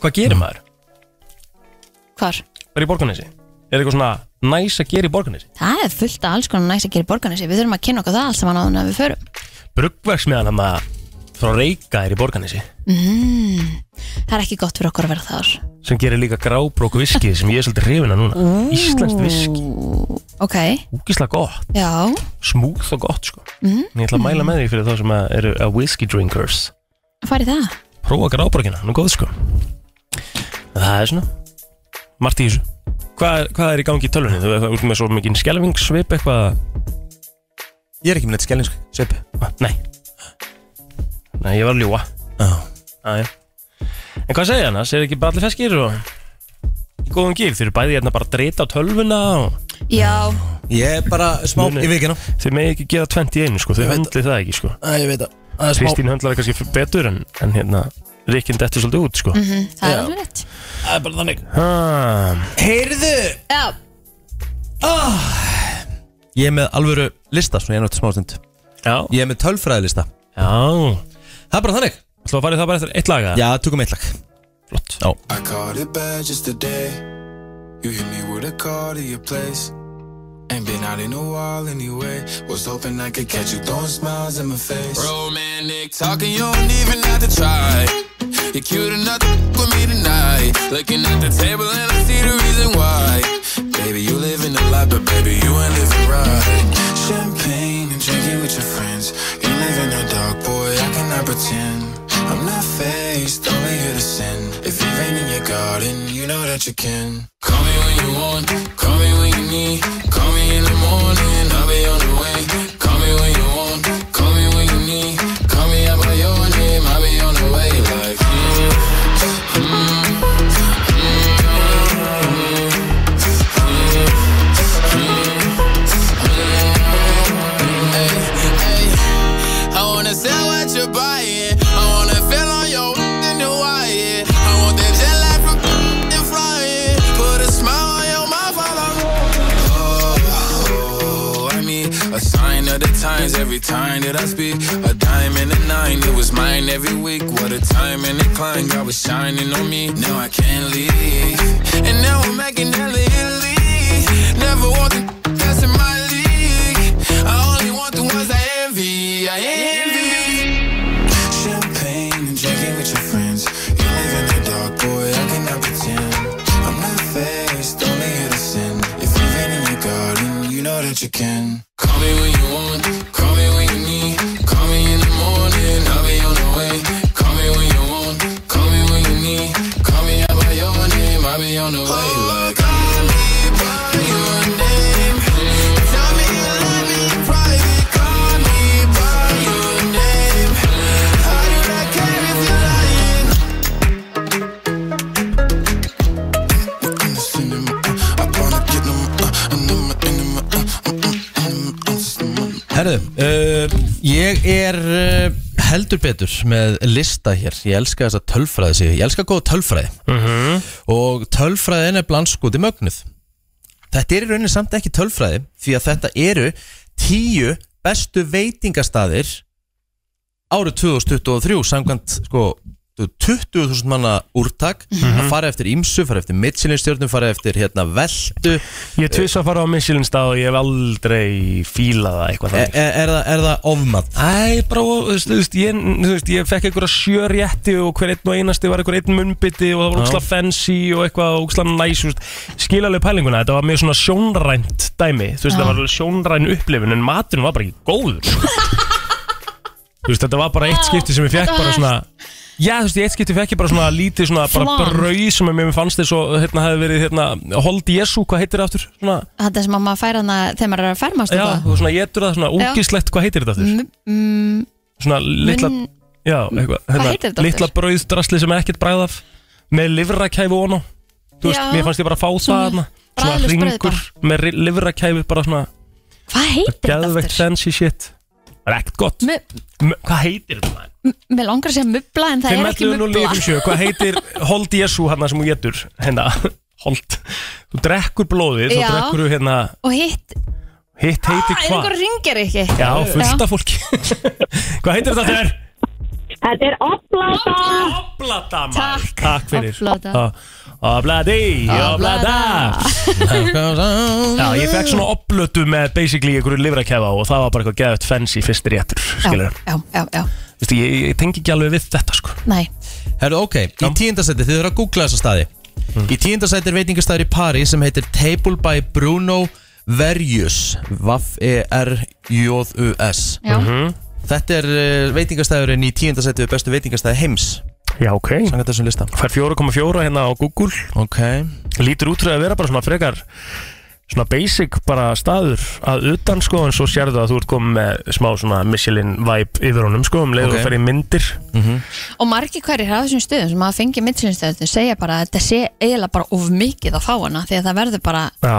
Hvað gerir maður?
Hvar?
Bara í borgarnesi? Er eitthvað svona næs að gera í borgarnesi?
Það er fullt af alls konar næst að gera í borgarnesi Við þurfum að kynna okkur það allt saman áður en að við förum
Bruggverksmiðan hann að frá Reyka er í borgarnesi
Það er ekki gott fyrir okkur að vera þar
sem gerir líka grábrók viskið sem ég er svolítið hrifin að núna mm. Íslenskt viski,
Ok,
úkislega gott
já
smúð og gott sko En ég ætla að mæla með því fyrir þá sem að eru að whisky drinkers
Færi það
prófa grábrókina, hún er góð sko það er svona margt í þessu hvað, hvað er í gangi í tölvunni, þú veist með svo mikinn skelvingsvip eitthvað
Ég er ekki með neitt sko. skellinsk Sveipi
Ah, nei, nei ég var að ljúa
Já.
aðja en hvað segja annars, er ekki bara allir feskir og í góðum gýr, þeir eru bæði hérna bara að dreita á tölvuna og
Já,
Ég er bara smá
Muni.
í vikina
þeir megi ekki gera 21 sko, þeir
Ég veit
höndli það ekki sko
Æ, ég veit það Það er smá
Kristín höndlaði kannski betur en, en hérna Rikkin dettur svolítið út sko
Mhm.
mm
það er alveg rétt
Það er bara þannig
Ah.
Heyrðu
Já,
Ég er með alvöru lista Svona ég er náttúrulega smá stund
Já,
Ég er með tölfræðilista
já
Það er bara þannig
Þú að farið það bara eftir eitt laga
Já, tökum eitt lag
Flott
Já
I called it bad just today. You hit me with a call to your place. Ain't been out in a while anyway. Was hoping I could catch you throwing smiles in my face. Romantic talking, you don't even have to try. You're cute enough to f- with me tonight. Looking at the table and I see the reason why. Baby, you living a lot, but baby, you ain't living right. Champagne and drinking with your friends. You live in the dark, boy, I cannot pretend. I'm not faced, only here to sin. If you rain in your garden, you know that you can. Call me when you want, call me when you need. Call me in the morning, I'll be on the way. Call me when you want, call me when you need. Call me out by your name, I'll be on the way. Like, mm, mm, mm, I wanna sell what you're buying. I wanna feel on your in the wire. I want that jet lag from and flying. Put a smile on your mouth while signs every time that I speak. A dime and a nine, it was mine every week. What a time and incline, God was shining on me. Now I can't leave. And now I'm making hella Italy. Never want the that's in my league. I only want the ones I envy. I envy. Champagne and drinking with your friends. You live in the dark, boy, I cannot pretend. I'm not faced, only here to sin. If you've been in your garden, you know that you can. Call me when you want, call me when you need. Call me in the morning, I'll be on the way. Call me when you want, call me when you need. Call me out by your name, I'll be on the way. Like, call me by your name. Tell me you love me in private. Call me by your name. I do not care if you're lying. I'm just in my, I wanna get them, uh, I'm in my, in my, uh, mm, mm, mm, I'm just in my.
Herðu, uh, ég er uh, heldur betur með lista hér Ég elska þessa tölfræði sig Ég elska góða tölfræði Og tölfræðin er blandskoti mögnuð Þetta er í rauninni samt ekki tölfræði Því að þetta eru tíu bestu veitingastaðir Árið 2023 Samkvæmt sko 20.000 manna úrtak Það fara eftir ímsu, fara eftir mittsilinstjörnum Fara eftir hérna veltu
Ég er tviss að fara á Michelin stað og ég hef aldrei fílað það eitthvað
Er,
þannig.
er, er, það, er það ofmat?
Æ, bara, og, þú veist, þú veist, ég, þú veist, ég fekk einhverja sjö rétti og hver einn og einasti var einhver einn munnbytti og það var óksla fancy og eitthvað óksla næs, þú veist, skilalega pælinguna, þetta var mjög svona sjónrænt dæmi, þú veist, það var alveg sjónræn upplifun en maturinn var bara ekki góður. sko. þú veist, þetta var bara eitt skipti sem ég fekk
þetta
bara
var
svona... Já, þú veist, í eitt skipti fekk ég bara svona lítið svona bara
Flan.
brauð sem að mér fannst þess og hérna hefði verið hérna Hold Jesu, hvað heitir það aftur? Svona,
Þetta sem að maður færa hana þegar maður er að fermast og
já,
það.
og svona getur það svona ógíslegt, hvað heitir þetta aftur?
M- mm,
svona litla
Mun-
já, eitthvað, hérna,
heitir þetta
litla
aftur?
brauðdrasli sem er ekkert bræð af með livrakæfu og ná þú veist,
Já.
mér fannst ég bara að fá það
Svona
hana.
bragðlaust brauð
hringur með ri- livrakæfu bara svona
Hvað heitir þetta
geðvegt
aftur?
fancy shit það er ekkert gott
Mu-
M hvað heitir þetta? maður?
Mér langar að segja mubla en það
Fimm
er ekki
ellefu núll
mubla
yfir sjö. hvað heitir hold jesu hann sem hún getur hérna, hold þú drekkur blóðið,
Já.
þá drekkur þú hérna
Og hitt,
hitt
er
heitir hvað
einhver ringir ekki
já, fullt
Já.
af fólki hvað heitir þetta þér?
Þetta er opplata
Oblata maður
Takk.
Takk fyrir
Oblata.
Já. Oblati, oblata Já, ég fekk svona oblötu með basically einhverju livrakefa og það var bara eitthvað geðut fancy fyrst réttur, skilur
Já, já, já,
Vistu, ég, ég tengi ekki alveg við þetta sko
næ
Herru, ok, í tíundasæti, þið eru að googla þessa staði Í tíundasæti er veitingastæður í París sem heitir Table by Bruno Verjus E V-E-R-J-U-S
Já,
Þetta er eh, veitingastæðurinn í tíundasæti við bestu veitingastæði heims
Já, ok
Sangat þessum lista
Fær 4,4 hérna á Google
Ok
Lítur útrúið að vera bara svona frekar svona basic bara staður að utan sko en svo sérðu að þú ert komið með smá svona Michelin vibe yfir honum sko um leiður
Ok.
okay. að fara í myndir
og margir hverjir á þessum stöðum sem að fengi mittsinstöðum segja bara að þetta sé eiginlega bara of mikið að fá hana því að það verður bara
Já,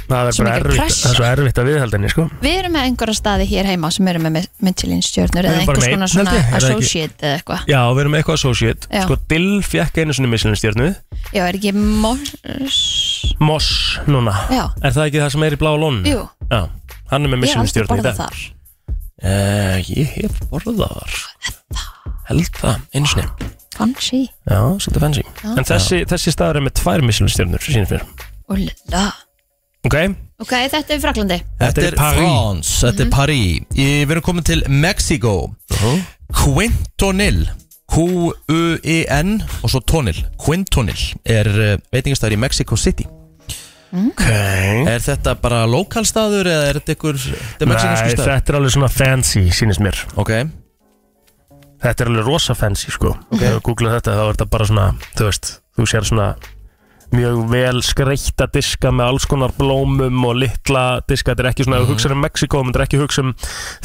það er
Svo
bara
mikil
erfitt,
pressa.
það er svo erfitt að viðhaldinni sko
Við erum með einhverja staði hér heima sem eru með mittsilinstjörnur
Við
eða
erum bara
einhvers
með
konar
einn,
svona
held ég, er það ekki?
associate eða eitthvað
Já, við erum með eitthvað associate
Já.
Sko, Dill fjekk einu sinni Michelin stjörnu
Já, er ekki mors...
Moss núna
Já.
Er það ekki það sem er í blá lónu?
Jú.
Já, hann er
Ég er
með Michelin
aldrei
stjörnu í
borðað
dag
þar
uh, Ég hef borðaðar Held það, einu sinni
Fancy
Já, svolítið fancy En þessi, þessi staður er með tvær Michelin stjörnur sínir fyrir
Úlala
Ok,
Ok, þetta er Fraklandi
Þetta er
París.
Frans, þetta er París Ég- Við erum komin til Mexiko Quintonil Q-U-E-N og svo tonil Quintonil er eh, veitingastæður í Mexico City
okay.
Er þetta bara lokalstaður eða er þetta ykkur þetta er
Nei,
mexikanskur staður?
þetta er alveg svona fancy sínist mér
Ok,
Þetta er alveg rosa fancy sko Þegar við googla þetta þá er þetta bara svona Þú veist, þú sér svona Mjög vel skreikta diska með alls konar blómum og litla diska Þetta er ekki svona, ef þú hugsaður um Mexiko Þetta er ekki hugsa um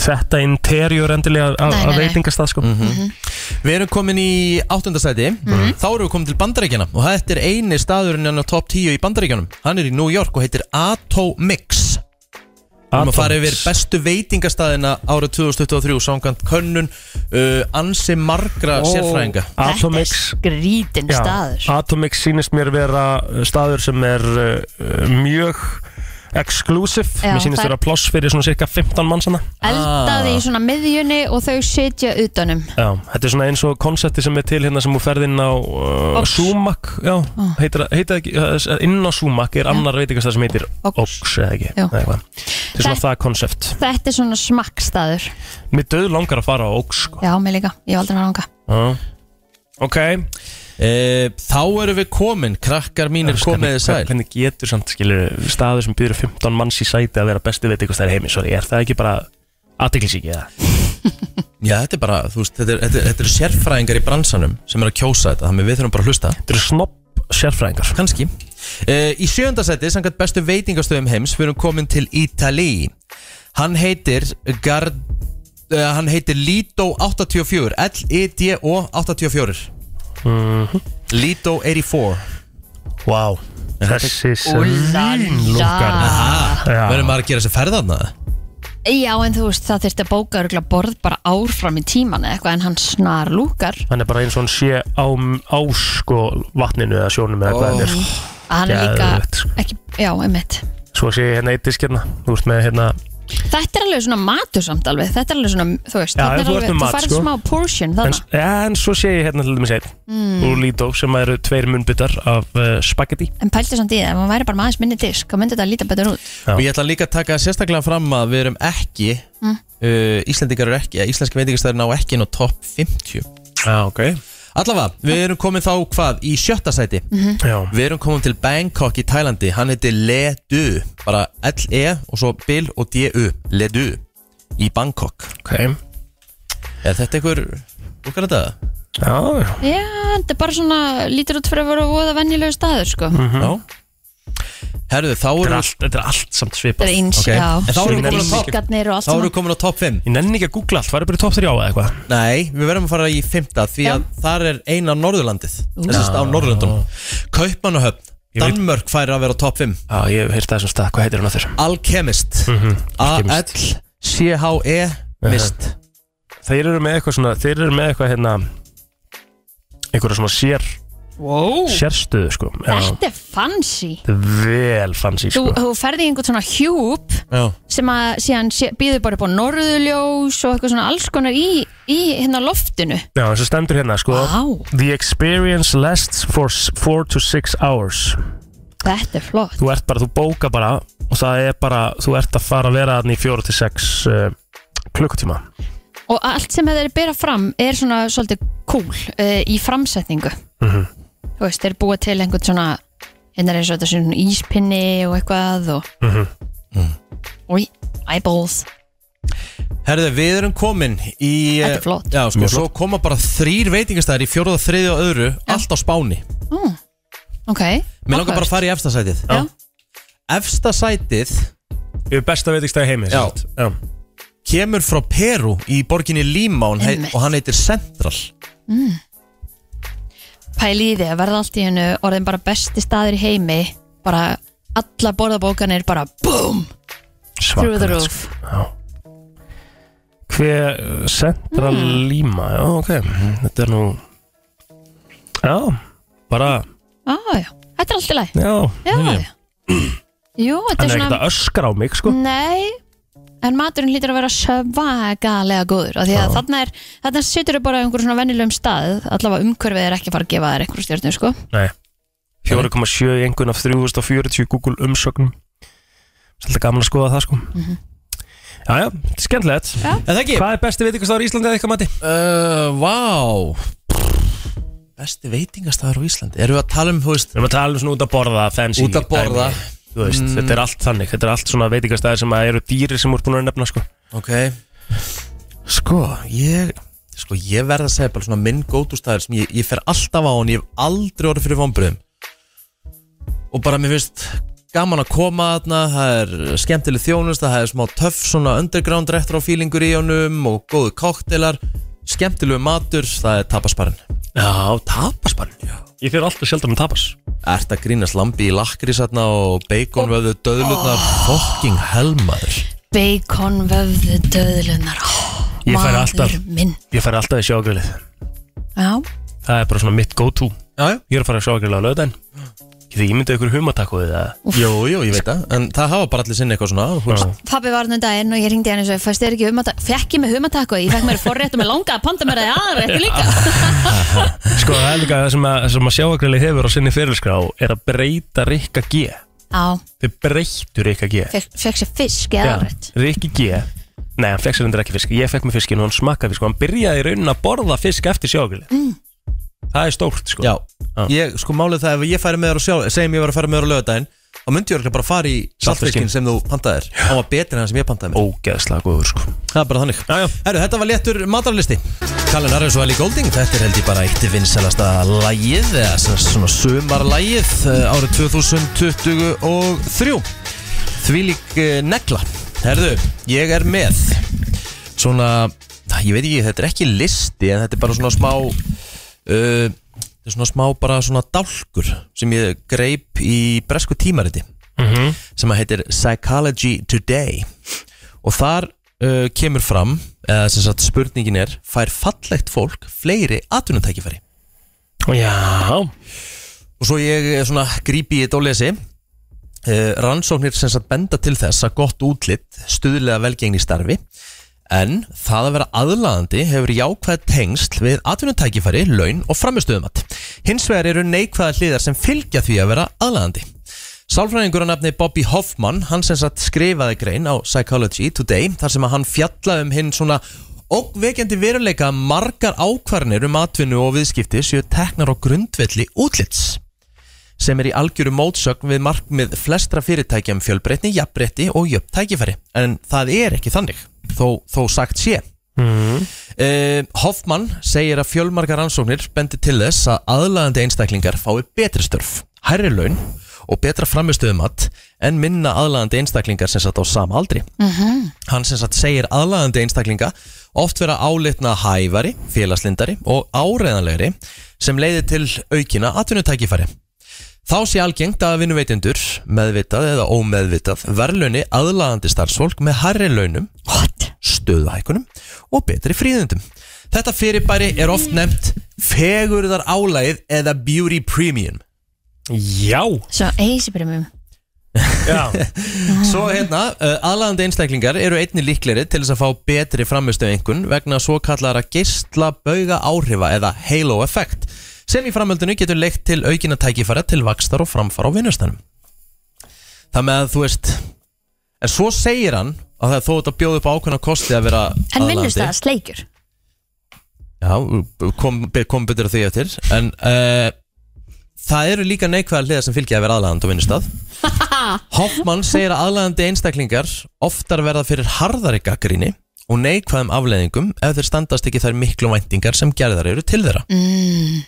þetta interior endilega af-
Nei, nei,
Af
nei.
veitingastað sko
við erum komin í áttundasæti Þá erum við komin til Bandaríkjana og þetta er eini staðurinn en á top 10 í Bandaríkjanum Hann er í New York og heitir Atomix Við erum að fara yfir bestu veitingastæðina ára 2023 samkvæmt könnun uh, ansi margra sérfræðinga
Atomix
Þetta er skrítin
Já,
staður
Atomix sýnist mér vera uh, staður sem er uh, uh, mjög exclusive
Já,
Mér sýnist
það er-
vera pláss fyrir svona cirka 15 mann sann Ah.
eldaði í svona miðjunni og þau sitja utanum
Já, þetta er svona eins og konsepti sem er til hérna sem þú ferð inn á uh,
Ox.
Sumac, já, heitir, það- heitir það ekki, uh, inn á Sumac er annar veitingastað sem heitir
Ox.
Ox, eða ekki,
Jú.
eða eitthvað. Þetta er svona það konsept.
þetta er svona smakkstaður
Mér döð langar að fara á Ox, sko.
já, mig líka, ég hef aldrei var ánga
Já. Ok.
Eh, Þá erum við komin, krakkar mínir komiði sæl
Hvernig getur samt, skilur, staður sem býður 15 manns í sæti að vera besti veitingastað í heimi, sorry, er það ekki bara aðtiklisíki eða?
Já, þetta er bara, þú veist, þetta er- þetta er- þetta eru sérfræðingar í bransanum sem eru að kjósa þetta Þannig að við þurfum bara að hlusta
Þetta eru snopp sérfræðingar.
Kanski uh, Í sjöndasæti, samkvæmt bestu veitingastöðum heims Við erum komin til Ítali Hann heitir Gard, uh, Hann heitir Lido 84 L-I-D-O 84
Mhm.
Lido 84
Vá, wow. þessi
Úlala.
ah,
Já.
Verðum maður að gera þessi ferðarna
já, en þú veist, það þurfti að bóka örgulega borð bara ár fram í tíman eða eitthvað en hann snar lúkar
hann er bara eins og hann sé á, á sko vatninu eða sjónum eða hvað það er sko.
að hann er
Geðveikt, sko.
líka ekki, já, einmitt
svo sé ég hérna eitt disk hérna þú veist með hérna
þetta er alveg svona matur samt alveg þetta er alveg svona, þú veist,
Já,
þarna
þú ert
alveg,
með mat,
þú farið
sko.
smá portion
en,
þarna
en svo sé ég hérna til dæmis eitt mm. úr Lido sem eru tveir munnbyttar af uh, spagetti
En pælti samt í það, ef maður væri bara með aðeins minni disk þá myndi þetta líta betur út
Já.
Og ég ætla líka að taka sérstaklega fram að við erum ekki uh, Íslendingar eru ekki, íslenski veitingastöður ná ekki inn á topp 50
já ok
Allavega, við erum komin þá hvað í sjötta sæti
já,
Við erum komin til Bangkok í Tælandi Hann heiti Le Du Bara L-E og svo Bill og D-U Le Du Í Bangkok
ok já,
Er þetta einhver Þú kallar þetta?
já.
Já, þetta er bara svona, lítur út fyrir að vera voða venjulegu staður, sko
Mhm.
Já Herðu, þá
Þetta, er
erum
allt, þetta er allt samt
Það
svipað
er eins,
Ok. En
já,
þá erum við komin á topp.
diskarnir og allt
Þá erum við
saman
komin á top 5
ég nenni ekki að googla allt farið bara í top 3 eða eitthvað
Nei, við verðum að fara í 5 Því að þar er eina Norðurlandið Þessast á Norðurlandunum Kaupmannahöfn
Ég veit-
Danmörk færir að vera á top 5
já, ég hef heyrt það sem stað hvað heitir hann að þér
Alchemist
Mhm.
A-L-C-H-E E Mist
þeir eru með eitthvað svona þeir eru með eitthvað hérna einhverja svona sér wow. sérstöðu sko já,
Þetta er fancy
þetta er vel fancy
Þú,
sko
þú ferði í einhvern svona hjúp
Já
sem að síðan sé, býður bara upp á norðuljós og eitthvað svona alls konar í, í hérna loftinu
Já, eins og stendur hérna, sko
Vá.
The experience lasts for 4 to 6 hours
Þetta er flott
Þú ert bara, þú bóka bara og það er bara, þú ert að fara að vera þannig í 4 til 6 uh, klukkutíma
Og allt sem þeir bera fram er svona svolítið cool uh, í framsetningu Þú veist, þeir búa til einhvern svona hérna er eins og þetta sé svona íspinni og eitthvað og mm eyeballs
Herðu, við erum komin í
Þetta er flott.
Já, sko, svo koma bara þrýr veitingastæðir í fjóruða, þriði og öðru Allt á Spáni
Ok
Mér langar bara að fara í efsta sætið
Já.
Efsta sætið
Við erum besta veitingstæði heimi
Já.
sem sagt. Já.
kemur frá Peru í borginni Lima og, hei,
Einmitt.
og hann heitir Central
Pæli í því að verða allt í hennu orðin bara besti staðir í heimi bara alla borðabókanir bara BOOM Through the
Svakalegt,
roof.
sko. Já Hver uh, Central
Hmm.
Lima Já, ok, þetta er nú Já, bara
Á, Ah, já, þetta er allt í lagi
Já,
Já, já Jú, þetta
hann
er
er ekkert
svona Hmm.
að öskra á mig, sko
Nei, en maturinn hlýtur að vera svagalega góður af því að þarna, er, þarna situr þau bara á einhverjum svona venjulegum stað allavega umhverfið er ekki að fara að gefa þær einhverjum stjórnum sko.
Nei 4,7 í einhvern af 3040 Google umsögnum Svolítið gaman að skoða það sko mm
Mhm.
Jæja, þetta er skemmtilegt
En það ekki?
Hvað er besti veitingastæður í Íslandi eða eitthvað mati?
Uh, vá Besti veitingastæðar á Íslandi Erum við að tala um, þú veist
Við erum að tala um svona út að borða Hmm. fancy
Út að borða.
dæmi. Þú veist, þetta er allt þannig Þetta er allt svona veitingastæður sem að eru dýri sem úr búin að nefna sko
Ok Sko, ég Sko, ég verð að segja bara svona minn góðustæður sem ég, ég fer alltaf á hann, ég hef aldrei orðið fyrir vombriðum og bara mér finnst gaman að koma þarna, það er skemmtileg þjónust það er smá töff svona underground retro feelingur í honum og góðu koktelar skemmtilegu matur, það er tapasparinn
Já, tapasbarn Ég fyrir alltaf sjaldan um tapas
Ert að grínast lambi í lakrís þarna og bacon vöðu döðlutnar fucking helmaður
Bacon vöfðu döðlunar oh,
Ég færi alltaf.
minn
Ég fær alltaf í sjágrillið
Já,
Það er bara svona mitt go to
Já, já
Ég er að fara í sjágrillið á lögdæn Getið ekki myndið ykkur humatakkuðið það?
Jú, jú, ég veit það En það hafa bara allir sinni eitthvað svona þú veist.
Pappi var hann um daginn og ég ringdi hann eins og fæst þér ekki
um
humatak Fekk ég með humatak og ég fekk mér forrétt og mér langaði að panta mér það í aðra eftir líka
Sko það er líka það sem að, sem að sjáagrælið hefur á sinni fyrirskrá er að breyta Rikka G
Já,
Þau breyttu Rikka G
fekk, fekk sér fisk eða aðrætt
Rikki G Nei, hann fekk sér hendur ekki fisk Ég fekk mig fiskin og hann smakkaði fisk og hann byrjaði í raunin að borða fisk eftir sjáagrælið mm. Það er stórt sko
Já,
Já.
ég, sko málið það ef ég færi með þér og sjálf Segjum ég var að færa með þér á lögadaginn Þá myndi ég örugglega bara fara í saltfiskinn
Saltfiskinn.
sem þú pantaðir Það var betri en það sem ég pantaði mér
Ógeðslega góður sko
Það er bara þannig
Já, já.
Herru, þetta var léttur matarlisti Kallin Arjus og Ellie Golding Þetta er held ég bara eitt vinsalasta lægið Eða sem- svona sumarlægið eh, Árið 2023 Þvílík eh, negla Herðu, ég er með Svona, ég veit ekki, þetta er ekki listi En þetta er bara svona smá uh, Þetta er svona smá bara svona dálkur Sem ég greip í bresku tímariti
Mhm.
Sem að heitir Psychology Today og þar uh, kemur fram eða sem sagt spurningin er fær fallegt fólk fleiri atvinnutækifæri
Já,
og svo ég eh, svona grípi í þetta og lesi uh, rannsóknir sem sagt benda til þess að gott útlitt stuðlega velgengni í starfi en það að vera aðlaðandi hefur jákvæð tengsl við atvinnutækifæri, laun og framistöðumat hins vegar eru neikvæða hliðar sem fylgja því að vera aðlaðandi Sálfræðingur að nafni Bobby Hoffman, hann sem sagt skrifaði grein á Psychology Today þar sem að hann fjallaði um hinn svona ógvekjandi veruleika að margar ákvarnir um atvinnu og viðskipti séu teknar á grundvelli útlits sem er í algjöru mótsögn við markmið flestra fyrirtækja um fjölbreytni, jafnbreytti og jöfn tækifæri en það er ekki þannig, þó, þó sagt sé Uh, Hoffmann segir að fjölmarkar rannsóknir bendi til þess að aðlaðandi einstaklingar fái betri störf, hærri laun og betra framistöðumat en minna aðlaðandi einstaklingar sem satt á sama aldri. Hann sem satt segir aðlaðandi einstaklinga oft vera álitna hæfari, félagslindari og áreðanlegri sem leiði til aukina atvinnutækifæri. Þá sé algengt að vinnuveitendur, meðvitað eða ómeðvitað, verðlauni aðlaðandi starfsfólk með harri launum, stöðuhækunum og betri fríðundum. Þetta fyrirbæri er oft nefnt fegurðar álæð eða beauty premium.
já,
Svo eisi premium
já.
Svo hérna, uh, aðlaðandi einstaklingar eru einni líkleri til þess að fá betri framistu einhvern vegna svo kallara geistla bauga áhrifa eða halo effect sem í framöldinu getur leikt til aukina tækifæra til vakstar og framfara á vinnustanum. Það með að þú veist, en svo segir hann að það er þó þetta bjóð upp á ákveðna kosti að vera
En
aðlaðandi.
vinnust það sleikjur
Já, kom, kom betur að því eftir En uh, það eru líka neikvæða hliðar sem fylgja að vera aðlæðand á vinnustad Hoffmann segir að aðlæðandi einstaklingar oftar verða fyrir harðari gaggríni og neikvæðum afleðingum ef þeir standast ekki þær miklu væntingar sem gerðar eru til þeirra mm.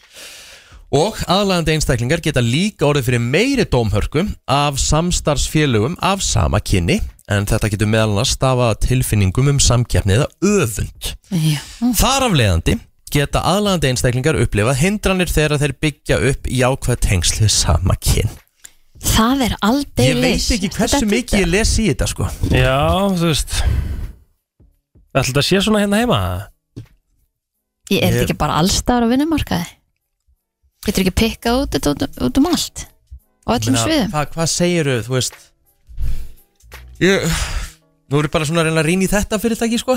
Og aðlæðandi einstaklingar geta líka orðið fyrir meiri dómhörku af samstarfsfélögum af sama kynni en þetta getur meðal annars stafa tilfinningum um samkeppni eða öfund
Já
Þar af leiðandi geta aðlandi einstaklingar upplifað hindranir þegar þeir byggja upp jákvæð tengslu sama kyn.
Það er aldrei
Ég veit ekki hversu mikið ég les í þetta sko.
já, þú veist Ætli þetta sé svona hérna heima
Ég er þetta ekki bara allstar á vinnumarkaði Getur ekki pikkað út þetta út, út um allt Á öllum
Meina,
sviðum
Hvað, hvað segiru, þú veist? Ég, nú erum bara svona að reyna að rýna í þetta fyrirtæki sko.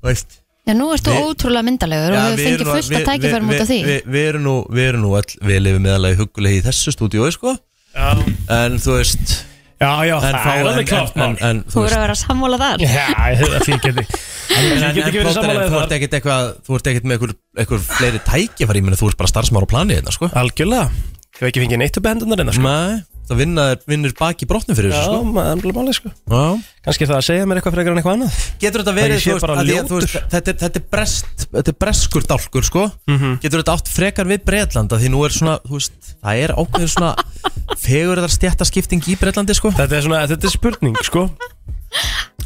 Þú Veist.
Já, nú ert þú
Við-
ótrúlega myndalegur og
Já,
hefur
við erum
fengið
nú-
fullt
við-
af tækifærum
við-
út af því
Við, við, við erum nú, við erum nú all, við lifum meðalagi huggulegi í þessu stúdíói sko.
Já,
En þú veist,
já, já
en
það
fá-
er alveg
en,
klárt
en,
mál.
en, en þú
Þú
veist,
eru að vera að sammála þar
Já, það því geti Því
En, en, en
geti ekki verið
plóterinn,
samanlega
þú ert
þar
ekkert eitthvað, þú ert ekkert með einhver, einhver fleiri tækifæri, ég meina þú ert bara starfsmára á planið hérna, sko.
Algjörlega Ég hef ekki fengið neitt upp hendunar hérna sko.
Nei, það vinna, vinnur baki brotnum fyrir
Já,
þessu, sko.
maður er máli sko
Já.
Kannski það að segja mér eitthvað frekar en eitthvað annað
Getur þetta
Það
verið,
ég sé
þú veist,
bara
að því að þú veist,
ljótur.
þetta er, þetta er brest, þetta er breskur dálkur, sko.
Mhm.
Getur þetta átt frekar við Breitlanda, því nú er svona, þú veist, það er ákveður svona fegurðar stjættaskipting í Breitlandi, sko.
Þetta er svona, þetta er spurning sko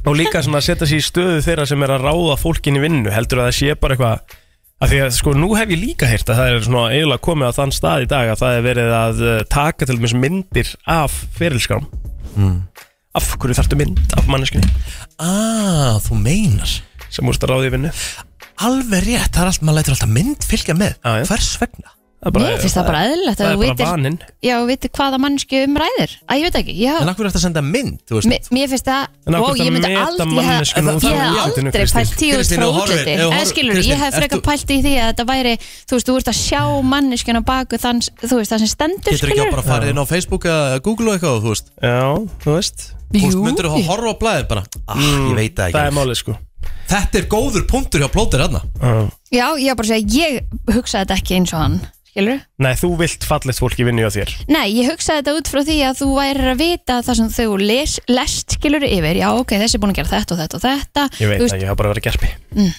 Og líka svona að setja sér í stöðu þeirra sem er að ráða fólkin í vinnu Heldur að það sé bara eitthvað að Því að sko nú hef ég líka heyrt að það er svona eiginlega komið á þann stað í dag að það er verið að eh, taka til dæmis myndir af ferilskám Af hverju þarftu mynd af manneskinni
Ah, þú meinar.
sem úrst að ráða í vinnu
Alveg rétt, það er allt, maður lætur alltaf mynd fylgja með.
Já, já.
Hvers vegna?
er
Mér finnst það bara eðlilegt að
Það
þú
er bara
vitir,
vaninn
já, vitir hvaða mannsku um ræðir Æ, ég veit ekki, já
En akkur er þetta að senda mynd, þú veist
Mér, mér finnst það,
En af
og
hverju ertu
ég
að
myndi
meta
aldrei ég hef-
manneskjuna út frá
ég hef
útlitinu,
aldrei
Kristín?
pælt tíu út
Kristín, ef
frá
þú horfir-
útliti
ef þú
eða
horfir-
skilur,
Kristín,
ég hef
ert
frekar
þú-
pælt í því að þetta væri þú veist, þú ert að sjá manneskjuna baku þann, þú veist, það sem stendur
Getur ekki
skilur
að bara farið inn á Facebook eða Google og eitthvað, þú veist
Já, þú veist
Þú veist, myndir þú að horfa á blæðin bara Ah, ég veit það
Mm, Það er
ekki
málið sko
Þetta er góður punktur hjá plótir hérna
Já.
Já, ég hef bara að segja, ég hugsaði þetta ekki eins og hann skilur
Nei, þú vilt fallegt fólki vinni á þér
Nei, ég hugsaði þetta út frá því að þú værir að vita það sem þú les, lest skilur yfir, já ok, þessi er búin að gera þetta og þetta og þetta
Ég veit
Þú
það, ég hafa bara verið gerpi mm.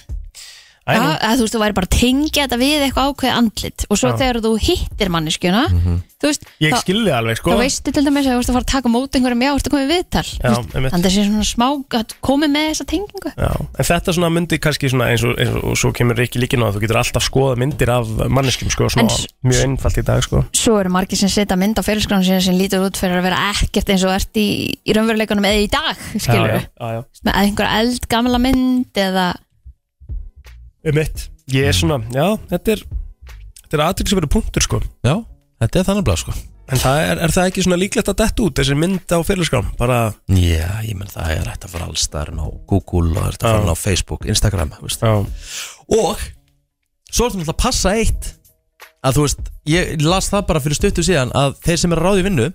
Æ,
Já,
nú,
að þú veist, þú væri bara að tengja þetta við eitthvað ákveð andlit og svo þegar þú hittir manneskjuna þú veist,
Mhm. ég
þá,
skilði alveg sko
þá veistu til dæmis að þú veist að fara að taka mót einhverjum, já, þú veist að koma í viðtal
Já,
Þú veist,
einmitt.
þannig að það sé svona smá að komi með þessa tengingu
Já, en þetta svona myndi kannski svona eins og, eins og, og svo kemur ekki líkinu að þú getur alltaf skoða myndir af manneskjum sko,
En
svona,
s-
mjög einfalt í dag sko.
Svo eru margir sem setja mynd á fyrirskránu sína sem lítur út fyrir að vera ekkert eins og þú ert í, í raunveruleikunum eða í dag, skilur
já,
við
já, já, já.
með einhverja eldgamla mynd eða,
Um mitt Ég er svona, já, þetta er þetta er aðtrygg sem verður punktur sko
Já, þetta er þannig blæð, sko
En það er, er það ekki svona líklegt að detta út þessi mynd á fyrirskám, bara
Já, ég menn það er hægt að fara alls þar á Google og þetta
Já.
fara inn á Facebook, Instagram, þú veist
Já,
Og svo er þetta náttúrulega að passa eitt að þú veist, ég las það bara fyrir stuttu síðan að þeir sem er að ráða í vinnu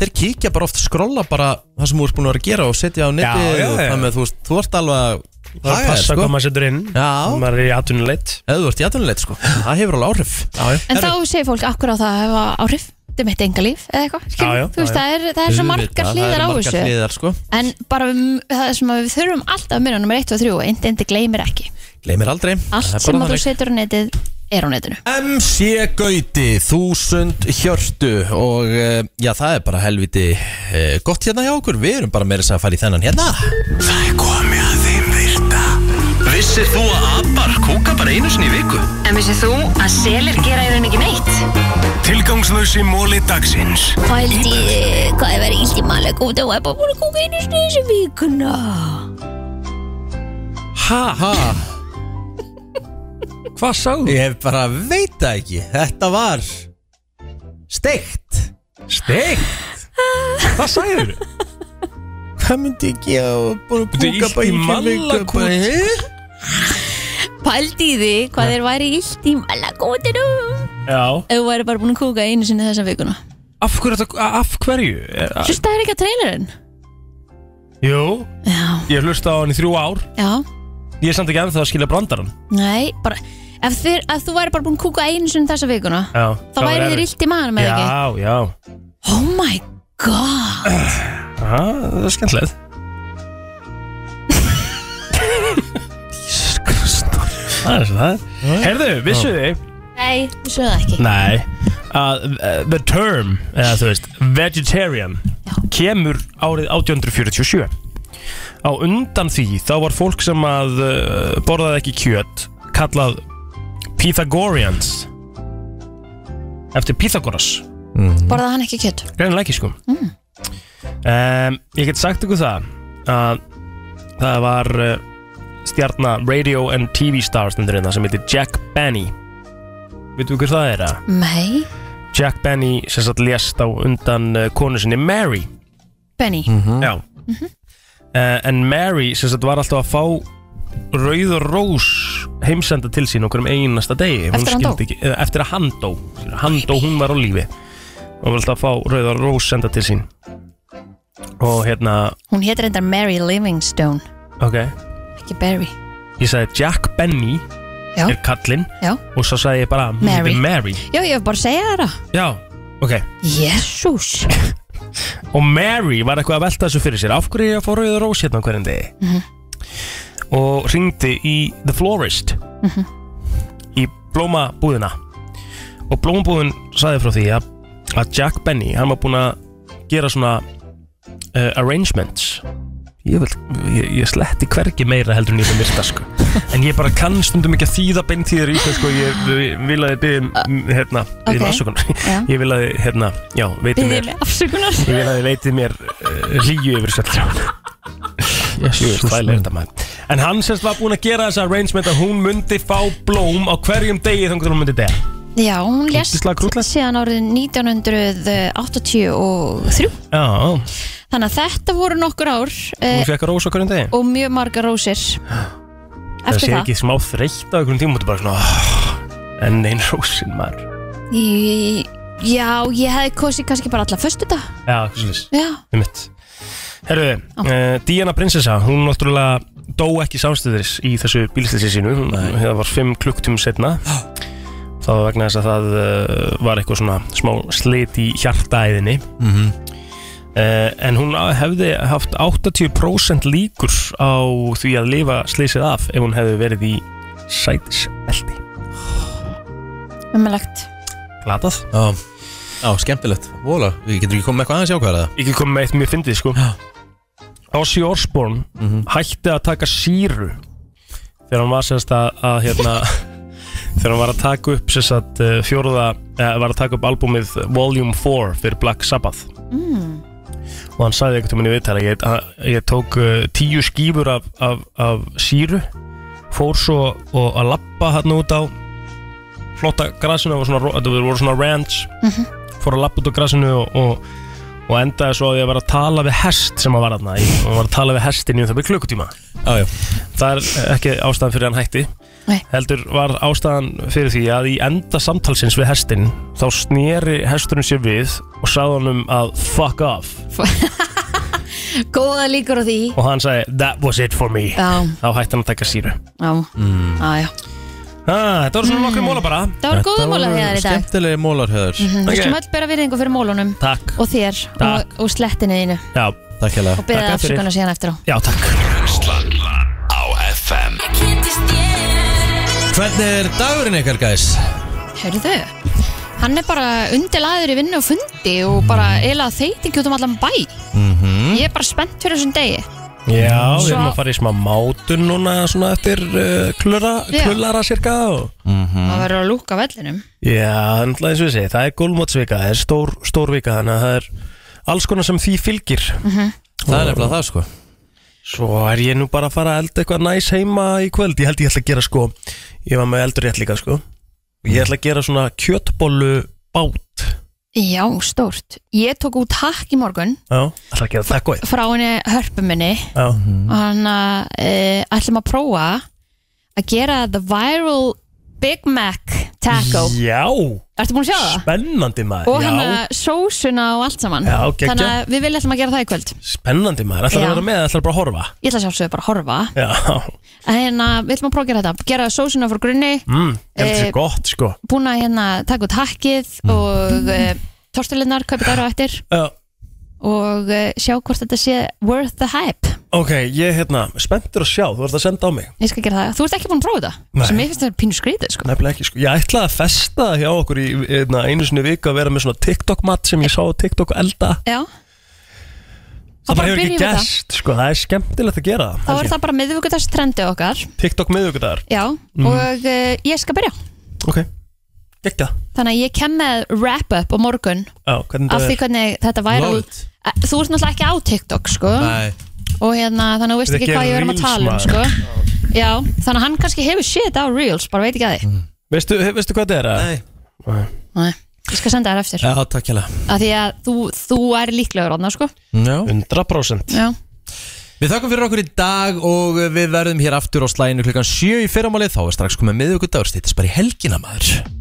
þeir kíkja bara oft skrolla bara það sem þú ert búin að vera að gera og setja á netti
Já, já,
og
já.
þannig að þú veist, þú ert alveg að
það er
haga þér,
passa
sko.
hvað maður setur inn
Já.
maður er í atvinnuleit
Ef þú ert í atvinnuleit sko, það hefur alveg áhrif
Já, já
en þá segir fólk akkur á það að hafa áhrif, þetta er mitt enga líf eða eitthvað, skilur
Já, já,
við, þú veist,
já,
það er, það er svo
Auðvitað,
margar hliðar á
það eru
þessu
margar hliðar sko
En bara um, það sem við þurfum alltaf að myrja nummer 1 og 3 og endi endi gleymir ekki
Gleimir aldrei
Allt
Það er
sem
bara
að þú
þannig.
setur á netið er á netinu
MC Gauti, þúsund hjörtu og eh, já það er bara helviti eh, gott hérna hjá okkur Við erum bara meira þess að fara í þennan hérna
Það er komið að þeim virta Vissir þú að abar kúka bara einu sinni í viku?
En vissið þú að selir gera í rauninni ekki neitt?
Tilgangslösi móli dagsins
Haldi, hvað er verið ílt í malega út og er bara búin að kúka einu sinni þessu vikuna
Ha ha
Hvað sagðu?
Ég bara veit það ekki Þetta var Steikt
Steikt Hvað sagðu þau?
Það myndi ekki að búin að
Þetta er illt í mallakút.
Pældi í því hvað þeir væri illt í malagótinum
Já
Ef þú væri bara búin að kúka einu sinni þessa vikuna
Af hverju? er þetta- Af hverju? Er- að-
Hlusta þér ekki að trailerinn?
Jú
Já,
Ég hlusta á hann í þrjú ár
já,
Ég er samt ekki ennþá að skilja brandarann
nei, bara Ef, þeir, ef þú væri bara búin að kúka einu sinni þessa vikuna
Já
Þá væri þér illt í maður með ekki
Já, já
Oh my god
Aha, Það er skemmtilegt Það er svo það er Herðu, vissu þið
Nei, þú sögðu það ekki
Nei að uh, The term, eða þú veist Vegetarian kemur árið 1847 Á undan því þá var fólk sem að uh, borðaði ekki kjöt kallað Pythagoreans Eftir Pythagoras
Borðaði hann ekki kjött
Greinilega ekki sko um, Ég get sagt ykkur það að það var uh, stjarna radio and TV star stundur hérna sem heitir Jack Benny Veitum við hver það er að?
Nei,
Jack Benny sem satt lést á undan uh, konu sinni Mary
Benny
Já
Mhm.
uh, En Mary sem satt var alltaf að fá rauð og rós heimsenda til sín okkur um einasta degi Hún
Eftir að hann dó?
skildi ekki- eh, Eftir að hann dó Skilur, Hann dó, hún var á lífi og var alltaf að fá rauð og rós senda til sín Og hérna,
Hún hétir endar Mary Livingstone
ok
Ekki Barry
Ég sagði Jack Benny
Já.
er kallinn
Já.
og svo sagði ég bara hún
Mary.
heitir Mary
Já, ég hef bara að segja þér það
Já, ok
Jésús
og Mary var eitthvað að velta þessu fyrir sér af hverju er ég að fá rauður rós hérna á hverjum degi
Mhm.
og ringdi í The Florist
Mhm.
í blómabúðina og blómabúðin saði frá því að, að Jack Benny, hann var búinn að gera svona uh, arrangements ég, vil, ég, ég sletti hvergi meira heldur en ég það myrta sko en ég bara kann stundum ekki að þýða beintíðir í þessu sko, ég, ég vil að þið byggjum hérna, byggjum
ok.
afsökunar
Já.
ég vil að þið, hérna, já, veitum mér
Byrðið afsökunar
Ég vil að þið leitið mér uh, hlýju yfir svelltrán Jésús, hvað er þetta maður En hann semst var búinn að gera þessa arrangement að hún myndi fá blóm á hverjum degi þannig að hún myndi dega
Já, hún lést
Ógeðslega krúttlegt.
síðan árið 1983
Já, hún
Þannig að þetta voru nokkur ár uh,
fekk að rósa hverjum degi
og mjög margar rósir
Það
eftir
sé
það
ekki smá þreytt á einhvern tíma Þú bara svona "Ah, Enn einn rósin maður
Í- Já, ég hefði kosið kannski bara alla föstu dag
Já, hvað svolítið
Já,
um mitt Herru,
Já.
uh, Diana Prinsessa, hún náttúrulega dó ekki samstöðuris í þessu bílstilsi sínu Hún- það var 5 klukktum setna það var vegna þess að það uh, var eitthvað svona smá slit í hjartaæðinni
mm -hmm.
uh, en hún á- hefði haft 80% líkur á því að lifa slisið af ef hún hefði verið í sætiseldi
ummelagt
Glatað
Já, já, skemmtilegt Vola, við getum ekki komið með eitthvað aðeins jákvæðar það
Ekki komið með eitt mjög fyndið sko
Já.
Ozzy Osbourne
Mhm.
hætti að taka síru þegar hann var sérst að, að hérna, þegar hann var að taka upp sérst að eh, fjórða eh, var að taka upp albúmið Volume 4 fyrir Black Sabbath
mm.
og hann sagði einhvern veginn í viðtæla ég, að- ég tók eh, tíu skífur af, af, af síru fór svo og að lappa hann út á flotta grasinu það voru svona, ro- þetta voru svona ranch
Mhm.
fór að lappa út á grasinu og, og, og endaði svo að ég var að tala við hest sem að var hann og var að tala við hestin í um það byrja klukkutíma
Já, já,
það er eh, ekki ástæðan fyrir að hann hætti
Nei.
heldur var ástæðan fyrir því að í enda samtalsins við hestin þá sneri hesturinn sér við og sagði honum að fuck off
Góða líkur á því
og hann sagði that was it for me
Já,
þá hætti hann að taka síru
já,
mm.
já, já
ah, þetta var svona nokkri móla bara
Það voru góða mólar hér í dag
Skemmtilegi mólarhöður
Mhm, Við
Ok.
skulum öll bera virðingu fyrir mólunum
takk
og þér og,
Takk.
og slettinu þínu
já,
Takk hella
og byrjaði
Takk fyrir.
afsökunar síðan eftir á
já takk
Hvernig er dagurinn ykkar, guys?
Hörðu, hann er bara undirlaður í vinnu og fundi og bara eiginlega þeitingi út um allan bæ
Mhm.
Ég er bara spennt fyrir þessum degi
já, við
Svo-
erum að fara í smá mátun núna svona eftir uh, klura,
Já.
klurlara cirka og
Það verður að lúka vellinum
Já, en alltaf eins og ég segi, það er gólmótsvika, það er stór, stór vika, þannig að það er alls konar sem því fylgir.
Það er nefnilega það, sko
Svo er ég nú bara að fara að elda eitthvað næs heima í kvöld, ég held ég ætla að gera sko, ég var með eldur rétt líka sko, og ég ætla að gera svona kjötbollu bát.
Já, stórt Ég tók út hakk í morgun
Já, ætla að gera það góð.
frá henni hörpuminni
Já,
og hann uh, ætlum að prófa að gera the viral Big Mac taco
Já
Ertu búin að sjá það?
spennandi maður,
Og hann
já,
að sósuna og allt saman
Já, geggjað.
Þannig að við viljum ætlum að gera það í kvöld
spennandi maður, ætla
Já.
að vera með, ætla bara að horfa.
Ég ætla að sjálfsögðu bara að horfa
Já,
En hérna, við ætlum að prófa að gera þetta Gera sósuna frá grunni,
mm, ég held
Eh,
þessi gott sko.
búin að hérna taka út hakkið og uh, torstilinnar kaupið þær á eftir
Já.
og uh, sjá hvort þetta sé worth the hype
Ok, ég hérna, spenntur að sjá, þú ert að senda á mig.
Ég skal gera það, þú ert ekki búin að prófa
Nei.
þetta sem ég finnst þetta pínu skrítið sko
Nefnilega ekki sko, ég ætlaði að festa það hjá okkur í einna, einu sinni viku að vera með svona TikTok-mat sem ég sá á TikTok elda
Já,
Það
bara
bara hefur
byrjum
ekki
við það.
gæst, sko, það er skemmtilegt að gera
þá er það bara miðvíkudags trendið okkar
TikTok miðugudagar
Já, og uh, ég skal byrja
Ok, ekki það
Þannig að ég kem með wrap-up á morgun
Já, hvernig
af
það
því
er
hvernig þetta væri Eh,
Love it.
Þú ert náttúrulega ekki á TikTok sko
Nei,
og hérna, þannig að þú veist
Þetta
ekki hvað
gerir
ég verðum að
reels,
tala um
maður.
sko Já, þannig að hann kannski hefur shit á Reels bara veit ekki að því
Veistu, veistu hvað það er? að-
nei
Nei, Ég skal senda þér eftir
Já, takk hella
af því að þú, þú er líklegur átna sko
Já
100%
Já,
Við þakkum fyrir okkur í dag og við verðum hér aftur á slæðinu klukkan 7 í fyrramálið þá er strax komið miðugudagur stýttist bara í helgina maður